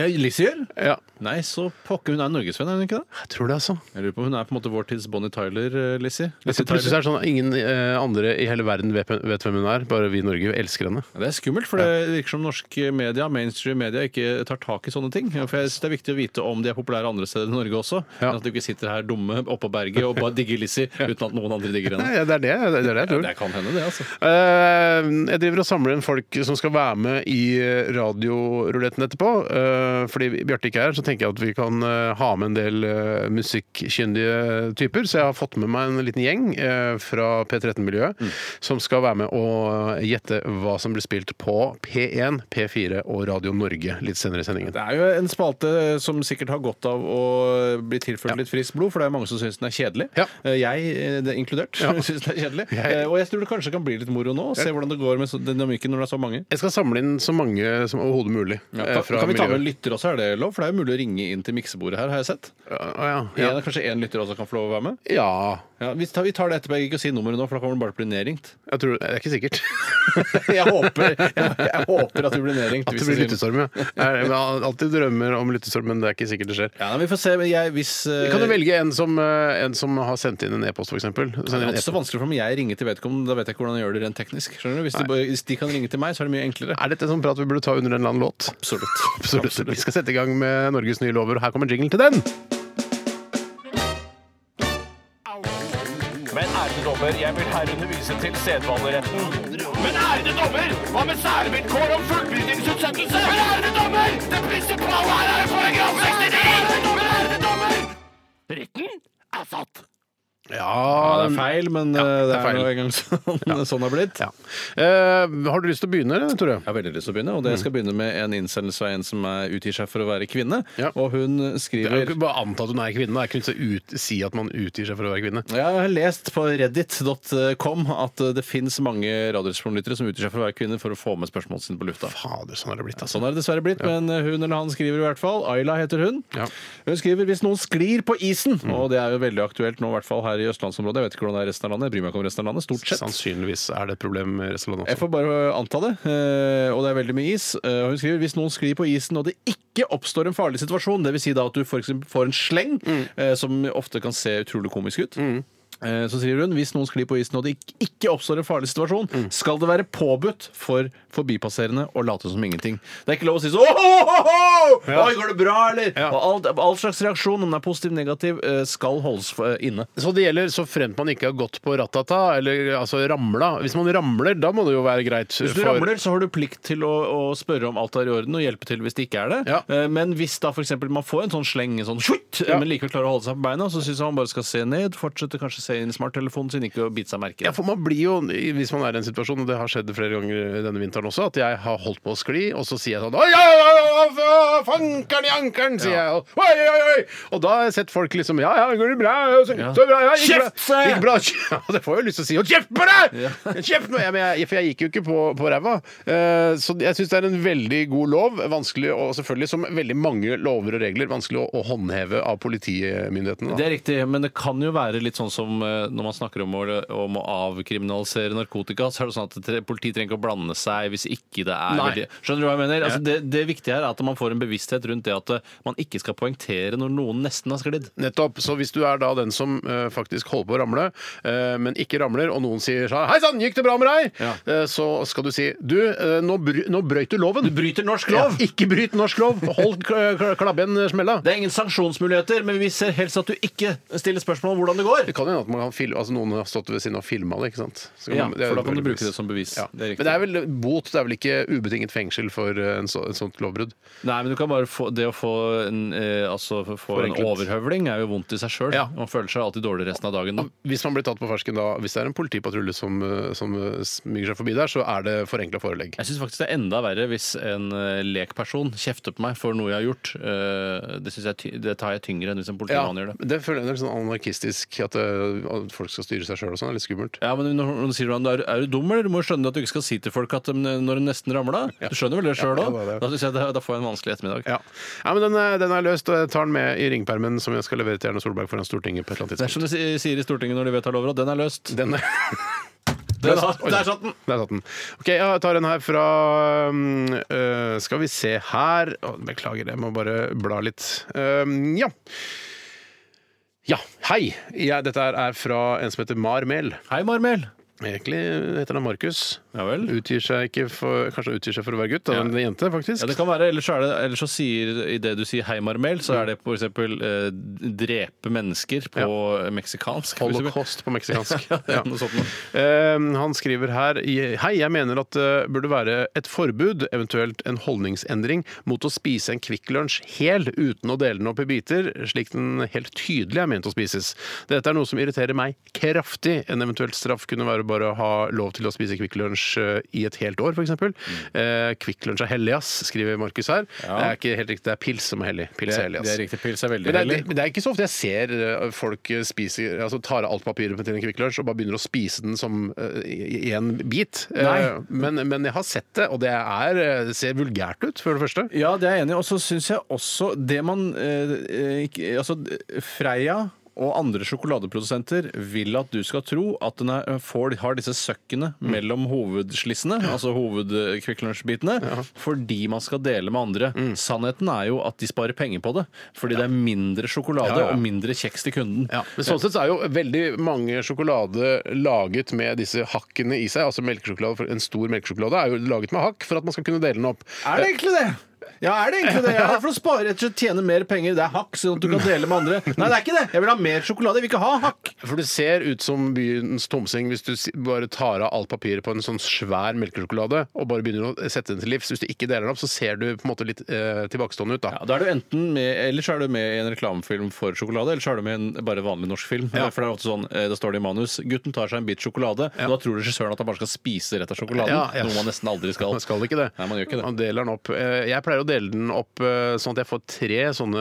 Speaker 6: Lissier?
Speaker 5: Ja.
Speaker 6: Nei, så pokker hun er norgesvenn, er hun ikke det?
Speaker 5: Jeg tror det, altså.
Speaker 6: Jeg lurer på, Hun er på en måte vår tids Bonnie Tyler, eh, Lizzie.
Speaker 5: Altså,
Speaker 6: Lizzie
Speaker 5: plutselig så
Speaker 6: Tyler.
Speaker 5: er det sånn at Ingen eh, andre i hele verden vet, vet hvem hun er, bare vi i Norge elsker henne.
Speaker 6: Ja, Det er skummelt, for det virker som norske media, mainstream media ikke tar tak i sånne ting. For jeg synes Det er viktig å vite om de er populære andre steder i Norge også.
Speaker 5: Ja.
Speaker 6: Men at du ikke sitter her dumme oppå berget og bare digger Lizzie uten at noen andre digger henne.
Speaker 5: Nei, det er det, det, er det jeg tror.
Speaker 6: Det kan hende, det, altså.
Speaker 5: Eh, jeg driver og samler inn folk som skal være med i eh, radioruletten etterpå. Eh, fordi Bjarte ikke er her, så tenker jeg at vi kan eh, ha med en del eh, musikkyndige typer. Så jeg har fått med meg en liten gjeng eh, fra P13-miljøet som skal være med og eh, gjette hva som blir spilt på P1, P4 og Radio Norge litt senere i sendingen.
Speaker 6: Det er jo en spalte som sikkert har godt av å bli tilført litt friskt blod, for det er mange som syns den er kjedelig.
Speaker 5: Ja.
Speaker 6: Eh, Jeg eh, det er inkludert syns den er kjedelig.
Speaker 5: Jeg-
Speaker 6: Eh, Og jeg tror det kanskje kan bli litt moro nå, se hvordan det går med så- dynamikken når det er så mange.
Speaker 5: Jeg skal samle inn så mange som overhodet mulig. eh,
Speaker 6: kan,
Speaker 5: fra
Speaker 6: kan vi ta med en
Speaker 5: miljøet.
Speaker 6: lytter også, er det lov? For det er jo mulig å ringe inn til miksebordet her, har jeg sett.
Speaker 5: Ja, ja,
Speaker 6: En, kanskje én lytter også kan få lov å være med?
Speaker 5: ja. ja.
Speaker 6: Ja, vi, tar, vi tar det etterpå. Jeg gidder ikke å si nummeret nå, for da kommer det bare til å bli nedringt.
Speaker 5: Jeg tror, det er ikke sikkert.
Speaker 6: jeg, håper, jeg, jeg håper at du blir nedringt.
Speaker 5: At det
Speaker 6: hvis
Speaker 5: blir
Speaker 6: jeg sier-
Speaker 5: lyttestorm, ja. Jeg har alltid drømmer om lyttestorm, men det er ikke sikkert det skjer.
Speaker 6: Ja, men Vi får se. men Jeg, hvis, eh,
Speaker 5: Vi kan jo velge en som, eh, en som har sendt inn en e-post, f.eks.
Speaker 6: Det er ikke så vanskelig for meg. Jeg ringer til vedkommende, da vet jeg ikke hvordan jeg gjør det rent teknisk. Skjønner du? Hvis, de, hvis de kan ringe til meg, så er det mye enklere.
Speaker 5: Er dette en sånn prat vi burde ta under en eller annen låt?
Speaker 6: Absolutt.
Speaker 5: Absolutt. Vi skal sette i gang med Norges nye lover, og her kommer jinglen til den.
Speaker 4: Men ærede dommer, jeg vil herunder vise til sedvaneretten. Men ærede dommer, hva med særvilkår om fullbyrdingsutsettelse? Men ærede dommer, det prinsipale her er paragraf 69! Men ærede dommer, retten er satt.
Speaker 6: Ja,
Speaker 5: Um, Ja,
Speaker 6: det er feil, men eh, det er feil. nå engang sånn, sånn det har blitt.
Speaker 5: Ja. Eh, har du lyst til å begynne, Tore?
Speaker 6: Jeg har veldig lyst til å begynne, og det
Speaker 5: Mm.
Speaker 6: skal begynne med en innsendelse av en som er, utgir seg for å være kvinne.
Speaker 5: Ja.
Speaker 6: Og hun
Speaker 5: Jeg kan
Speaker 6: skriver
Speaker 5: ikke bare anta at hun er kvinne. da. Jeg kunne ikke ut, si at man utgir seg for å være kvinne.
Speaker 6: Ja, jeg har lest på reddit.com at eh, det finnes mange radioresponlyttere som utgir seg for å være kvinner for å få med spørsmålene sine på lufta.
Speaker 5: Fader, sånn har det blitt. Altså.
Speaker 6: Sånn er det dessverre blitt, men hun eller han skriver i hvert fall. Ayla heter hun.
Speaker 5: Ja. Mm.
Speaker 6: Hun skriver hvis noen sklir på isen, og det er jo veldig aktuelt nå, i hvert fall her i østlandsområdet. Jeg vet ikke hvordan det er i resten av landet, jeg bryr meg ikke om resten av landet, stort sett.
Speaker 5: Sannsynligvis er det et problem med Restaurant
Speaker 6: Jeg
Speaker 5: også.
Speaker 6: får bare anta det. eh, Og det er veldig mye is. Eh, og Hun skriver hvis noen sklir på isen og det ikke oppstår en farlig situasjon, dvs. Si da at du for eksempel får en sleng, eh, som ofte kan se utrolig komisk ut. Eh, Så skriver hun hvis noen sklir på isen og det ikk- ikke oppstår en farlig situasjon, skal det være påbudt for forbipasserende å late som ingenting. Det er ikke lov å si sånn «Åhåhåhå! Oi, går det bra, eller?
Speaker 5: Ja.
Speaker 6: Og alt, all slags reaksjon, om den er positiv negativ, eh, skal holdes eh, inne.
Speaker 5: Så det gjelder så fremt man ikke har gått på ratata, eller altså ramla. Hvis man ramler, da må det jo være greit.
Speaker 6: Hvis du ramler, så har du plikt til å, å spørre om alt er i orden, og hjelpe til hvis det ikke er det.
Speaker 5: Ja.
Speaker 6: Eh, Men hvis da for eksempel man får en sånn sleng, en sånn skjutt,
Speaker 5: Ja.
Speaker 6: men likevel klarer å holde seg på beina, så syns jeg man bare skal se ned, fortsette kanskje se inn i smarttelefonen sin, ikke å bite seg merke.
Speaker 5: Ja,
Speaker 6: i det.
Speaker 5: for man blir jo, Hvis man er i en situasjon, og det har skjedd flere ganger denne vinteren også, at jeg har holdt på å skli, og så sier jeg sånn Oi, oi, oi, oi, oi, fankeren i ankeren, sier
Speaker 6: Ja.
Speaker 5: jeg. Og, oi, oi, oi. og da har jeg sett folk liksom Ja, ja, går det bra? Ja, Så, så bra ja, gikk
Speaker 6: Kjeft, sa
Speaker 5: bra.
Speaker 6: jeg!
Speaker 5: Gikk bra. Ja, det får jeg jo lyst til å si. Og kjeft på deg!
Speaker 6: Ja.
Speaker 5: Kjeft på deg! Men jeg, for jeg gikk jo ikke på, på ræva. Eh, Så jeg syns det er en veldig god lov. Vanskelig, og selvfølgelig som veldig mange lover og regler, vanskelig å, å håndheve av politimyndighetene.
Speaker 6: Det
Speaker 5: Da.
Speaker 6: er riktig, men det kan jo være litt sånn som eh, når man snakker om å, om å avkriminalisere narkotika, så er det sånn at tre- politiet trenger ikke å blande seg hvis ikke det er
Speaker 5: Nei.
Speaker 6: veldig- Skjønner du hva jeg mener?
Speaker 5: Ja.
Speaker 6: Altså, det, det viktige her er at man får en bevissthet rundt det at eh, man ikke skal poengtere når noen nesten har sklidd.
Speaker 5: Nettopp. Så hvis du er da den som eh, faktisk holder på å ramle, eh, men ikke ramler, og noen sier sånn Hei sann, gikk det bra med deg?
Speaker 6: Ja.
Speaker 5: Eh, så skal du si Du, eh, nå, bry, nå brøyt du loven.
Speaker 6: Du bryter norsk lov!
Speaker 5: Ja, ikke bryt norsk lov. Hold kl- kl- klabb igjen smella.
Speaker 6: Det er ingen sanksjonsmuligheter, men vi ser helst at du ikke stiller spørsmål om hvordan det går.
Speaker 5: Det kan hende at man kan fil- altså noen har stått ved siden av og filma det. ikke sant? Så kan
Speaker 6: Ja,
Speaker 5: man-
Speaker 6: for da kan du
Speaker 5: veldig
Speaker 6: bruke det som bevis.
Speaker 5: Ja.
Speaker 6: Det er
Speaker 5: Men det er vel bot, det er vel ikke ubetinget fengsel for eh, en så, et sånt lovbrudd?
Speaker 6: Nei, men du kan bare få, Det å få en, eh, altså, få en
Speaker 5: Forenklet.
Speaker 6: overhøvling er jo vondt i seg sjøl.
Speaker 5: Ja.
Speaker 6: Man føler seg alltid dårlig resten av dagen.
Speaker 5: Hvis man blir tatt på fersken da, hvis det er en politipatrulje som, eh, som eh, smyger seg forbi der, så er det forenkla forelegg.
Speaker 6: Jeg syns faktisk det er enda verre hvis en eh, lekperson kjefter på meg for noe jeg har gjort. Eh, Det, synes jeg, ty- det tar jeg tyngre enn hvis en
Speaker 5: Ja,
Speaker 6: politimann gjør det.
Speaker 5: det føler jeg er sånn anarkistisk, at, eh, at folk skal styre seg sjøl og sånn. Det er litt skummelt.
Speaker 6: Ja, men når hun sier han, er, er du dum, eller? Du må jo skjønne at du ikke skal si til folk at eh, når hun nesten ramla. Du skjønner vel det sjøl
Speaker 5: Ja,
Speaker 6: òg?
Speaker 5: det er det.
Speaker 6: da, synes jeg det- da får jeg en vanskelig ettermiddag.
Speaker 5: Ja. ja, men den er, den er løst, og jeg tar den med i ringpermen som jeg skal levere til Erna Solberg foran Stortinget på et eller annet
Speaker 6: Det er
Speaker 5: tidspunkt.
Speaker 6: som de si- sier i Stortinget når de vedtar lover, at den er løst.
Speaker 5: Den er,
Speaker 6: Den
Speaker 5: har- der
Speaker 6: satt den!
Speaker 5: der satt den. OK, jeg tar en her fra um, øh, Skal vi se her Å, Beklager, jeg må bare bla litt. Um, ja. Ja, hei! Jeg, dette her er fra en som heter Mar Mehl.
Speaker 6: Hei, Marmel.
Speaker 5: Egentlig heter han Markus.
Speaker 6: Ja vel.
Speaker 5: Utgir seg ikke for, kanskje han utgir seg for å være gutt. Da,
Speaker 6: Ja.
Speaker 5: en jente, faktisk.
Speaker 6: Ja, det kan være, ellers, så er det, ellers så sier idet du sier 'hei, Marmel', så er det f.eks. Eh, 'drepe mennesker' på meksikansk. for eksempel.
Speaker 5: Holocaust på meksikansk.
Speaker 6: Ja, noe sånt noe.
Speaker 5: Eh, Han skriver her Hei, jeg mener at det burde være et forbud, eventuelt en holdningsendring, mot å spise en Kvikk Lunsj hel uten å dele den opp i biter, slik den helt tydelig er ment å spises. Dette er noe som irriterer meg kraftig. En eventuell straff kunne være bare å ha lov til å spise Kvikk Lunsj eh, i et helt år, f.eks. Mm. Kvikk Lunsj er hellig, ass, skriver Markus her. Det er ikke helt riktig, det er pils som er hellig. Pils er hellig, ass.
Speaker 6: Det er riktig. Pils er veldig
Speaker 5: Men det, er,
Speaker 6: hellig.
Speaker 5: det, men det er ikke så ofte jeg ser eh, folk eh, spiser, altså tar av alt papiret til en Kvikk Lunsj og bare begynner å spise den som eh, i i en bit. Eh,
Speaker 6: Nei.
Speaker 5: Men, men jeg har sett det, og det, er, eh, det ser vulgært ut, for det første.
Speaker 6: Ja, det er jeg enig i. Og så syns jeg også det man eh, eh, ikke- Altså, Freia og andre sjokoladeprodusenter vil at du skal tro at den er, får, har disse søkkene
Speaker 5: Mm.
Speaker 6: mellom hovedslissene, altså hovedkvikklunsjbitene, fordi man skal dele med andre.
Speaker 5: Mm.
Speaker 6: Sannheten er jo at de sparer penger på det, fordi det er mindre sjokolade
Speaker 5: Ja, ja.
Speaker 6: og mindre kjeks til kunden.
Speaker 5: Ja, men sånn sett så er jo veldig mange sjokolade laget med disse hakkene i seg. altså melkesjokolade, for En stor melkesjokolade er jo laget med hakk for at man skal kunne dele den opp.
Speaker 6: Er det egentlig det? Ja, er det egentlig det? Jeg er her for å spare rett og slett tjene mer penger. Det er hakk, sånn at du kan dele med andre. Nei, det er ikke det. Jeg vil ha mer sjokolade. Jeg vil ikke ha hakk.
Speaker 5: For det ser ut som byens tomsing hvis du si- bare tar av alt papiret på en sånn svær melkesjokolade og bare begynner å sette den til livs. Hvis du ikke deler den opp, så ser du på en måte litt eh, tilbakestående ut, da.
Speaker 6: Ja, da er du enten med, Eller så er du med i en reklamefilm for sjokolade, eller så er du med i en bare vanlig norsk film. For det er ofte sånn, eh, Da står det i manus gutten tar seg en bit sjokolade. og Da tror regissøren at han bare skal spise rett av sjokoladen.
Speaker 5: Ja, ja.
Speaker 6: Noe man nesten aldri skal.
Speaker 5: Man skal ikke det.
Speaker 6: Nei, man gjør ikke det.
Speaker 5: Man deler den opp. Eh, Jeg pleier å dele den opp eh, sånn at jeg får tre sånne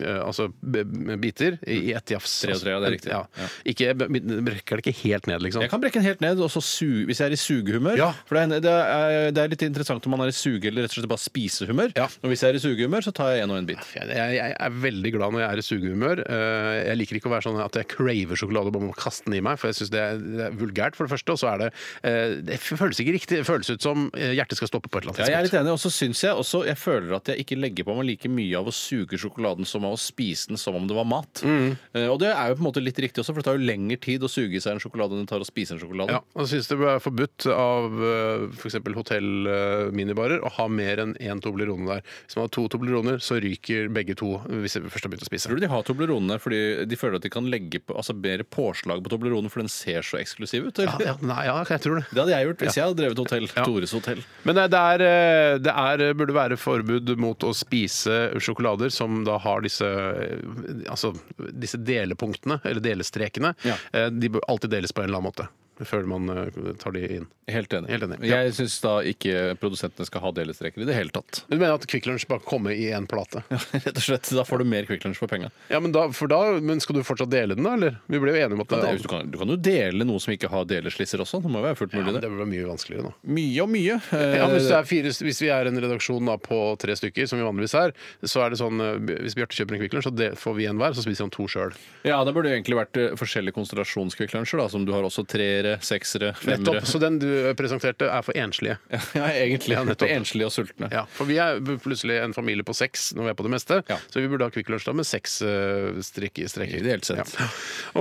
Speaker 5: eh, altså, b- b- biter i i ett jafs. Altså,
Speaker 6: Tre og tre, ja, det er riktig.
Speaker 5: Ja.
Speaker 6: Ja.
Speaker 5: Ikke, jeg b- rekker det ikke helt ned, liksom.
Speaker 6: Jeg kan brekke den helt ned og så su hvis jeg er i sugehumør.
Speaker 5: Ja.
Speaker 6: For det er, en- det, er, det er litt interessant om man er i suge- eller rett og slett bare spisehumør.
Speaker 5: Ja.
Speaker 6: Og hvis jeg er i sugehumør, så tar jeg en og en bit.
Speaker 5: Jeg, jeg er veldig glad når jeg er i sugehumør. Eh, Jeg liker ikke å være sånn at jeg craver sjokolade og bare må kaste den i meg, for jeg syns det, er- det er vulgært, for det første. Og så er det eh, Det føles ikke riktig. Det føles ut som eh, hjertet skal stoppe på et eller annet
Speaker 6: Ja, jeg er litt enig, og så syns jeg også Jeg føler at jeg ikke legger på meg like mye av å suge sjokoladen som av å spise den som om det var mat.
Speaker 5: Mm.
Speaker 6: Eh, og det er jo på en måte litt riktig også, for det tar jo lengre tid å suge i seg en sjokolade enn det tar å spise en sjokolade.
Speaker 5: Ja, og synes det er forbudt av eh, f.eks. hotell-minibarer eh, å ha mer enn én Toblerone der. Hvis man har to Tobleroner, så ryker begge to hvis de først har begynt å spise.
Speaker 6: Tror du de har Toblerone fordi de føler at de kan legge på altså bedre påslag på Toblerone, for den ser så eksklusiv ut?
Speaker 5: Ja,
Speaker 6: Eller?
Speaker 5: ja, nei, ja, jeg tror det.
Speaker 6: Det hadde jeg gjort hvis jeg hadde drevet hotell.
Speaker 5: Ja.
Speaker 6: Tores hotell.
Speaker 5: Men det det er, eh, det er, burde være forbud mot å spise sjokolader som da har disse, eh, altså, disse delepunktene, eller delestrekene.
Speaker 6: Ja.
Speaker 5: Eh, De bør alltid deles på en eller annen måte. Før man eh, tar de inn.
Speaker 6: Helt enig.
Speaker 5: Helt enig, ja.
Speaker 6: Jeg syns da ikke produsentene skal ha delestreker i det hele tatt.
Speaker 5: Men Du mener at Kvikk Lunsj bare kommer i én plate?
Speaker 6: Rett og slett, Da får du mer Quick Lunch for penga.
Speaker 5: Ja, men, da, for da, men skal du fortsatt dele den, da? Eller? Vi ble jo enige om at
Speaker 6: Ja, det er jo-
Speaker 5: det,
Speaker 6: Du, kan- du kan jo dele noe som ikke har deleslisser også. Det må jo være fullt mulig,
Speaker 5: Ja,
Speaker 6: det.
Speaker 5: men det blir mye vanskeligere nå.
Speaker 6: Mye og mye. Eh,
Speaker 5: Ja, men hvis, det er fire, hvis vi er en redaksjon da, på tre stykker, som vi vanligvis er, så er det sånn eh, Hvis Bjarte kjøper en Kvikk Lunsj, så det får vi en hver, så spiser han to sjøl.
Speaker 6: ja, det burde jo egentlig vært eh, forskjellige konstellasjonskvikklunsjer, da, som du har også treere, seksere, femmere.
Speaker 5: Nettopp. Så den du presenterte, er for enslige.
Speaker 6: Ja, egentlig.
Speaker 5: Ja, nettopp.
Speaker 6: Enslige og sultne.
Speaker 5: Ja, For vi er plutselig en familie på seks når vi er på det meste,
Speaker 6: Ja.
Speaker 5: så vi burde ha Kvikk Lunsj da med seks uh, strekker.
Speaker 6: Ideelt sett.
Speaker 5: Ja.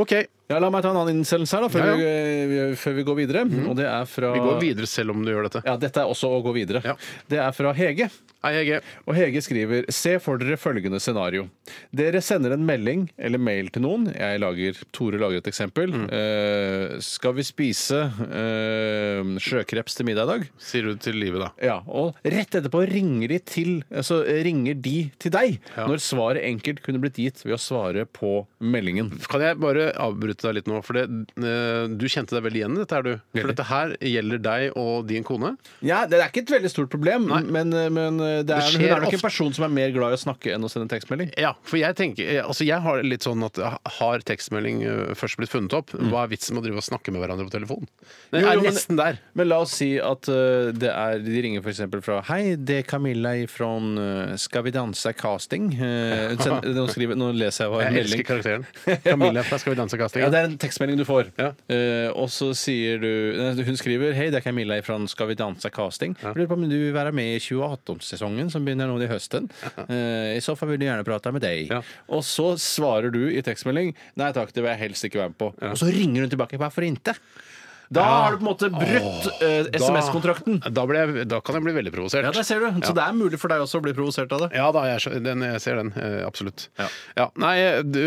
Speaker 5: OK.
Speaker 6: Ja, la meg ta en annen innsendelse her, da, før,
Speaker 5: Ja, ja.
Speaker 6: Vi, eh, vi- før vi går videre. Og det er fra
Speaker 5: Vi går videre selv om du gjør dette.
Speaker 6: Ja, dette er også å gå videre.
Speaker 5: Ja.
Speaker 6: Det er fra Hege.
Speaker 5: Hei, Hege.
Speaker 6: Og Hege skriver Se for dere følgende scenario. Dere sender en melding eller mail til noen. Jeg lager, Tore lager et eksempel. Eh, skal vi spise eh, sjøkreps til middag i dag?
Speaker 5: Sier du til livet, da.
Speaker 6: Ja, og rett etterpå ringer de til Altså ringer de til deg
Speaker 5: Ja.
Speaker 6: Når svaret enkelt kunne blitt gitt ved å svare på meldingen
Speaker 5: Kan jeg bare avbryte deg litt nå? For det, eh, du kjente deg veldig igjen i dette, er du? For
Speaker 6: Veldig.
Speaker 5: dette her gjelder deg og din kone.
Speaker 6: Ja, det er ikke et veldig stort problem Men, eh, men det er, hun
Speaker 5: skjer
Speaker 6: er nok
Speaker 5: ofte.
Speaker 6: en person som er mer glad i å snakke Enn å sende tekstmelding
Speaker 5: Ja, for jeg tenker eh, Altså jeg har litt sånn at eh, Har tekstmelding eh, først blitt funnet opp, hva er vitsen med å drive og snakke med hverandre på telefon? Det
Speaker 6: Mm. Jo,
Speaker 5: er
Speaker 6: jo, men-
Speaker 5: nesten der.
Speaker 6: Men la oss si at eh, det er, de ringer f.eks. fra Hei, det er Camilla fra eh, Skal vi danse casting. Eh, send, nå, skriver, nå leser jeg hva en
Speaker 5: Jeg elsker
Speaker 6: melding
Speaker 5: karakteren. Camilla fra Skal vi danse
Speaker 6: ja,
Speaker 5: kastingen.
Speaker 6: Det er en tekstmelding du får.
Speaker 5: Ja.
Speaker 6: Eh, og så sier du nei, Hun skriver Hei, det er Camilla fra Skal vi danse casting. Lurer på om du vil være med i 28-sesongen som begynner nå i høsten. Eh, I så fall vil du gjerne prate med deg.
Speaker 5: Ja.
Speaker 6: Og så svarer du i tekstmelding Nei takk, det vil jeg helst ikke være med på. Og så ringer hun tilbake. Hvorfor ikke? Da har du på en måte brutt eh, SMS-kontrakten.
Speaker 5: Da, da, ble jeg- da kan jeg bli veldig provosert.
Speaker 6: Ja, der ser du. Så det er mulig for deg også å bli provosert av det.
Speaker 5: Ja da, jeg, skjø- den, jeg ser den. eh, Absolutt.
Speaker 6: Ja.
Speaker 5: nei, du,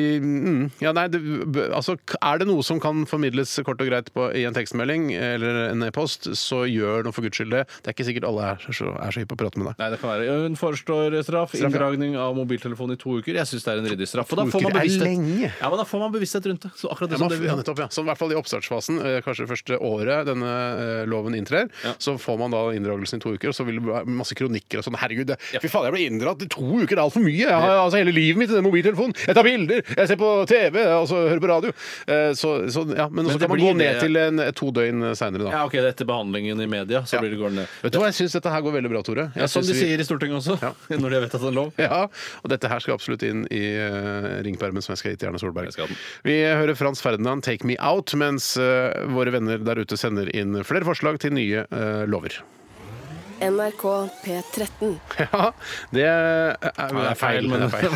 Speaker 5: mm, ja, nei du, b- altså, k- er det noe som kan formidles kort og greit på, i en tekstmelding eh, eller en e-post, så gjør nå for guds skyld det. Det er ikke sikkert alle er så, er så hypp på å prate med deg.
Speaker 6: Nei, det kan være. Hun foreslår straff.
Speaker 5: Straff, ja.
Speaker 6: Inndragning av mobiltelefon i to uker. Jeg syns det er en ryddig straff. Og
Speaker 5: To uker er lenge.
Speaker 6: Ja, men da får man bevissthet rundt det. Så akkurat
Speaker 5: Ja,
Speaker 6: det
Speaker 5: man,
Speaker 6: som det
Speaker 5: ja, nettopp, ja. Så i hvert fall i oppstartsfasen. eh, kanskje det første året denne eh, loven inntrer. Så får man da inndragelsen i to uker, og så vil det være masse kronikker og sånn. Herregud, det, fy faen, jeg ble inndratt i to uker, det er altfor mye! Jeg har altså hele livet mitt i den mobiltelefonen! Jeg tar bilder, jeg ser på TV, og så hører på radio. Eh, Så, så, ja, men så
Speaker 6: det
Speaker 5: kan man
Speaker 6: blir
Speaker 5: gå ned
Speaker 6: det-
Speaker 5: til en, eh, to døgn seinere, da.
Speaker 6: Ja, ok, Etter behandlingen i media, så blir det går det ned.
Speaker 5: Vet du hva, jeg syns dette her går veldig bra, Tore.
Speaker 6: Ja,
Speaker 5: Jeg
Speaker 6: som de
Speaker 5: synes vi-
Speaker 6: sier i Stortinget også, når de har vedtatt en lov.
Speaker 5: Ja, og dette her skal absolutt inn i eh, ringpermen som jeg skal gi til Erna Solberg.
Speaker 6: Jeg skal ha den.
Speaker 5: Vi hører Frans Ferdinand 'Take Me Out', mens eh, våre venner der ute sender inn flere forslag til nye eh, lover.
Speaker 7: NRK P13.
Speaker 5: Ja, det er, det er feil, men det er feil.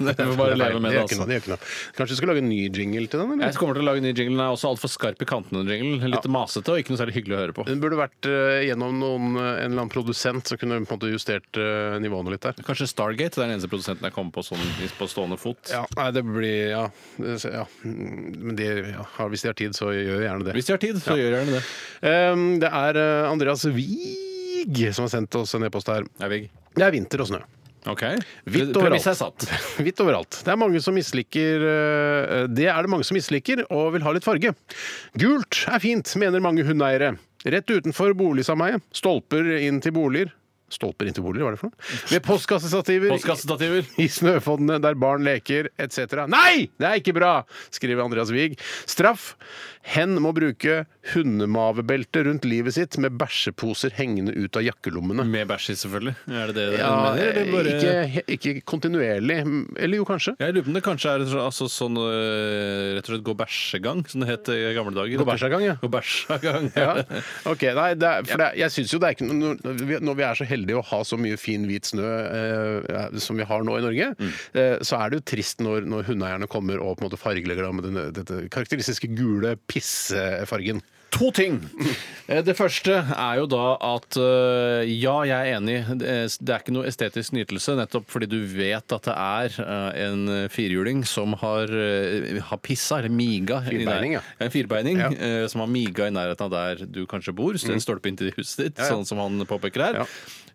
Speaker 6: Vi får bare leve med
Speaker 5: gjør
Speaker 6: det,
Speaker 5: ikke noe,
Speaker 6: altså.
Speaker 5: det gjør ikke noe. Kanskje du skal lage en ny jingle til den?
Speaker 6: Jeg
Speaker 5: eller?
Speaker 6: kommer til å lage en ny jingle. Den er også altfor skarp i kantene. den jinglen. Litt masete og ikke noe særlig hyggelig å høre på.
Speaker 5: Den burde vært eh, gjennom noen, eh, en eller annen produsent som kunne på en måte justert eh, nivåene litt der.
Speaker 6: Kanskje Stargate. Det er den eneste produsenten jeg kommer på sånn på stående fot.
Speaker 5: Ja, nei, det blir Ja. det- ja. Mm, Men de, ja, hvis de har tid, så gjør jeg gjerne det.
Speaker 6: Hvis de har tid, så gjør gjerne det.
Speaker 5: Um, det er uh, Andreas Wiig som har sendt oss en e-post her.
Speaker 6: Er vi-
Speaker 5: Det er vinter og snø.
Speaker 6: Ok.
Speaker 5: Hvitt
Speaker 6: Pre-
Speaker 5: overalt.
Speaker 6: Premisset er satt.
Speaker 5: Hvitt overalt. Det er mange som misliker uh, Det er det mange som misliker og vil ha litt farge. Gult er fint, mener mange hundeeiere. Rett utenfor boligsameiet. Stolper inn til boliger. Stolper inn til boliger, hva er det for noe? Ved postkassestativer.
Speaker 6: Postkassestativer.
Speaker 5: I snøfonnene der barn leker, etc. Nei! Det er ikke bra, skriver Andreas Wiig. Straff. Hen må bruke hundemavebelte rundt livet sitt med bæsjeposer hengende ut av jakkelommene.
Speaker 6: Med bæsj i, selvfølgelig. Er det det den
Speaker 5: Ja, eh,
Speaker 6: mener? Eller bare...
Speaker 5: ikke, ikke kontinuerlig. Eller jo, kanskje.
Speaker 6: Jeg lurer på om det kanskje er så- altså, sånn øh, rett og slett gå bæsjegang, som det het i gamle dager.
Speaker 5: Gå bæsjegang, ja.
Speaker 6: Gå bæsjegang, ja.
Speaker 5: Ja. Ok, nei, det er, for det, er- jeg synes jo det er ikke noe når vi- Når vi er så heldige å ha så mye fin hvit snø eh, som vi har nå i Norge,
Speaker 6: Mm.
Speaker 5: eh, så er det jo trist når, når hundeeierne kommer og på en måte fargelegger det med denne, dette karakteristiske gule pissefargen.
Speaker 6: To ting. Eh, Det første er jo da at øh, ja, jeg er enig. Det er- det er ikke noe estetisk nytelse, nettopp fordi du vet at det er øh, en firhjuling som har, øh, har pissa, eller miga i nær-
Speaker 5: Firbeining, ja.
Speaker 6: En firbeining
Speaker 5: Ja. Mm.
Speaker 6: eh, som har miga i nærheten av der du kanskje bor. Så det er en stolpe inn til huset ditt,
Speaker 5: Ja, ja.
Speaker 6: sånn som han påpeker her.
Speaker 5: Ja.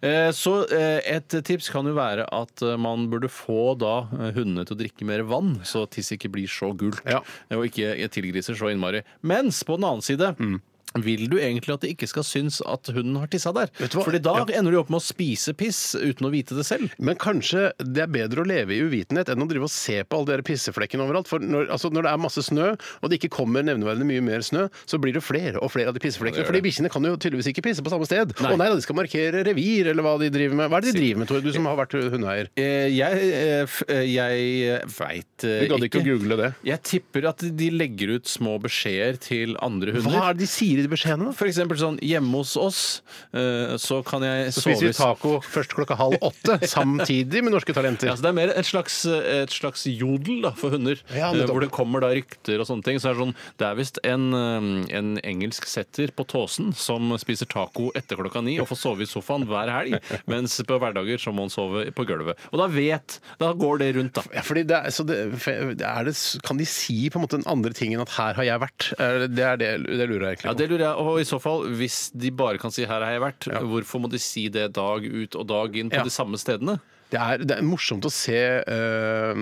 Speaker 6: Eh, Så eh, et tips kan jo være at eh, man burde få da eh, hundene til å drikke mer vann, så tiss ikke blir så gult
Speaker 5: Ja.
Speaker 6: eh, og ikke tilgriser så innmari. Mens på den annen side
Speaker 5: Mm.
Speaker 6: Vil du egentlig at det ikke skal synes at hunden har tissa der?
Speaker 5: Vet du hva?
Speaker 6: Fordi da ender du opp med å spise piss uten å vite det selv.
Speaker 5: Men kanskje det er bedre å leve i uvitenhet enn å drive og se på alle de her pisseflekkene overalt. For når, altså, når det er masse snø, og det ikke kommer nevneverdig mye mer snø, så blir det flere og flere av de pisseflekkene.
Speaker 6: gjør
Speaker 5: fordi
Speaker 6: det.
Speaker 5: bikkjene kan jo tydeligvis ikke pisse på samme sted. Å nei da, de skal markere revir, eller hva de driver med. Hva er det de driver med, Tore, du som har vært hundeeier?
Speaker 6: Eh, Jeg, eh, f- eh, jeg veit eh,
Speaker 5: Du gadd ikke å google det.
Speaker 6: Jeg tipper at de legger ut små beskjeder til andre hunder.
Speaker 5: Hva er det de sier i de beskjedene? da?
Speaker 6: For eksempel sånn hjemme hos oss, eh, så kan jeg
Speaker 5: Så
Speaker 6: sove
Speaker 5: spiser
Speaker 6: i-
Speaker 5: vi taco først klokka halv åtte, samtidig med norske
Speaker 6: Ja,
Speaker 5: talenter.
Speaker 6: så det er mer et slags, et slags jodel da, for hunder,
Speaker 5: Ja,
Speaker 6: eh,
Speaker 5: nettopp.
Speaker 6: hvor det kommer da rykter og sånne ting. Så er det, sånn, det er visst en, eh, en engelsk setter på Tåsen som spiser taco etter klokka ni og får sove i sofaen hver helg, mens på hverdager så må han sove på gulvet. Og da vet Da går det rundt, da.
Speaker 5: Ja, fordi det er, så det, er det, kan de si på en måte den andre tingen at 'her har jeg vært'? Er Det det er det, det lurer jeg egentlig
Speaker 6: Ja, det lurer jeg. Og i så fall, hvis de bare kan si 'her har jeg vært', hvorfor må de si det dag ut og dag inn på
Speaker 5: Ja.
Speaker 6: de samme stedene?
Speaker 5: Det er, det er morsomt å se eh,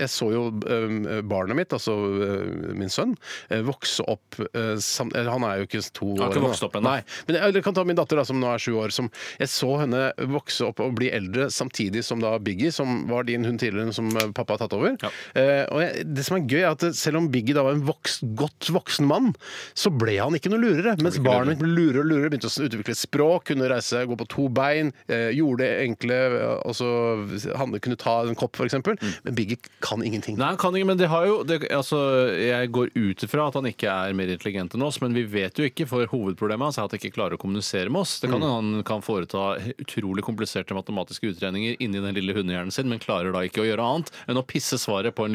Speaker 5: Jeg så jo eh, barnet mitt, altså eh, min sønn, eh, vokse opp eh, sam, eller Han er jo ikke to år
Speaker 6: Han har ikke vokst opp ennå.
Speaker 5: Nei. Men jeg, eller kan ta min datter, da, som nå er sju år. Som, jeg så henne vokse opp og bli eldre samtidig som da Biggie, som var din hund tidligere, som eh, pappa har tatt over.
Speaker 6: Ja.
Speaker 5: Eh, og jeg, det som er gøy, er at eh, selv om Biggie da var en voks, godt voksen mann, så ble han ikke noe lurere. Mens barnet mitt ble lurere og lurere, begynte å utvikle et språk, kunne reise, gå på to bein, eh, gjorde det enkle eh, altså, Han kunne ta en kopp, f.eks. eksempel Men Biggie kan ingenting.
Speaker 6: Nei, han kan ikke, men det har jo det, altså, Jeg går ut ifra at han ikke er mer intelligent enn oss, men vi vet jo ikke, for hovedproblemet hans er at han ikke klarer å kommunisere med oss. Det kan hende Han kan foreta utrolig kompliserte matematiske utregninger inni den lille hundehjernen sin, men klarer da ikke å gjøre annet enn å pisse svaret på en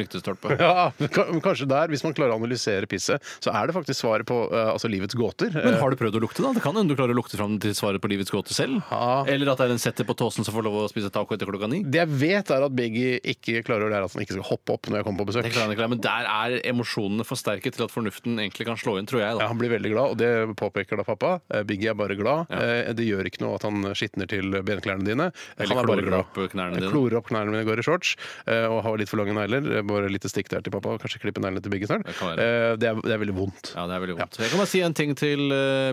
Speaker 6: lyktestolpe.
Speaker 5: Ja, men ka- men Kanskje der, hvis man klarer å analysere pisset, så er det faktisk svaret på eh, altså livets gåter.
Speaker 6: Men
Speaker 5: Eh,
Speaker 6: har du prøvd å lukte, da? Det kan hende du klarer å lukte fram til svaret på livets gåte selv.
Speaker 5: Ja.
Speaker 6: Eller at det er en setter på tåsen som får lov å spise taco etter klokka klokka ni.
Speaker 5: Det jeg vet, er at Biggie ikke klarer å lære at han ikke skal hoppe opp når jeg kommer på
Speaker 6: Det
Speaker 5: besøk.
Speaker 6: klarer han ikke, å lære, men der er emosjonene for sterke til at fornuften egentlig kan slå inn, tror jeg.
Speaker 5: Ja,
Speaker 6: da.
Speaker 5: han blir veldig glad, og det påpeker da pappa. Eh, Biggie er bare glad. Eh, Det gjør ikke noe at han skitner til benklærne dine.
Speaker 6: Eller
Speaker 5: han er
Speaker 6: klorer opp knærne dine.
Speaker 5: Klorer opp knærne mine, går i shorts eh, og har litt for lange negler. Eh, Bare litt stikk der til pappa. Kanskje klippe neglene til Biggie snart.
Speaker 6: Det kan være.
Speaker 5: Eh, Det, er- det er veldig vondt.
Speaker 6: Ja, det er veldig vondt. Jeg kan bare si en ting til eh,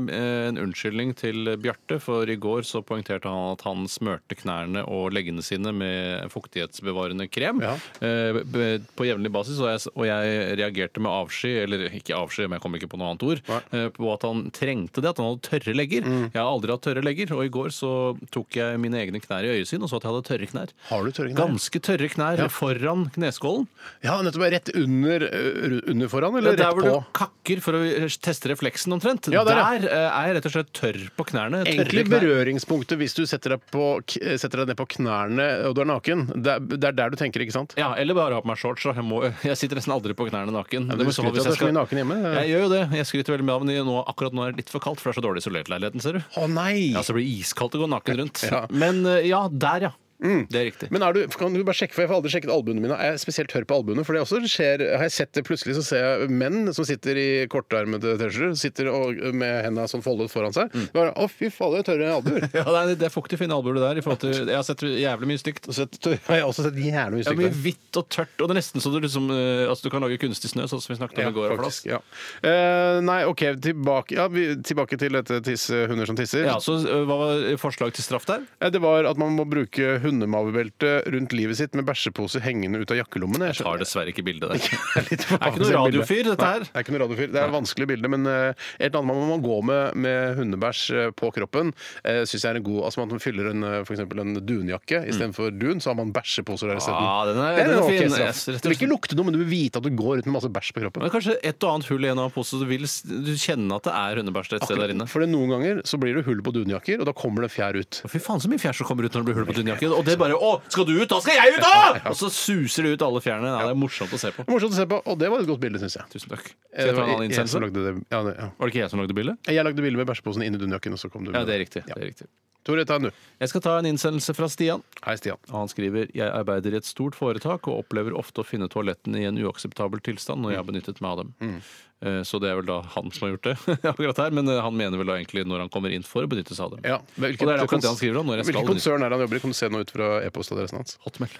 Speaker 6: en unnskyldning til Bjarte. For i går så poengterte han at han smørte knærne og leggene sine med fuktighetsbevarende krem
Speaker 5: Ja.
Speaker 6: eh, b- på jevnlig basis, og jeg, og jeg reagerte med avsky, eller ikke avsky, men jeg kom ikke på noe annet ord, eh, på at han trengte det, at han hadde tørre legger.
Speaker 5: Mm.
Speaker 6: Jeg har aldri hatt tørre legger, og i går så tok jeg mine egne knær i øyesyn og så at jeg hadde tørre knær.
Speaker 5: Har du tørre knær?
Speaker 6: Ganske tørre knær foran kneskålen.
Speaker 5: Ja, nettopp. Rett under, ø, under foran, eller
Speaker 6: Ja, der
Speaker 5: rett
Speaker 6: hvor
Speaker 5: på?
Speaker 6: du kakker for å eh, teste refleksen omtrent.
Speaker 5: Ja, der, ja.
Speaker 6: der eh, er jeg rett og slett tørr på knærne. tørre
Speaker 5: Egentlig
Speaker 6: knær.
Speaker 5: berøringspunktet hvis du setter deg, på, k- setter deg ned på knærne og du er naken. Det er, det er der du tenker, ikke sant?
Speaker 6: Ja, eller bare ha på meg shorts. da. Jeg, må, jeg sitter nesten aldri på knærne naken.
Speaker 5: men du
Speaker 6: i så fall
Speaker 5: skryter
Speaker 6: hvis
Speaker 5: av at du
Speaker 6: jeg
Speaker 5: er så mye naken hjemme.
Speaker 6: Jeg gjør jo det. Jeg skryter veldig mye av det, men nå, akkurat nå er det litt for kaldt, for det er så dårlig isolert i leiligheten, ser du.
Speaker 5: Å nei!
Speaker 6: Ja, så blir det iskaldt å gå naken rundt.
Speaker 5: Ja. Mm.
Speaker 6: Men eh, ja, der, ja. Det er riktig.
Speaker 5: Men er du, kan du bare sjekke, for Jeg får aldri sjekket albuene mine. Er jeg spesielt tørr på albuene? For det også skjer, har jeg sett det plutselig, så ser jeg menn som sitter i kortarmede T-skjorter, sitter og, med hendene sånn foldet foran seg. Bare, Å, fy fader, jeg har tørre albuer.
Speaker 6: Ja, det er- det er fuktig fine albuer det der. I forhold til, jeg har sett jævlig mye stygt.
Speaker 5: Så tørre- Jeg har også sett gjerne mye
Speaker 6: Ja,
Speaker 5: stygt
Speaker 6: mye
Speaker 5: der.
Speaker 6: hvitt og tørt. Og det er nesten så du liksom eh, Altså, du kan lage kunstig snø, sånn som vi snakket om i går. Flass.
Speaker 5: faktisk, ja. Eh, nei, OK, tilbake, ja, vi, tilbake til dette tisse, hunder som tisser.
Speaker 6: Ja, så eh, hva var forslag til straff der?
Speaker 5: Eh, Det var at man må bruke hundemavebelte rundt livet sitt med bæsjepose hengende ut av jakkelommene. Jeg
Speaker 6: Jeg tar
Speaker 5: skjønner-
Speaker 6: dessverre ikke bildet der.
Speaker 5: Det er litt for
Speaker 6: Det er ikke
Speaker 5: vanskelig
Speaker 6: noe
Speaker 5: bilde.
Speaker 6: radiofyr, dette
Speaker 5: Nei,
Speaker 6: her.
Speaker 5: Det er ikke noe radiofyr. Det er et vanskelig bilde, men eh, et eller annet man må gå med med hundebæsj eh, på kroppen, uh, syns jeg er en god Altså man fyller en, eh, for eksempel en dunjakke istedenfor dun, så har man bæsjeposer der isteden.
Speaker 6: Ja, Mm. Ah, den er-
Speaker 5: Det
Speaker 6: den er
Speaker 5: en ok
Speaker 6: fin.
Speaker 5: straff.
Speaker 6: Yes, rett og
Speaker 5: Du vil ikke lukte noe, men du vil vite at du går rundt med masse bæsj på kroppen.
Speaker 6: Men kanskje et og annet hull i en annen pose, så du vil s- du kjenne at det er hundebæsj et sted der inne.
Speaker 5: For det noen ganger så blir det hull på dunjakker, og da kommer det fjær ut.
Speaker 6: Fy faen så mye fjær som kommer ut når det blir hull på dunjakken. Og det bare 'Å, skal du ut? Da skal jeg ut, da!' Og så suser det ut alle fjærene. Ja, det er morsomt å se på.
Speaker 5: Morsomt å se på, og det var et godt bilde, syns jeg.
Speaker 6: Tusen takk.
Speaker 5: Eh,
Speaker 6: Skal jeg ta en annen
Speaker 5: jeg, som
Speaker 6: innsendelse?
Speaker 5: lagde det. Ja, det, ja.
Speaker 6: Var det ikke jeg som lagde bildet?
Speaker 5: jeg lagde bilde med bæsjeposen inn i dunjakken, og så kom du med
Speaker 6: Ja, det er riktig. Det er riktig.
Speaker 5: Tore, ta en du.
Speaker 6: Jeg skal ta en innsendelse fra Stian.
Speaker 5: Hei, Stian.
Speaker 6: Og Han skriver jeg arbeider i et stort foretak og opplever ofte å finne toalettene i en uakseptabel tilstand når
Speaker 5: Mm.
Speaker 6: jeg har benyttet meg av dem. Eh, Så det er vel da han som har gjort det, akkurat her, men eh, han mener vel da egentlig når han kommer inn for å benytte seg av dem.
Speaker 5: Ja.
Speaker 6: og det er akkurat det han skriver om når jeg skal
Speaker 5: Hvilket konsern er det han jobber i? Kan du se noe ut fra e-postadressen hans?
Speaker 6: benytte- Hotmail.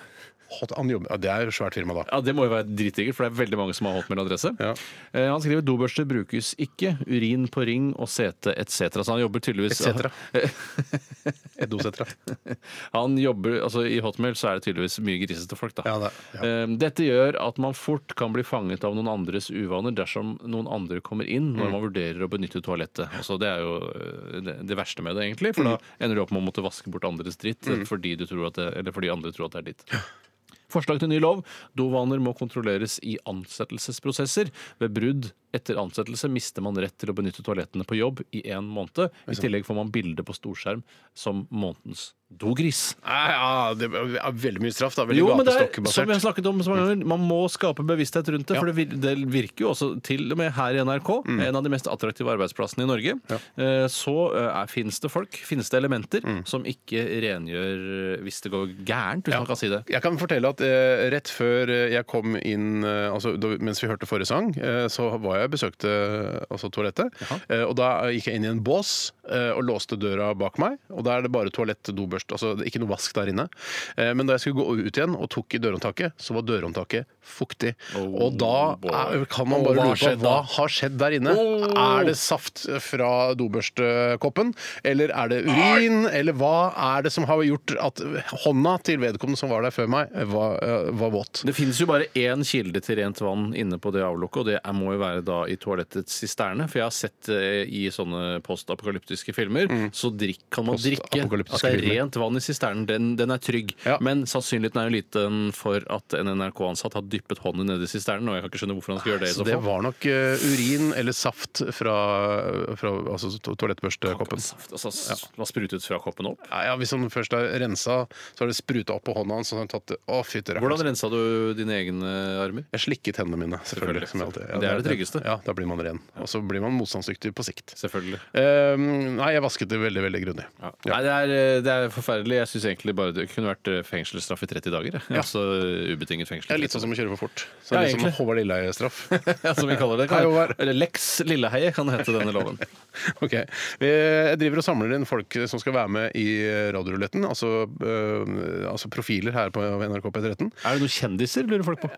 Speaker 5: Hot- Han jobber, ja, det er jo svært firma, da.
Speaker 6: Ja, Det må jo være dritdigert, for det er veldig mange som har hotmail-adresse.
Speaker 5: Ja.
Speaker 6: Eh, Han skriver dobørster brukes ikke, urin på ring og sete etc. Så han jobber tydeligvis
Speaker 5: Et cetera. Et dosetra.
Speaker 6: Han jobber, altså I Hotmail så er det tydeligvis mye grisete folk. da.
Speaker 5: Ja, det- ja.
Speaker 6: Ehm, Dette gjør at man fort kan bli fanget av noen andres uvaner dersom noen andre kommer inn
Speaker 5: Mm.
Speaker 6: når man vurderer å benytte toalettet. Altså, det er jo eh, det, det verste med det, egentlig.
Speaker 5: Mm.
Speaker 6: For da ender du opp med å måtte vaske bort andres dritt eh, fordi, du tror at det, eller fordi andre tror at det er ditt. Forslag til ny lov. Dovaner må kontrolleres i ansettelsesprosesser. Ved brudd etter ansettelse mister man rett til å benytte toalettene på jobb i én måned. I tillegg får man bilde på storskjerm som månedens dogris.
Speaker 5: Nei, Ja, det er veldig mye straff, da. Veldig
Speaker 6: Jo, men det er, som vi har
Speaker 5: gapestokkbasert.
Speaker 6: snakket om så mange ganger, man må skape bevissthet rundt det.
Speaker 5: Mm. Ja. Mm.
Speaker 6: For det vir- det virker jo også, til og med her i NRK, en av de mest attraktive arbeidsplassene i Norge, eh, så eh, er- finnes det folk, finnes det elementer,
Speaker 5: Mm.
Speaker 6: som ikke rengjør eh, hvis det går gærent, hvis man kan si det.
Speaker 5: Jeg kan fortelle at eh, rett før eh, jeg kom inn eh, altså, da, Mens vi hørte forrige sang, eh, så var jeg besøkte eh, altså, toalettet. Eh, og da gikk jeg inn i en bås eh, og låste døra bak meg. Og da er det bare toalett, dobørst. Altså, det er ikke noe vask der inne. Eh, men da jeg skulle gå ut igjen og tok i dørhåndtaket, så var dørhåndtaket fuktig. og da er, kan man
Speaker 6: Oh, Og
Speaker 5: bare
Speaker 6: hva
Speaker 5: lure på
Speaker 6: skjedde
Speaker 5: hva
Speaker 6: da? Oh.
Speaker 5: har skjedd der inne. Er det saft fra dobørstekoppen, eller er det urin, eller hva er det som har gjort at hånda til vedkommende som var der før meg, var, eh, var våt?
Speaker 6: Det finnes jo bare én kilde til rent vann inne på det avlukket, og det er- må jo være da i toalettets sisterne. For jeg har sett eh, i sånne postapokalyptiske filmer, så drikk, kan man drikke
Speaker 5: Mm. Postapokalyptiske
Speaker 6: at det er
Speaker 5: filmer.
Speaker 6: rent vann i sisternen. Den, den er trygg.
Speaker 5: Ja.
Speaker 6: Men sannsynligheten er jo liten for at en NRK-ansatt har dyppet hånden ned i sisternen, og jeg kan ikke skjønne hvorfor han skal gjøre det i
Speaker 5: Så
Speaker 6: så
Speaker 5: det
Speaker 6: fall.
Speaker 5: var nok eh, urin eller saft fra, fra altså, to toalettbørstekoppen.
Speaker 6: Saft, altså, s- hva sprutet fra koppen opp?
Speaker 5: Nei, Ja, hvis han først er rensa, så har det spruta opp på hånda hans. og Så har han tatt det. Å, fytti rakkeren.
Speaker 6: Hvordan rensa du dine egne armer?
Speaker 5: Jeg slikket hendene mine, selvfølgelig.
Speaker 6: Selvfølgelig.
Speaker 5: Som jeg alltid.
Speaker 6: Det er det tryggeste.
Speaker 5: Ja, da blir man ren. Og så blir man motstandsdyktig på sikt.
Speaker 6: Selvfølgelig.
Speaker 5: Eh, nei, jeg vasket det veldig, veldig grundig.
Speaker 6: Nei, det er, eh, det er forferdelig. Jeg syns egentlig bare det kunne vært eh, fengselsstraff i 30 dager. jeg. Altså ubetinget fengsel.
Speaker 5: Det er litt sånn som å kjøre for fort. Så
Speaker 6: Ja,
Speaker 5: det er litt
Speaker 6: egentlig.
Speaker 5: som Håvard Lilleheie-straff.
Speaker 6: ja, som vi kaller det.
Speaker 5: Hei, Håvard.
Speaker 6: Kan, eller Lex Lilleheie kan hete denne loven.
Speaker 5: Ok. Vi jeg driver og samler inn folk som skal være med i Radioruletten. Altså, eh, altså profiler her på NRK P13.
Speaker 6: Er det noen kjendiser, lurer folk på?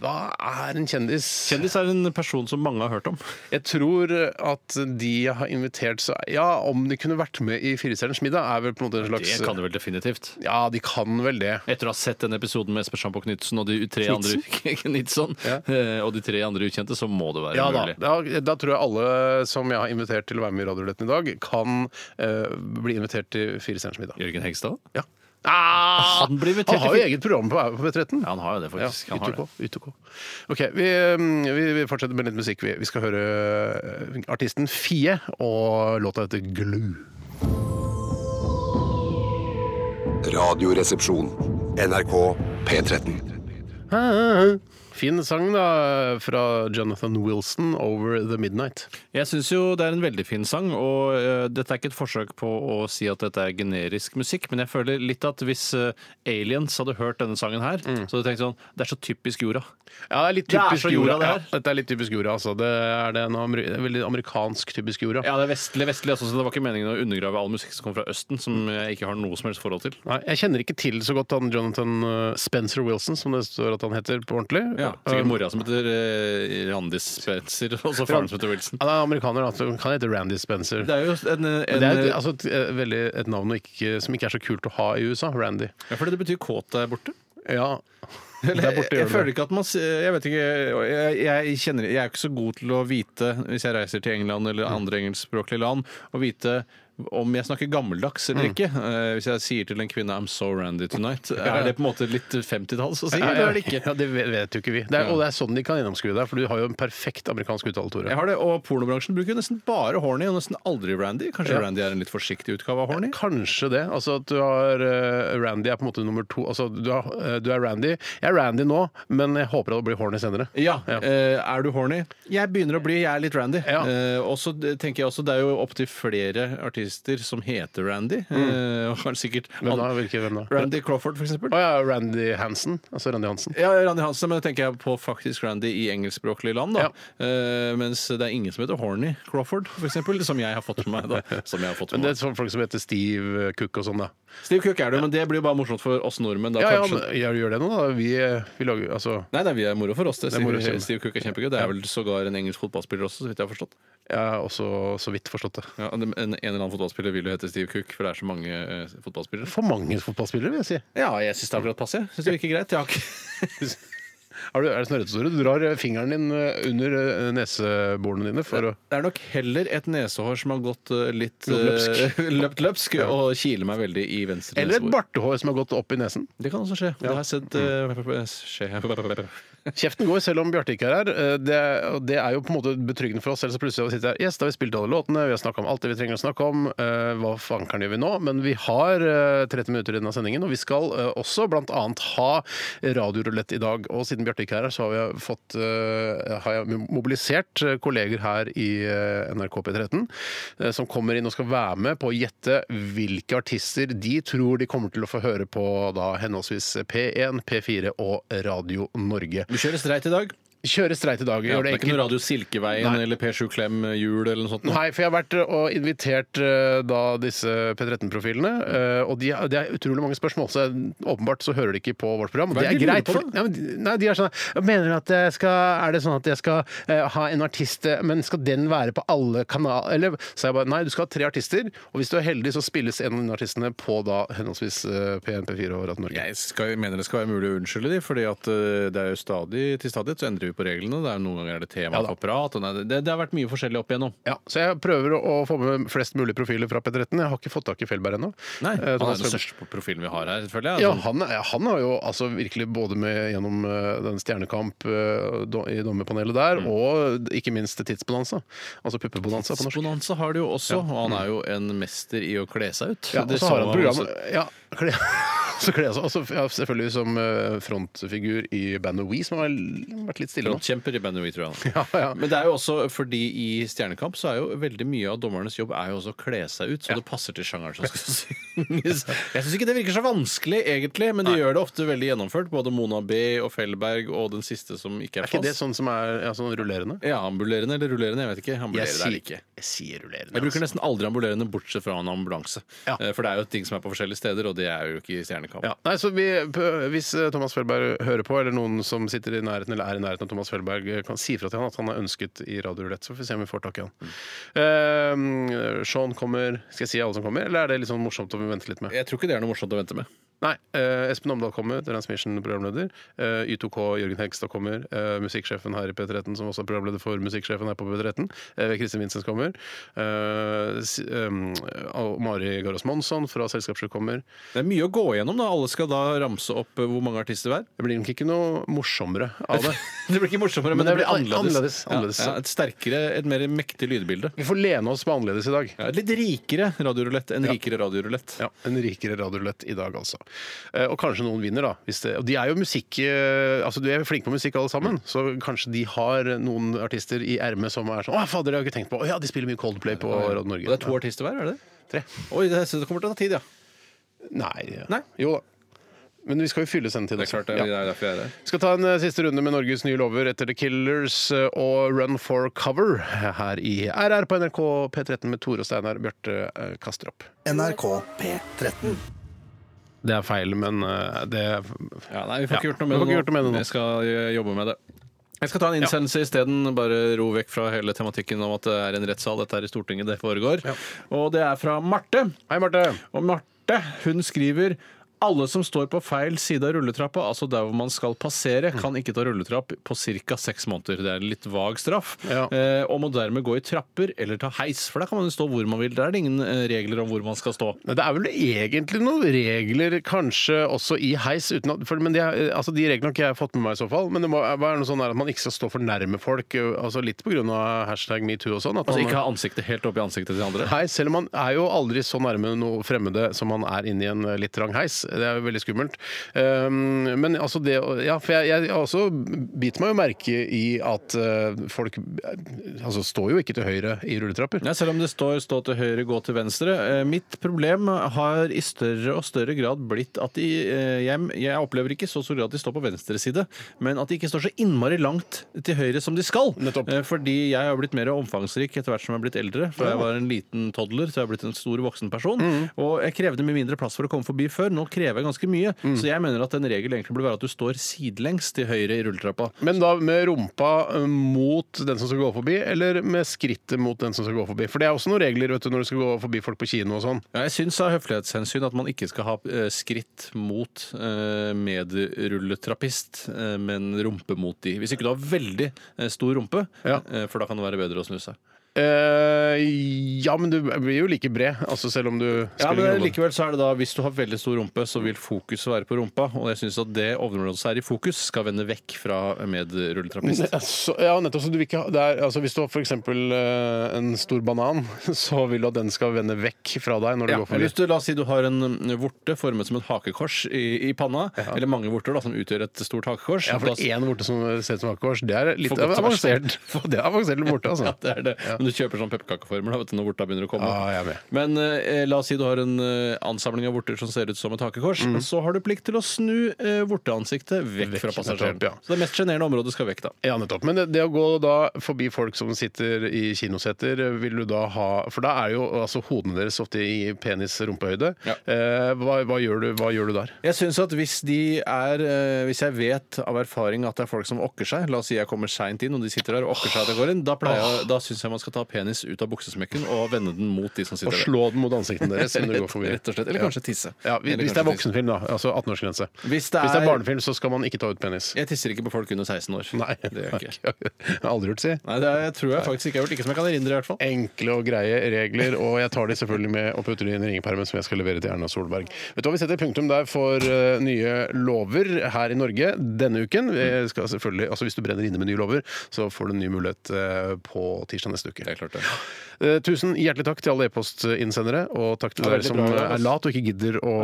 Speaker 5: Hva er en kjendis?
Speaker 6: Kjendis er en person som mange har hørt om.
Speaker 5: Jeg tror at de jeg har invitert så Ja, om de kunne vært med i Firestjerners middag, er vel på en måte en slags
Speaker 6: Det kan du vel definitivt.
Speaker 5: Ja, de kan vel det.
Speaker 6: Etter å ha sett den episoden med Espen Sjampo Knutsen og de tre andre Knudsen,
Speaker 5: Ja.
Speaker 6: eh, og de tre andre ukjente, så må det være
Speaker 5: Ja da.
Speaker 6: mulig.
Speaker 5: da. Da tror jeg alle som jeg har invitert til å være med i Radioruletten i dag, kan eh, bli invitert til Firestjerners middag.
Speaker 6: Jørgen Hegstad?
Speaker 5: Ja.
Speaker 6: han blir invitert
Speaker 5: Ah! Han har
Speaker 6: til-
Speaker 5: jo eget program på på P13.
Speaker 6: Ja, han har jo det, faktisk.
Speaker 5: Ja,
Speaker 6: han har
Speaker 5: UTK.
Speaker 6: det.
Speaker 5: UTK. OK, vi, um, vi, vi fortsetter med litt musikk. Vi, vi skal høre uh, artisten Fie og låta heter Glue.
Speaker 2: Radioresepsjon. NRK P13.
Speaker 5: Fin sang da fra Jonathan Wilson, 'Over The Midnight'.
Speaker 6: Jeg syns jo det er en veldig fin sang, og eh, dette er ikke et forsøk på å si at dette er generisk musikk, men jeg føler litt at hvis eh, aliens hadde hørt denne sangen her, så hadde de tenkt sånn Det er så typisk jorda.
Speaker 5: Mm. Ja, det er litt
Speaker 6: Det er
Speaker 5: typisk
Speaker 6: så jorda,
Speaker 5: jorda.
Speaker 6: det her.
Speaker 5: Ja, dette er litt typisk jorda, altså. Det er det en amer- veldig amerikansk typisk jorda.
Speaker 6: Ja, det er vestlig, vestlig altså, så det var ikke meningen å undergrave all musikk som kommer fra Østen, som
Speaker 5: Mm.
Speaker 6: jeg ikke har noe som helst forhold til.
Speaker 5: Nei, jeg kjenner ikke til så godt han Jonathan uh, Spencer Wilson, som det står at han heter på ordentlig.
Speaker 6: Sikkert
Speaker 5: Um,
Speaker 6: mora som heter eh, Randi Spencer, og så faren som heter Wilson.
Speaker 5: Han er amerikaner, da, så han kan hete Randy Spencer.
Speaker 6: Det er jo en,
Speaker 5: Men
Speaker 6: en
Speaker 5: det er et, altså et, eh, veldig et navn og ikke, som ikke er så kult å ha i USA. Randy.
Speaker 6: altså, Ja, fordi det betyr kåt der borte.
Speaker 5: Ja,
Speaker 6: Eller,
Speaker 5: Der borte
Speaker 6: jeg,
Speaker 5: gjør
Speaker 6: jeg
Speaker 5: det
Speaker 6: føler ikke at man s- Jeg vet ikke jeg, jeg, kjenner, jeg er ikke så god til å vite, hvis jeg reiser til England eller
Speaker 5: Mm.
Speaker 6: andre engelskspråklige land, å vite om jeg snakker gammeldags eller
Speaker 5: Mm.
Speaker 6: ikke. Eh, Hvis jeg sier til en kvinne 'I'm so randy tonight', er det på en måte litt 50-talls å si? Eller er det ikke?
Speaker 5: Ja, det vet- vet jo ikke vi. Det er, og det er sånn de kan gjennomskue deg, for du har jo en perfekt amerikansk uttale,
Speaker 6: Jeg
Speaker 5: Tore.
Speaker 6: har det, og Pornobransjen bruker jo nesten bare horny og nesten aldri randy. Kanskje
Speaker 5: Ja.
Speaker 6: randy er en litt forsiktig utgave av horny?
Speaker 5: Kanskje det. Altså at du har eh, Randy er på en måte nummer to. Altså du er, eh, du er Randy. Jeg er Randy nå, men jeg håper at det blir horny senere.
Speaker 6: Ja.
Speaker 5: Ja.
Speaker 6: eh, er du horny? Jeg begynner å bli. Jeg er litt Randy.
Speaker 5: Ja.
Speaker 6: Eh, og så tenker jeg også, Det er jo opptil flere artister som heter Randy. Eh, og har sikkert
Speaker 5: Hvem Mm. da? Hvilke, hvem da?
Speaker 6: Randy Crawford, for eksempel.
Speaker 5: Å ja, Randy Hansen. Altså Randy Hansen.
Speaker 6: Ja, Randy Hansen, men da tenker jeg på faktisk Randy i engelskspråklige land. da. Eh, mens det er ingen som heter Horny Crawford, for eksempel, som jeg har fått med meg. da. Som jeg har fått
Speaker 5: Men
Speaker 6: med
Speaker 5: det er
Speaker 6: meg.
Speaker 5: sånn folk som heter Steve Cook og sånn, da.
Speaker 6: Steve Cook er det, men det blir jo bare morsomt for oss nordmenn. da,
Speaker 5: Ja, ja,
Speaker 6: kanskje.
Speaker 5: men, ja, gjør det nå, da. Vi, eh, vi lager Altså
Speaker 6: Nei, nei, vi er moro for oss. det.
Speaker 5: Det er moro,
Speaker 6: Steve,
Speaker 5: Steve.
Speaker 6: Steve Cook er kjempegøy. Det er vel sågar en engelsk fotballspiller også, så vidt jeg har forstått.
Speaker 5: Jeg har også så vidt forstått det.
Speaker 6: Ja, en, en eller annen fotballspiller vil jo hete Steve Cook, for det er så mange eh, fotballspillere.
Speaker 5: For mange fotballspillere, vil jeg si.
Speaker 6: Ja, jeg syns det er akkurat passe. jeg. Syns det virker greit. Jeg har ikke
Speaker 5: Har du, er det snørrete, Tore? Du drar eh, fingeren din eh, under eh, neseborene dine for å
Speaker 6: Det er nok heller et nesehår som har gått eh, litt
Speaker 5: Løpsk.
Speaker 6: eh, løpt løpsk og kiler meg veldig i venstre
Speaker 5: Eller et
Speaker 6: nesehår.
Speaker 5: bartehår som har gått opp i nesen.
Speaker 6: Det kan også skje. Det har jeg sett eh, skje.
Speaker 5: Kjeften går selv om Bjarte ikke er her. Eh, Det, og det er jo på en måte betryggende for oss. Ellers så plutselig sitter jeg her. Yes, da har vi spilt alle låtene, vi har snakka om alt det vi trenger å snakke om. Eh, Hva fankeren gjør vi nå? Men vi har eh, 30 minutter igjen av sendingen, og vi skal eh, også bl.a. ha radiorulett i dag. Og siden Bjarte ikke er her, så har vi fått eh, har jeg mobilisert eh, kolleger her i eh, NRK P13 eh, som kommer inn og skal være med på å gjette hvilke artister de tror de kommer til å få høre på da henholdsvis P1, P4 og Radio Norge.
Speaker 6: Du kjører streit i dag.
Speaker 5: Kjøre streit i dag.
Speaker 6: Ja,
Speaker 5: Gjør
Speaker 6: det
Speaker 5: det
Speaker 6: er ikke
Speaker 5: enkelt.
Speaker 6: noe Radio Silkeveien
Speaker 5: Nei.
Speaker 6: eller P7 Klem eh, Jul eller noe sånt.
Speaker 5: Nei, for jeg har vært eh, og invitert eh, da disse P13-profilene. eh, Og de er- det er utrolig mange spørsmål, så jeg- åpenbart så hører de ikke på vårt program.
Speaker 6: Hva er det de lurer på,
Speaker 5: for-
Speaker 6: da?
Speaker 5: ja, men de- nei, de er sånn "Jeg Mener du at jeg skal Er det sånn at jeg skal eh, ha en artist, eh, men skal den være på alle kanaler? Eller så er jeg bare Nei, du skal ha tre artister, og hvis du er heldig, så spilles en av de artistene på da henholdsvis eh, P1, P4 og Radio Norge.
Speaker 6: Jeg skal, jeg mener det skal være mulig å unnskylde de, fordi at eh, det er jo stadig til stadighet så endrer vi på reglene. Det er Noen ganger er det tema
Speaker 5: Ja da.
Speaker 6: for prat. Og nei, det, det har vært mye forskjellig opp igjennom.
Speaker 5: Ja, så jeg prøver å å få med flest mulig profiler fra P13. Jeg har ikke fått tak i Felberg ennå.
Speaker 6: Nei,
Speaker 5: Eh,
Speaker 6: Han er
Speaker 5: Thomas
Speaker 6: den
Speaker 5: Felberg.
Speaker 6: største profilen vi har her, selvfølgelig.
Speaker 5: Ja,
Speaker 6: Altså,
Speaker 5: han, er- han har jo altså virkelig både med gjennom eh, den Stjernekamp eh, do- i dommerpanelet der,
Speaker 6: Mm.
Speaker 5: og ikke minst Tidsbonanza. Altså Puppebonanza på norsk.
Speaker 6: Bonanza har det jo også, og han er jo en mester i å kle seg ut.
Speaker 5: Ja, og
Speaker 6: Det
Speaker 5: så har
Speaker 6: så
Speaker 5: han
Speaker 6: man
Speaker 5: program
Speaker 6: også-
Speaker 5: ja, kle- så kler jeg seg også ja, selvfølgelig som eh, frontfigur i bandet We, som har vel vært litt stille nå.
Speaker 6: Frontkjemper i bandet We, tror jeg.
Speaker 5: Ja, ja.
Speaker 6: Men det er jo også fordi i Stjernekamp så er jo veldig mye av dommernes jobb er jo også å kle seg ut så det passer til sjangeren som skal synges. Jeg syns ikke det virker så vanskelig, egentlig, men de gjør det ofte veldig gjennomført. Både Mona B og Fellberg og den siste som ikke er
Speaker 5: Er ikke det
Speaker 6: fast.
Speaker 5: sånn som er ja, sånn rullerende?
Speaker 6: Ja, ambulerende eller rullerende, jeg vet ikke. Ambulerende er det ikke.
Speaker 5: jeg sier rullerende.
Speaker 6: Jeg bruker nesten aldri ambulerende bortsett fra en ambulanse.
Speaker 5: Ja.
Speaker 6: Eh, For det er jo ting som er på forskjellige steder, og det er jo ikke i Stjernekamp.
Speaker 5: Ja. Nei, så vi, p- hvis eh, Thomas Felberg hører på, eller noen som sitter i nærheten eller er i nærheten av Thomas Felberg, eh, kan si fra til han at han er ønsket i Radio Rulett, så får vi se om vi får tak i han. Eh, Sean kommer Skal jeg si alle som kommer, eller er det litt sånn morsomt om vi venter litt med?
Speaker 6: Jeg tror ikke det er noe morsomt å vente med.
Speaker 5: Nei. eh, Espen Omdal kommer, Transmission programleder. Eh, Y2K Jørgen Hegstad kommer. eh, musikksjefen her i P13, som også er programleder for Musikksjefen her på P13. Uh, Kristin Vincents kommer. eh, si- eh, og Mari Garås Monsson fra Selskapssjuk kommer.
Speaker 6: Det er mye å gå gjennom, da. Alle skal da ramse opp eh, hvor mange artister hver.
Speaker 5: Det blir nok ikke noe morsommere av det.
Speaker 6: Det blir ikke morsommere, men,
Speaker 5: Men det
Speaker 6: det blir
Speaker 5: blir
Speaker 6: annerledes.
Speaker 5: annerledes, annerledes.
Speaker 6: Ja, ja, et sterkere, et mer mektig lydbilde.
Speaker 5: Vi får lene oss på annerledes i dag.
Speaker 6: Ja, et litt rikere radiorulett. En rikere radiorulett.
Speaker 5: Ja, En rikere radiorulett i dag, altså. Eh, Og kanskje noen vinner, da. Hvis det, og de er jo musikk eh, Altså, de er jo flinke på musikk alle sammen, så kanskje de har noen artister i ermet som er sånn Å, fader, det har jeg ikke tenkt på. Å ja, de spiller mye Coldplay på Radio Norge.
Speaker 6: Og det er to artister hver, er det det?
Speaker 5: Tre.
Speaker 6: Oi, det, så det kommer til å ta tid, ja.
Speaker 5: Nei, ja.
Speaker 6: Nei.
Speaker 5: Jo da. Men vi skal jo fylle sendetid.
Speaker 6: Det er klart, det
Speaker 5: Ja.
Speaker 6: er, derfor jeg er her.
Speaker 5: Skal ta en eh, siste runde med Norges nye lover etter The Killers eh, og Run for cover her i RR på NRK P13 med Tore og Steinar. Bjarte eh, kaster opp.
Speaker 3: NRK P13.
Speaker 5: Det er feil, men eh, det
Speaker 6: Ja, nei, vi får ikke
Speaker 5: Ja,
Speaker 6: gjort noe med
Speaker 5: vi får
Speaker 6: det
Speaker 5: ikke gjort noe med det nå.
Speaker 6: Jeg skal eh, jobbe med det. Jeg skal ta en innsendelse isteden. Bare ro vekk fra hele tematikken om at det er en rettssal. Dette er i Stortinget det foregår. Og det er fra Marte.
Speaker 5: Hei, Marte.
Speaker 6: Og Marte hun skriver alle som står på feil side av rulletrappa, altså der hvor man skal passere, kan ikke ta rulletrapp på ca. seks måneder. Det er en litt vag straff.
Speaker 5: Ja.
Speaker 6: Eh, og må dermed gå i trapper eller ta heis, for da kan man jo stå hvor man vil. Der er det ingen eh, regler om hvor man skal stå.
Speaker 5: Nei, Det er vel egentlig noen regler kanskje også i heis, uten at, for, men de, er- altså, de reglene har ikke jeg fått med meg i så fall. Men det må være noe sånn der at man ikke skal stå for nærme folk, ø, altså litt på grunn av hashtag metoo og sånn. at
Speaker 6: Altså
Speaker 5: man-
Speaker 6: ikke ha ansiktet helt oppi ansiktet til andre.
Speaker 5: Hei, selv om man er jo aldri så nærme noe fremmede som man er inni en eh, litt trang heis. Det er jo veldig skummelt. Um, men altså det å- Ja, for jeg, jeg også biter meg jo merke i at eh, folk eh, altså står jo ikke til høyre i rulletrapper.
Speaker 6: Ja, selv om det står 'stå til høyre, gå til venstre'. Eh, mitt problem har i større og større grad blitt at de, eh, jeg, jeg opplever ikke i så stor grad at de står på venstre side, men at de ikke står så innmari langt til høyre som de skal.
Speaker 5: Nettopp.
Speaker 6: Eh, fordi jeg har blitt mer omfangsrik etter hvert som jeg har blitt eldre. Fra jeg var en liten toddler til jeg har blitt en stor voksen person. Og jeg krevde mye mindre plass for å komme forbi før. Nå krever jeg ganske mye. Så jeg mener at en regel egentlig burde være at du står sidelengs til høyre i rulletrappa.
Speaker 5: Men da med rumpa eh, mot den som skal gå forbi, eller med skrittet mot den som skal gå forbi? For det er også noen regler vet du, når du skal gå forbi folk på kino og sånn.
Speaker 6: Ja, jeg syns av høflighetshensyn at man ikke skal ha eh, skritt mot eh, medrulletrappist, eh, men rumpe mot de. Hvis ikke du har veldig eh, stor rumpe,
Speaker 5: Ja.
Speaker 6: eh, for da kan det være bedre å snu seg.
Speaker 5: Eh, ja, men du blir jo like bred, altså selv om du
Speaker 6: Ja,
Speaker 5: spiller
Speaker 6: men
Speaker 5: ingen rolle.
Speaker 6: likevel så er det da, Hvis du har veldig stor rumpe, så vil fokuset være på rumpa. Og jeg syns at det området som er i fokus, skal vende vekk fra medrulletrappist.
Speaker 5: Ne- så- Ja, nettopp. Så du vil ikke ha, det er, altså, hvis du har f.eks. Uh, en stor banan, så vil du at den skal vende vekk fra deg når du
Speaker 6: Ja,
Speaker 5: går forbi.
Speaker 6: hvis du, la oss si du har en mm, vorte formet som et hakekors i, i panna, eller mange vorter da, som utgjør et stort hakekors
Speaker 5: Ja, for
Speaker 6: da-
Speaker 5: det er én vorte som ser ut som hakkekors. Det er litt
Speaker 6: For godt til
Speaker 5: avansert. Det er avansert vorte, altså.
Speaker 6: Ja, det er det. Men du kjøper sånn pepperkakeformer da, vet du, når vorta begynner å komme.
Speaker 5: Ja, jeg er med.
Speaker 6: Men eh, la oss si du har en eh, ansamling av vorter som ser ut som et hakekors. Så har du plikt til å snu eh, vorteansiktet Mhm. vekk,
Speaker 5: Vekk,
Speaker 6: fra passasjeren.
Speaker 5: nettopp, ja.
Speaker 6: Så det mest sjenerende området skal vekk, da.
Speaker 5: Ja, nettopp. Men det, det å gå da forbi folk som sitter i kinoseter, vil du da ha For da er jo altså, hodene deres ofte i penis-rumpehøyde.
Speaker 6: Ja.
Speaker 5: Eh, hva, hva, gjør du, hva gjør du der?
Speaker 6: Jeg synes at hvis de er eh, Hvis jeg vet av erfaring at det er folk som okker seg La oss si jeg kommer seint inn, og de sitter der og okker seg. Det går inn, da pleier jeg, da syns jeg man skal ta penis ut av buksesmekken og vende den mot de som sitter
Speaker 5: Og
Speaker 6: der.
Speaker 5: slå den mot ansiktene deres når du går
Speaker 6: Rett,
Speaker 5: forbi.
Speaker 6: rett og slett. Eller
Speaker 5: Ja.
Speaker 6: kanskje tisse.
Speaker 5: Ja, hvis,
Speaker 6: Eller
Speaker 5: hvis det er
Speaker 6: kanskje tisse.
Speaker 5: voksenfilm, da. Altså 18-årsgrense.
Speaker 6: Hvis det
Speaker 5: hvis det er
Speaker 6: er-
Speaker 5: barnefilm, så skal man ikke ta ut penis.
Speaker 6: Jeg tisser ikke på folk under 16 år.
Speaker 5: Nei,
Speaker 6: det gjør jeg ikke.
Speaker 5: Jeg har aldri hørt si.
Speaker 6: Nei, det er- tror jeg faktisk ikke jeg har gjort. Ikke som jeg kan erindre, i hvert fall.
Speaker 5: Enkle og greie regler, og jeg tar de selvfølgelig med og putter de inn i ringepermen som jeg skal levere til Erna Solberg. Vet du hva, Vi setter punktum der for eh, nye lover her i Norge denne uken. Vi skal selvfølgelig, altså Hvis du brenner inne med nye lover, så får du en ny mulighet eh, på tirsdag neste uke. riktig.
Speaker 6: Det er klart det.
Speaker 5: Eh, Tusen hjertelig takk til alle e-postinnsendere, og takk til
Speaker 6: Ja,
Speaker 5: dere
Speaker 6: veldig
Speaker 5: som eh,
Speaker 6: bra, Jonas.
Speaker 5: er lat og ikke gidder å,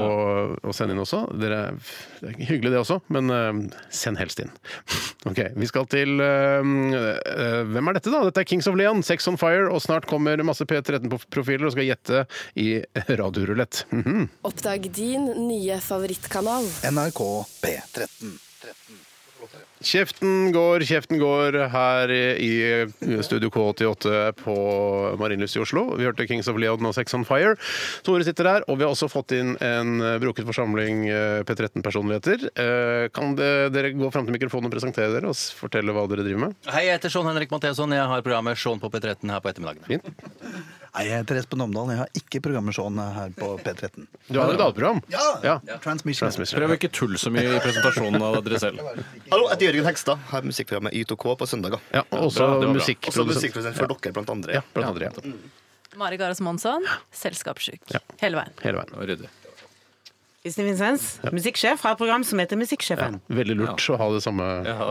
Speaker 5: å sende inn også. Dere, er- det er hyggelig det også, men eh, send helst inn. Ok, Vi skal til eh, eh, Hvem er dette, da? Dette er Kings of Leon, Sex on Fire, og snart kommer masse P13-profiler og skal gjette i radiorulett. Mhm.
Speaker 7: Oppdag din nye favorittkanal.
Speaker 3: NRK P13.
Speaker 5: Kjeften går, kjeften går her i Studio K88 på Marienlyst i Oslo. Vi hørte Kings of Leon og Sex on Fire. Tore sitter her, og vi har også fått inn en broket forsamling eh, P13-personligheter. Eh, Kan det, dere gå fram til mikrofonen og presentere dere og s- fortelle hva dere driver med?
Speaker 8: Hei, jeg heter Sean Henrik Matheson. Jeg har programmet Sean på P13 her på ettermiddagen.
Speaker 5: Fint.
Speaker 3: Nei, jeg heter Espen Omdal. Jeg har ikke programmershown her på P13.
Speaker 5: Du har et dagprogram?
Speaker 3: Transmission.
Speaker 5: Transmission.
Speaker 6: Prøv å ikke tulle så mye i presentasjonen av dere selv.
Speaker 9: Hallo, jeg heter Jørgen Hegstad. Har musikkprogrammet Y2K på søndager.
Speaker 5: Ja, og også
Speaker 6: Bra, det var bra.
Speaker 9: Også
Speaker 5: musikkprodusent.
Speaker 9: musikkprodusent for dere, blant andre.
Speaker 5: Ja, blant andre.
Speaker 6: Mm.
Speaker 5: Ja.
Speaker 10: Mari Garas Monsson, selskapssjuk. Hele veien.
Speaker 5: Hele veien.
Speaker 6: Og ryddig.
Speaker 11: Kristin Vincents, musikksjef, har et program som heter Musikksjefen.
Speaker 5: Veldig lurt å ha det samme
Speaker 6: Ja.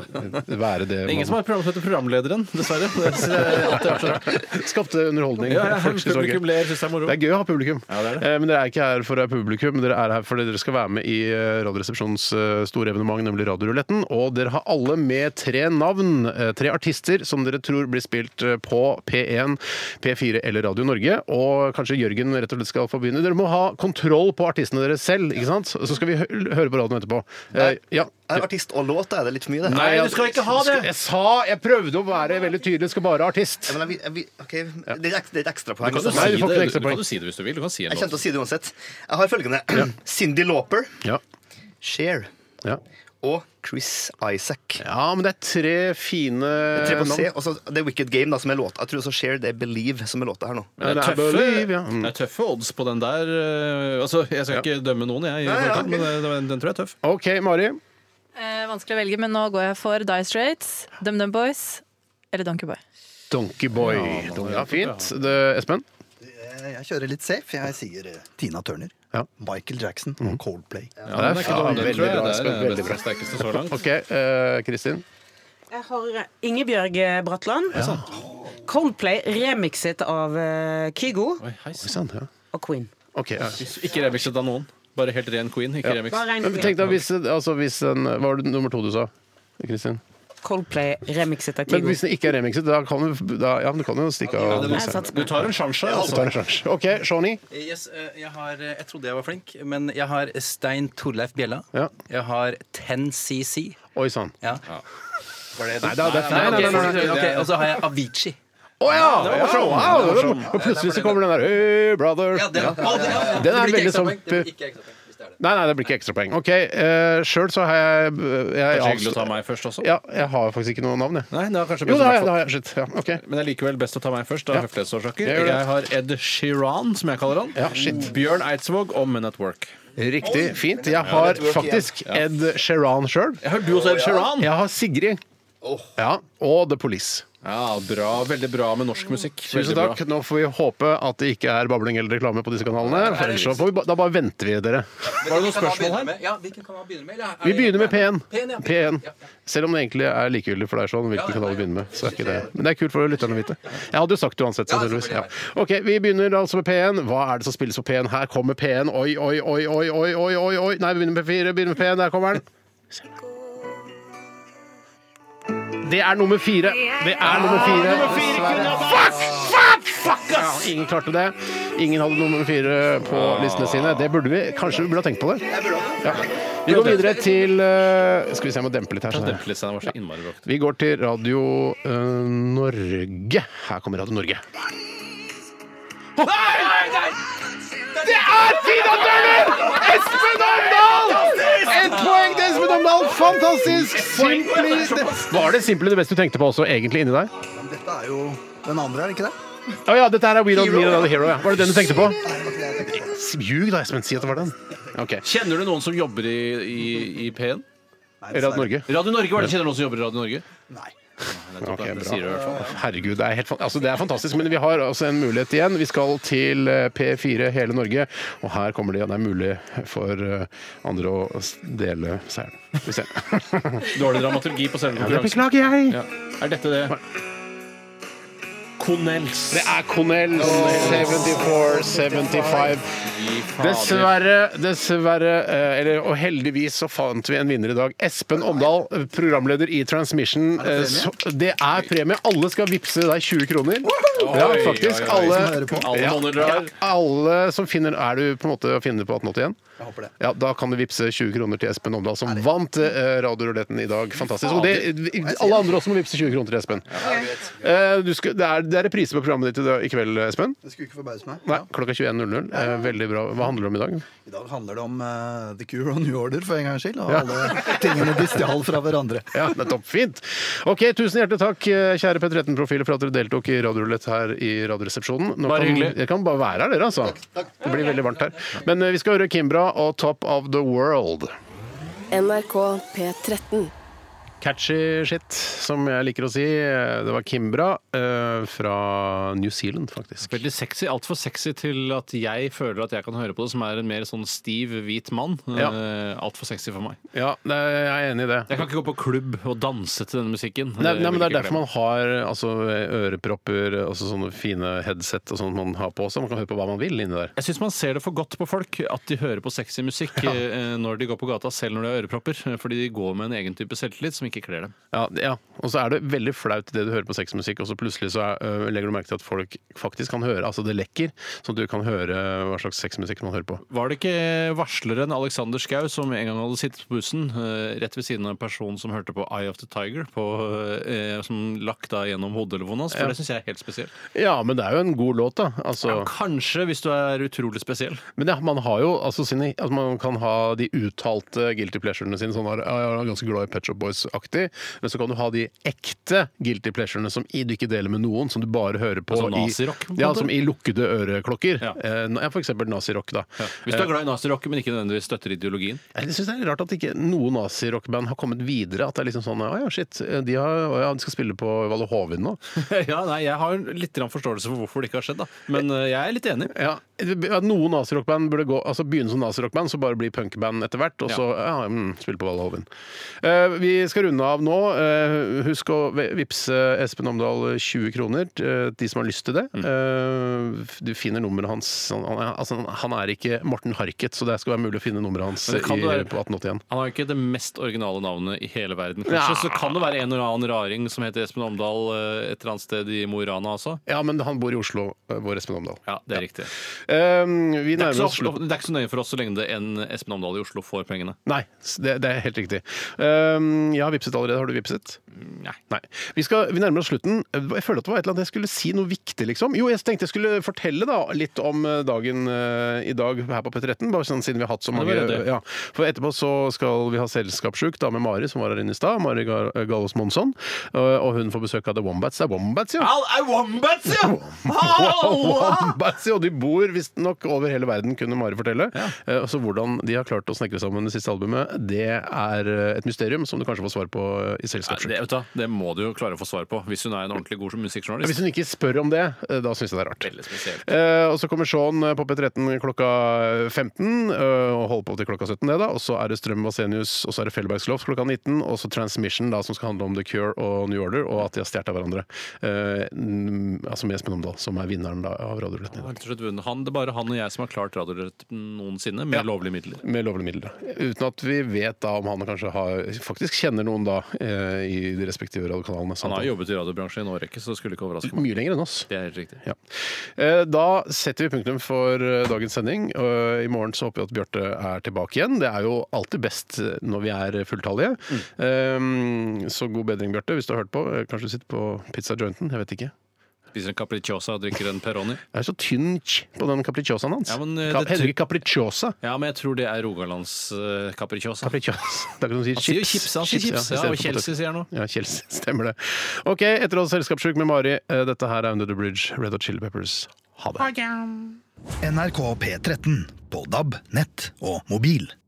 Speaker 5: Være det
Speaker 6: Det er ingen som har et program som heter Programlederen, dessverre. Det synes jeg alltid er så rart.
Speaker 5: Skapte underholdning.
Speaker 6: Ja, ja,
Speaker 5: Folk synes det var gøy.
Speaker 6: publikum ler, synes det er moro.
Speaker 5: Det er gøy å ha publikum.
Speaker 6: Ja, det er det.
Speaker 5: Eh, Men dere er ikke her for å ha publikum, dere er her fordi dere skal være med i eh, Radioresepsjonens eh, store evenement, nemlig Radioruletten. Og dere har alle med tre navn, eh, tre artister, som dere tror blir spilt eh, på P1, P4 eller Radio Norge. Og kanskje Jørgen rett og slett skal få begynne. Dere må ha kontroll på artistene deres selv, ikke sant? Så skal vi hø- høre på radioen etterpå. Eh, Ja.
Speaker 9: Er det artist og låt, da? er det litt for mye, det?
Speaker 6: Nei,
Speaker 5: ja,
Speaker 6: du skal ikke ha
Speaker 5: skal-
Speaker 6: det!
Speaker 5: Jeg sa Jeg prøvde å være veldig tydelig, skal bare ha artist.
Speaker 9: Ja, men jeg, vil- jeg, vil- ok, Det er et ek- det er et ekstrapoeng.
Speaker 6: Kan du,
Speaker 9: altså.
Speaker 5: Nei, du
Speaker 6: si det,
Speaker 5: får ikke
Speaker 6: du,
Speaker 5: ekstra
Speaker 6: du
Speaker 5: poeng.
Speaker 6: kan jo si det hvis du vil. Du kan si en
Speaker 9: Jeg
Speaker 6: låt.
Speaker 9: kommer til å si det uansett. Jeg har følgende. Cindy Lauper,
Speaker 5: Ja.
Speaker 9: Cher
Speaker 5: Ja.
Speaker 9: og Chris Isaac.
Speaker 5: ja, men det er tre fine
Speaker 9: Tre på C,
Speaker 5: navn.
Speaker 9: og så The Wicked Game, da, som er låt. Jeg tror også Cher, det er Believe, som er låta her nå.
Speaker 6: Men
Speaker 5: Ja,
Speaker 6: det er,
Speaker 5: det er
Speaker 6: tøffe,
Speaker 5: Believe, ja. Mm.
Speaker 6: det er tøffe odds på den der. eh, Altså, jeg skal ikke dømme noen, jeg, i
Speaker 9: Nei, ja,
Speaker 6: forkant, men
Speaker 9: ok.
Speaker 6: eh, den, den tror jeg er tøff.
Speaker 5: OK, Mari.
Speaker 10: Eh, vanskelig å velge, men nå går jeg for Die Straits, DumDum Boys eller Donkey Boy.
Speaker 5: Donkeyboy. Ja, ja, fint. Det, Espen?
Speaker 3: Jeg kjører litt safe. Jeg sier eh, Tina Turner,
Speaker 5: Ja.
Speaker 3: Michael Jackson og Coldplay.
Speaker 6: Ja, den er ikke dum, den
Speaker 5: veldig
Speaker 6: tror jeg.
Speaker 5: bra,
Speaker 6: Det er
Speaker 5: Espen,
Speaker 6: den
Speaker 5: veldig
Speaker 6: beste, sterkeste så langt.
Speaker 5: OK, eh, Kristin.
Speaker 11: Jeg har Ingebjørg eh, Bratland. Coldplay remixet av eh, Kygo
Speaker 6: Oi, hei, sant.
Speaker 5: Sant, ja.
Speaker 11: og Queen.
Speaker 5: OK. Ja.
Speaker 6: Ikke remixet av noen. Bare helt ren queen. Ikke remix.
Speaker 11: Bare en
Speaker 5: Men tenk deg hvis, altså, hvis en, Hva var det nummer to du sa? Kristin?
Speaker 11: Coldplay remixet av
Speaker 5: Men
Speaker 11: Kygo.
Speaker 5: hvis den ikke er remixet, da kan du, da, ja, men du kan jo stikke av.
Speaker 11: Jeg satt-
Speaker 6: Du tar en sjanse.
Speaker 5: Så
Speaker 6: Altså.
Speaker 5: tar du en sjanse. OK, Shawnee.
Speaker 8: Yes, eh, jeg, har, eh, jeg trodde jeg var flink, men jeg har Stein Torleif Bjella.
Speaker 5: Ja.
Speaker 8: Jeg har 10CC.
Speaker 5: Oi sann.
Speaker 8: Ja.
Speaker 5: Nei, da- det er
Speaker 8: Nei,
Speaker 5: nei, nei,
Speaker 8: ok,
Speaker 5: nei, nei,
Speaker 8: ok,
Speaker 5: nei.
Speaker 8: og så har jeg Avicii.
Speaker 5: Å ja! det var sånn, wow, det var sånn. Og plutselig så kommer den der Hey, brother.
Speaker 8: Ja, den,
Speaker 5: Ja.
Speaker 8: Å, det- ja, ja.
Speaker 5: Den er
Speaker 8: Det blir ikke
Speaker 5: veldig sånn-
Speaker 8: ekstrapoeng, det blir ikke ekstrapoeng, hvis det er det.
Speaker 5: Nei, nei, det blir ikke ekstrapoeng. OK, uh, sjøl så har jeg, jeg,
Speaker 6: Kanskje hyggelig å ta
Speaker 5: jeg
Speaker 6: meg først også?
Speaker 5: ja, jeg har faktisk ikke noe navn, jeg.
Speaker 6: Nei, det er kanskje
Speaker 5: Jo,
Speaker 6: best
Speaker 5: det har
Speaker 6: i
Speaker 5: jeg. Det
Speaker 6: hvert fall.
Speaker 5: har jeg. Shit. Ja, OK.
Speaker 6: Men det er likevel best å ta meg først, av høflighetsårsaker.
Speaker 5: Jeg gjør det.
Speaker 6: Jeg har Ed Sheeran, som jeg kaller han.
Speaker 5: Ja, shit.
Speaker 6: Bjørn Eidsvåg og Men at Work.
Speaker 5: Riktig. Fint. Jeg har faktisk Ed Sheeran sjøl.
Speaker 6: Jeg har du også Ed Sheeran?
Speaker 5: Jeg har Sigrid. Ja, og The Police.
Speaker 6: Ja, bra. Veldig bra med norsk musikk.
Speaker 5: Tusen
Speaker 6: Veldig bra.
Speaker 5: takk. Nå får vi håpe at det ikke er babling eller reklame på disse kanalene. For ellers så får vi, ba- da bare venter vi, dere.
Speaker 8: Men
Speaker 6: Var det noen
Speaker 8: hvilken kanal
Speaker 6: spørsmål
Speaker 8: begynner
Speaker 6: her?
Speaker 8: med? Ja, hvilken kanal begynner med? eller er
Speaker 5: Vi
Speaker 8: det-
Speaker 5: begynner med P1.
Speaker 8: P1, ja.
Speaker 5: P1.
Speaker 8: Ja, ja.
Speaker 5: Selv om det egentlig er likegyldig for deg sånn, hvilken
Speaker 8: Ja, ja,
Speaker 5: kanal
Speaker 8: ja.
Speaker 5: vi begynner med. Så er ikke det. Men det er kult for lytterne å vite. Jeg hadde jo sagt det uansett,
Speaker 8: Ja,
Speaker 5: sannsynligvis. Ja.
Speaker 8: selvfølgelig,
Speaker 5: OK, vi begynner altså med P1. Hva er det som spilles på P1? Her kommer P1. Oi, oi, oi, oi, oi, oi, oi, oi. Nei, vi begynner med P4, begynner med P1. Der kommer den. Det er nummer fire. Det er nummer fire. Fuck! Fuck! Fuck, ass! Ja, ingen klarte det. Ingen hadde nummer fire på listene sine. Det burde vi. Kanskje vi burde ha tenkt på det. Ja. Vi går videre til eh, Skal vi se, jeg må dempe litt her.
Speaker 6: Ja,
Speaker 5: Sånn her.
Speaker 6: Dempe litt seg, den var så innmari bra.
Speaker 5: Vi går til Radio eh, Norge. Her kommer Radio Norge.
Speaker 8: Nei, nei, nei!
Speaker 5: Det er Tina Turner! Espen Omdal! Ett poeng til Espen Omdal. Fantastisk! Simply det, var det simply det beste du tenkte på også, egentlig, inni deg?
Speaker 3: Men Dette er jo den andre, er det ikke det?
Speaker 5: Å ja, dette her er We Don't Need Another Hero. Ja. Var det den du tenkte på? Ljug da, Espen. Si at det var den. Ok.
Speaker 6: Kjenner du noen som jobber i, i, i P1?
Speaker 3: Nei,
Speaker 5: Radio Norge.
Speaker 6: Radio Norge, var det? Kjenner du noen som jobber i Radio Norge?
Speaker 3: Nei.
Speaker 5: Ok,
Speaker 6: Det
Speaker 5: bra.
Speaker 6: sier du i hvert fall.
Speaker 5: Herregud, det er, helt, fan- altså, det er fantastisk. Men vi har altså en mulighet igjen. Vi skal til eh, P4 hele Norge, og her kommer de. og Det er mulig for eh, andre å s- dele seieren. Skal vi se.
Speaker 6: Dårlig dramaturgi på selve
Speaker 5: Det
Speaker 6: konkurransen.
Speaker 5: beklager jeg!
Speaker 6: Ja. Er dette det?
Speaker 5: Connells. Det er Connells. 74, 75. Dessverre, dessverre, eh, eller og heldigvis så fant vi en vinner i dag. Espen Omdal, programleder i Transmission. Eh, så- Det er premie. Alle skal vippse deg 20 kroner. Ja, faktisk. Alle,
Speaker 6: Alle monner
Speaker 5: ja,
Speaker 6: drar.
Speaker 5: alle som finner Er du på en måte å finne på 1880 igjen? Ja, Da kan du vippse 20 kroner til Espen Omdal, som vant eh, Radioruletten i dag. Fantastisk. Og det, alle andre også må vippse 20 kroner til Espen. Eh, du skal, det, er, det er reprise på programmet ditt i dag- i kveld, Espen.
Speaker 3: Det skulle ikke forbause meg.
Speaker 5: Nei, klokka 21.00. Eh, veldig bra. Hva handler det om i dag?
Speaker 3: I dag handler det om eh, The Cure og New Order for en gangs skyld, og
Speaker 5: Ja.
Speaker 3: alle tingene de stjal fra hverandre.
Speaker 5: Ja, nettopp. Fint. Ok, Tusen hjertelig takk, eh, kjære P13-profiler, for at dere deltok i Radiorulett her i Radioresepsjonen. Nå
Speaker 6: Bare
Speaker 5: kan,
Speaker 6: hyggelig.
Speaker 5: Dere kan bare være her, dere, altså. Det blir veldig varmt her. Men eh, vi skal høre Kimbra og Top of the World.
Speaker 7: NRK P13.
Speaker 5: Catchy shit, som jeg liker å si. Det var Kimbra eh, fra New Zealand, faktisk.
Speaker 6: Veldig sexy. Altfor sexy til at jeg føler at jeg kan høre på det, som er en mer sånn stiv, hvit mann.
Speaker 5: Ja.
Speaker 6: Eh, Altfor sexy for meg.
Speaker 5: Ja, det er- jeg er enig i det.
Speaker 6: Jeg kan ikke gå på klubb og danse til denne musikken.
Speaker 5: Nei, nei, men Det
Speaker 6: vil
Speaker 5: er
Speaker 6: ikke
Speaker 5: derfor man har altså, ørepropper og sånne fine headset og sånt man har på også. Man kan høre på hva man vil inni der.
Speaker 6: Jeg syns man ser det for godt på folk at de hører på sexy musikk eh, når de går på gata, selv når de har ørepropper. eh, Fordi de går med en egen type selvtillit som ikke kler dem.
Speaker 5: Ja, ja. Og så er det veldig flaut det du hører på sexmusikk, og så plutselig så er, øh, legger du merke til at folk faktisk kan høre. Altså det lekker, sånn at du kan høre hva slags sexmusikk man hører på.
Speaker 6: Var det ikke varsleren Alexander Schou som en gang hadde sittet på bussen eh, rett ved siden av en person som hørte på Eye of the Tiger, på, eh, som lakk da gjennom hodetelefonen hans? For
Speaker 5: Ja.
Speaker 6: det syns jeg er helt spesielt.
Speaker 5: Ja, men det er jo en god låt, da. Altså,
Speaker 6: Ja, kanskje, hvis du er utrolig spesiell.
Speaker 5: men ja, man har jo altså sine altså, Man kan ha de uttalte guilty pleasurene sine, sånn her, ja, jeg er ganske glad i Pet Shop Boys-aktig, men så kan du ha de ekte guilty pleasurene som i- du ikke deler med noen, som du bare hører på
Speaker 6: Altså
Speaker 5: i-
Speaker 6: nazirock, på en
Speaker 5: Ja,
Speaker 6: måte?
Speaker 5: som i lukkede øreklokker.
Speaker 6: Ja.
Speaker 5: Eh, Ja, for eksempel nazirock, da. Eh,
Speaker 6: Hvis du er glad i nazirock, men ikke nødvendigvis støtter ideologien.
Speaker 5: Jeg synes det er rart at ikke noen nazirockband har kommet videre. At det er liksom sånn Å ja, shit. De, har, å, ja, de skal spille på Valle Hovin nå.
Speaker 6: ja, nei, Jeg har litt grann forståelse for hvorfor det ikke har skjedd, da. men eh, jeg er litt enig.
Speaker 5: Ja, at Noen nazirockband burde gå, altså begynne som nazirockband, så bare bli punkband etter hvert. Og så ja. mm, spille på Valle Hovin. Eh, vi skal runde av nå. Eh, husk å ve- vippse Espen Omdal 20 kroner, eh, de som har lyst til det. Eh, du finner nummeret hans. Han, han er- altså, han er ikke Morten Harket, så det skal være mulig å finne nummeret hans
Speaker 6: Men det kan
Speaker 5: i,
Speaker 6: det være.
Speaker 5: på 1881.
Speaker 6: Han har ikke det mest originale navnet i hele verden. Kanskje
Speaker 5: Ja.
Speaker 6: så kan det være en eller annen raring som heter Espen Omdal eh, et eller annet sted i Mo i Rana også.
Speaker 5: Ja, men han bor i Oslo, eh, vår Espen Omdal.
Speaker 6: Ja, det er riktig.
Speaker 5: Um, vi
Speaker 6: Det er,
Speaker 5: nærmer
Speaker 6: ikke
Speaker 5: oss
Speaker 6: så,
Speaker 5: slutten.
Speaker 6: det er ikke så nøye for oss så lenge det en Espen Omdal i Oslo får pengene.
Speaker 5: Nei, det, det er helt riktig. Um, jeg har vipset allerede. Har du vipset?
Speaker 6: Mm, Nei.
Speaker 5: Nei. Vi, skal, vi nærmer oss slutten. Jeg føler at det var et eller annet jeg skulle si noe viktig, liksom. Jo, jeg tenkte jeg skulle fortelle da, litt om eh, dagen eh, i dag her på P13, bare sånn siden vi har hatt så
Speaker 6: Ja, det
Speaker 5: mange
Speaker 6: var det.
Speaker 5: ja. For etterpå så skal vi ha Selskapssjuk, da med Mari, som var her inne i stad. Mari Gar- Gallos Monsson. Eh, Og hun får besøk av The Wombats. Det er Wombats, ja!
Speaker 4: Er wombats, ja!
Speaker 5: Wombats, og de bor visstnok over hele verden, kunne Mari fortelle. Eh, Så hvordan de har klart å snekre sammen det siste albumet, det er eh, et mysterium som du kanskje får svar på eh, i
Speaker 6: Nei, Det,
Speaker 5: selskapssjuk.
Speaker 6: vet du, hva, det må du jo klare å få svar på hvis hun er en ordentlig god
Speaker 5: Ja, Hvis
Speaker 6: musikkjournalist.
Speaker 5: hun ikke spør om det, eh, da syns jeg det er rart.
Speaker 6: Veldig spesielt.
Speaker 5: Eh, og så kommer Sean eh, på P13 klokka 15, eh, og holder på til klokka 17, det da. Og så er det Strøm Vasenius, og så er det Fellbergsloft klokka 19, og så Transmission, da, som skal handle om The Cure og New Order, og at de har stjålet av hverandre. Eh, n- altså med Espen Omdal, som er vinneren da, av Radioruletten i
Speaker 6: Han
Speaker 5: dag.
Speaker 6: har rett og slett vunnet. Han, det er bare han og jeg som har klart Radioretten noensinne med
Speaker 5: Ja.
Speaker 6: lovlige midler.
Speaker 5: Med lovlige midler. Uten at vi vet da om han kanskje har, faktisk kjenner noen da eh, i de respektive radiokanalene.
Speaker 6: Han har jobbet i radiobransjen i en årrekke, så det skulle ikke overraske meg.
Speaker 5: mye lenger enn oss.
Speaker 6: Det er helt riktig.
Speaker 5: Ja. Eh, Da setter vi punktum for eh, dagens sending. og I morgen så håper vi at Bjarte er tilbake igjen. Det er jo alltid best eh, når vi er fulltallige.
Speaker 6: Mm.
Speaker 5: Eh, Så god bedring, Bjarte, hvis du har hørt på. Eh, Kanskje du sitter på pizza jointen? Jeg vet ikke.
Speaker 6: Spiser en capricciosa og drikker en Peroni.
Speaker 5: Det er så tynn ch på den capricciosaen hans.
Speaker 6: Ja, men, eh,
Speaker 5: Ka-
Speaker 6: det
Speaker 5: Heter det ikke capricciosa?
Speaker 6: Ja, men jeg tror det er Rogalands eh, capricciosa.
Speaker 5: Capricciosa. Det er ikke noe som sier
Speaker 6: Han sier jo
Speaker 5: chips.
Speaker 6: chips, han sier chips.
Speaker 5: i
Speaker 6: Ja,
Speaker 5: stedet
Speaker 6: og
Speaker 5: for potet.
Speaker 6: Chelsea sier han nå.
Speaker 5: Ja, Chelsea. Stemmer det. OK, etter oss Selskapssjuk med Mari. Eh, Dette her er Under the Bridge, Red Hot Chili Peppers. Ha det.
Speaker 3: NRK P13 på DAB, nett og mobil.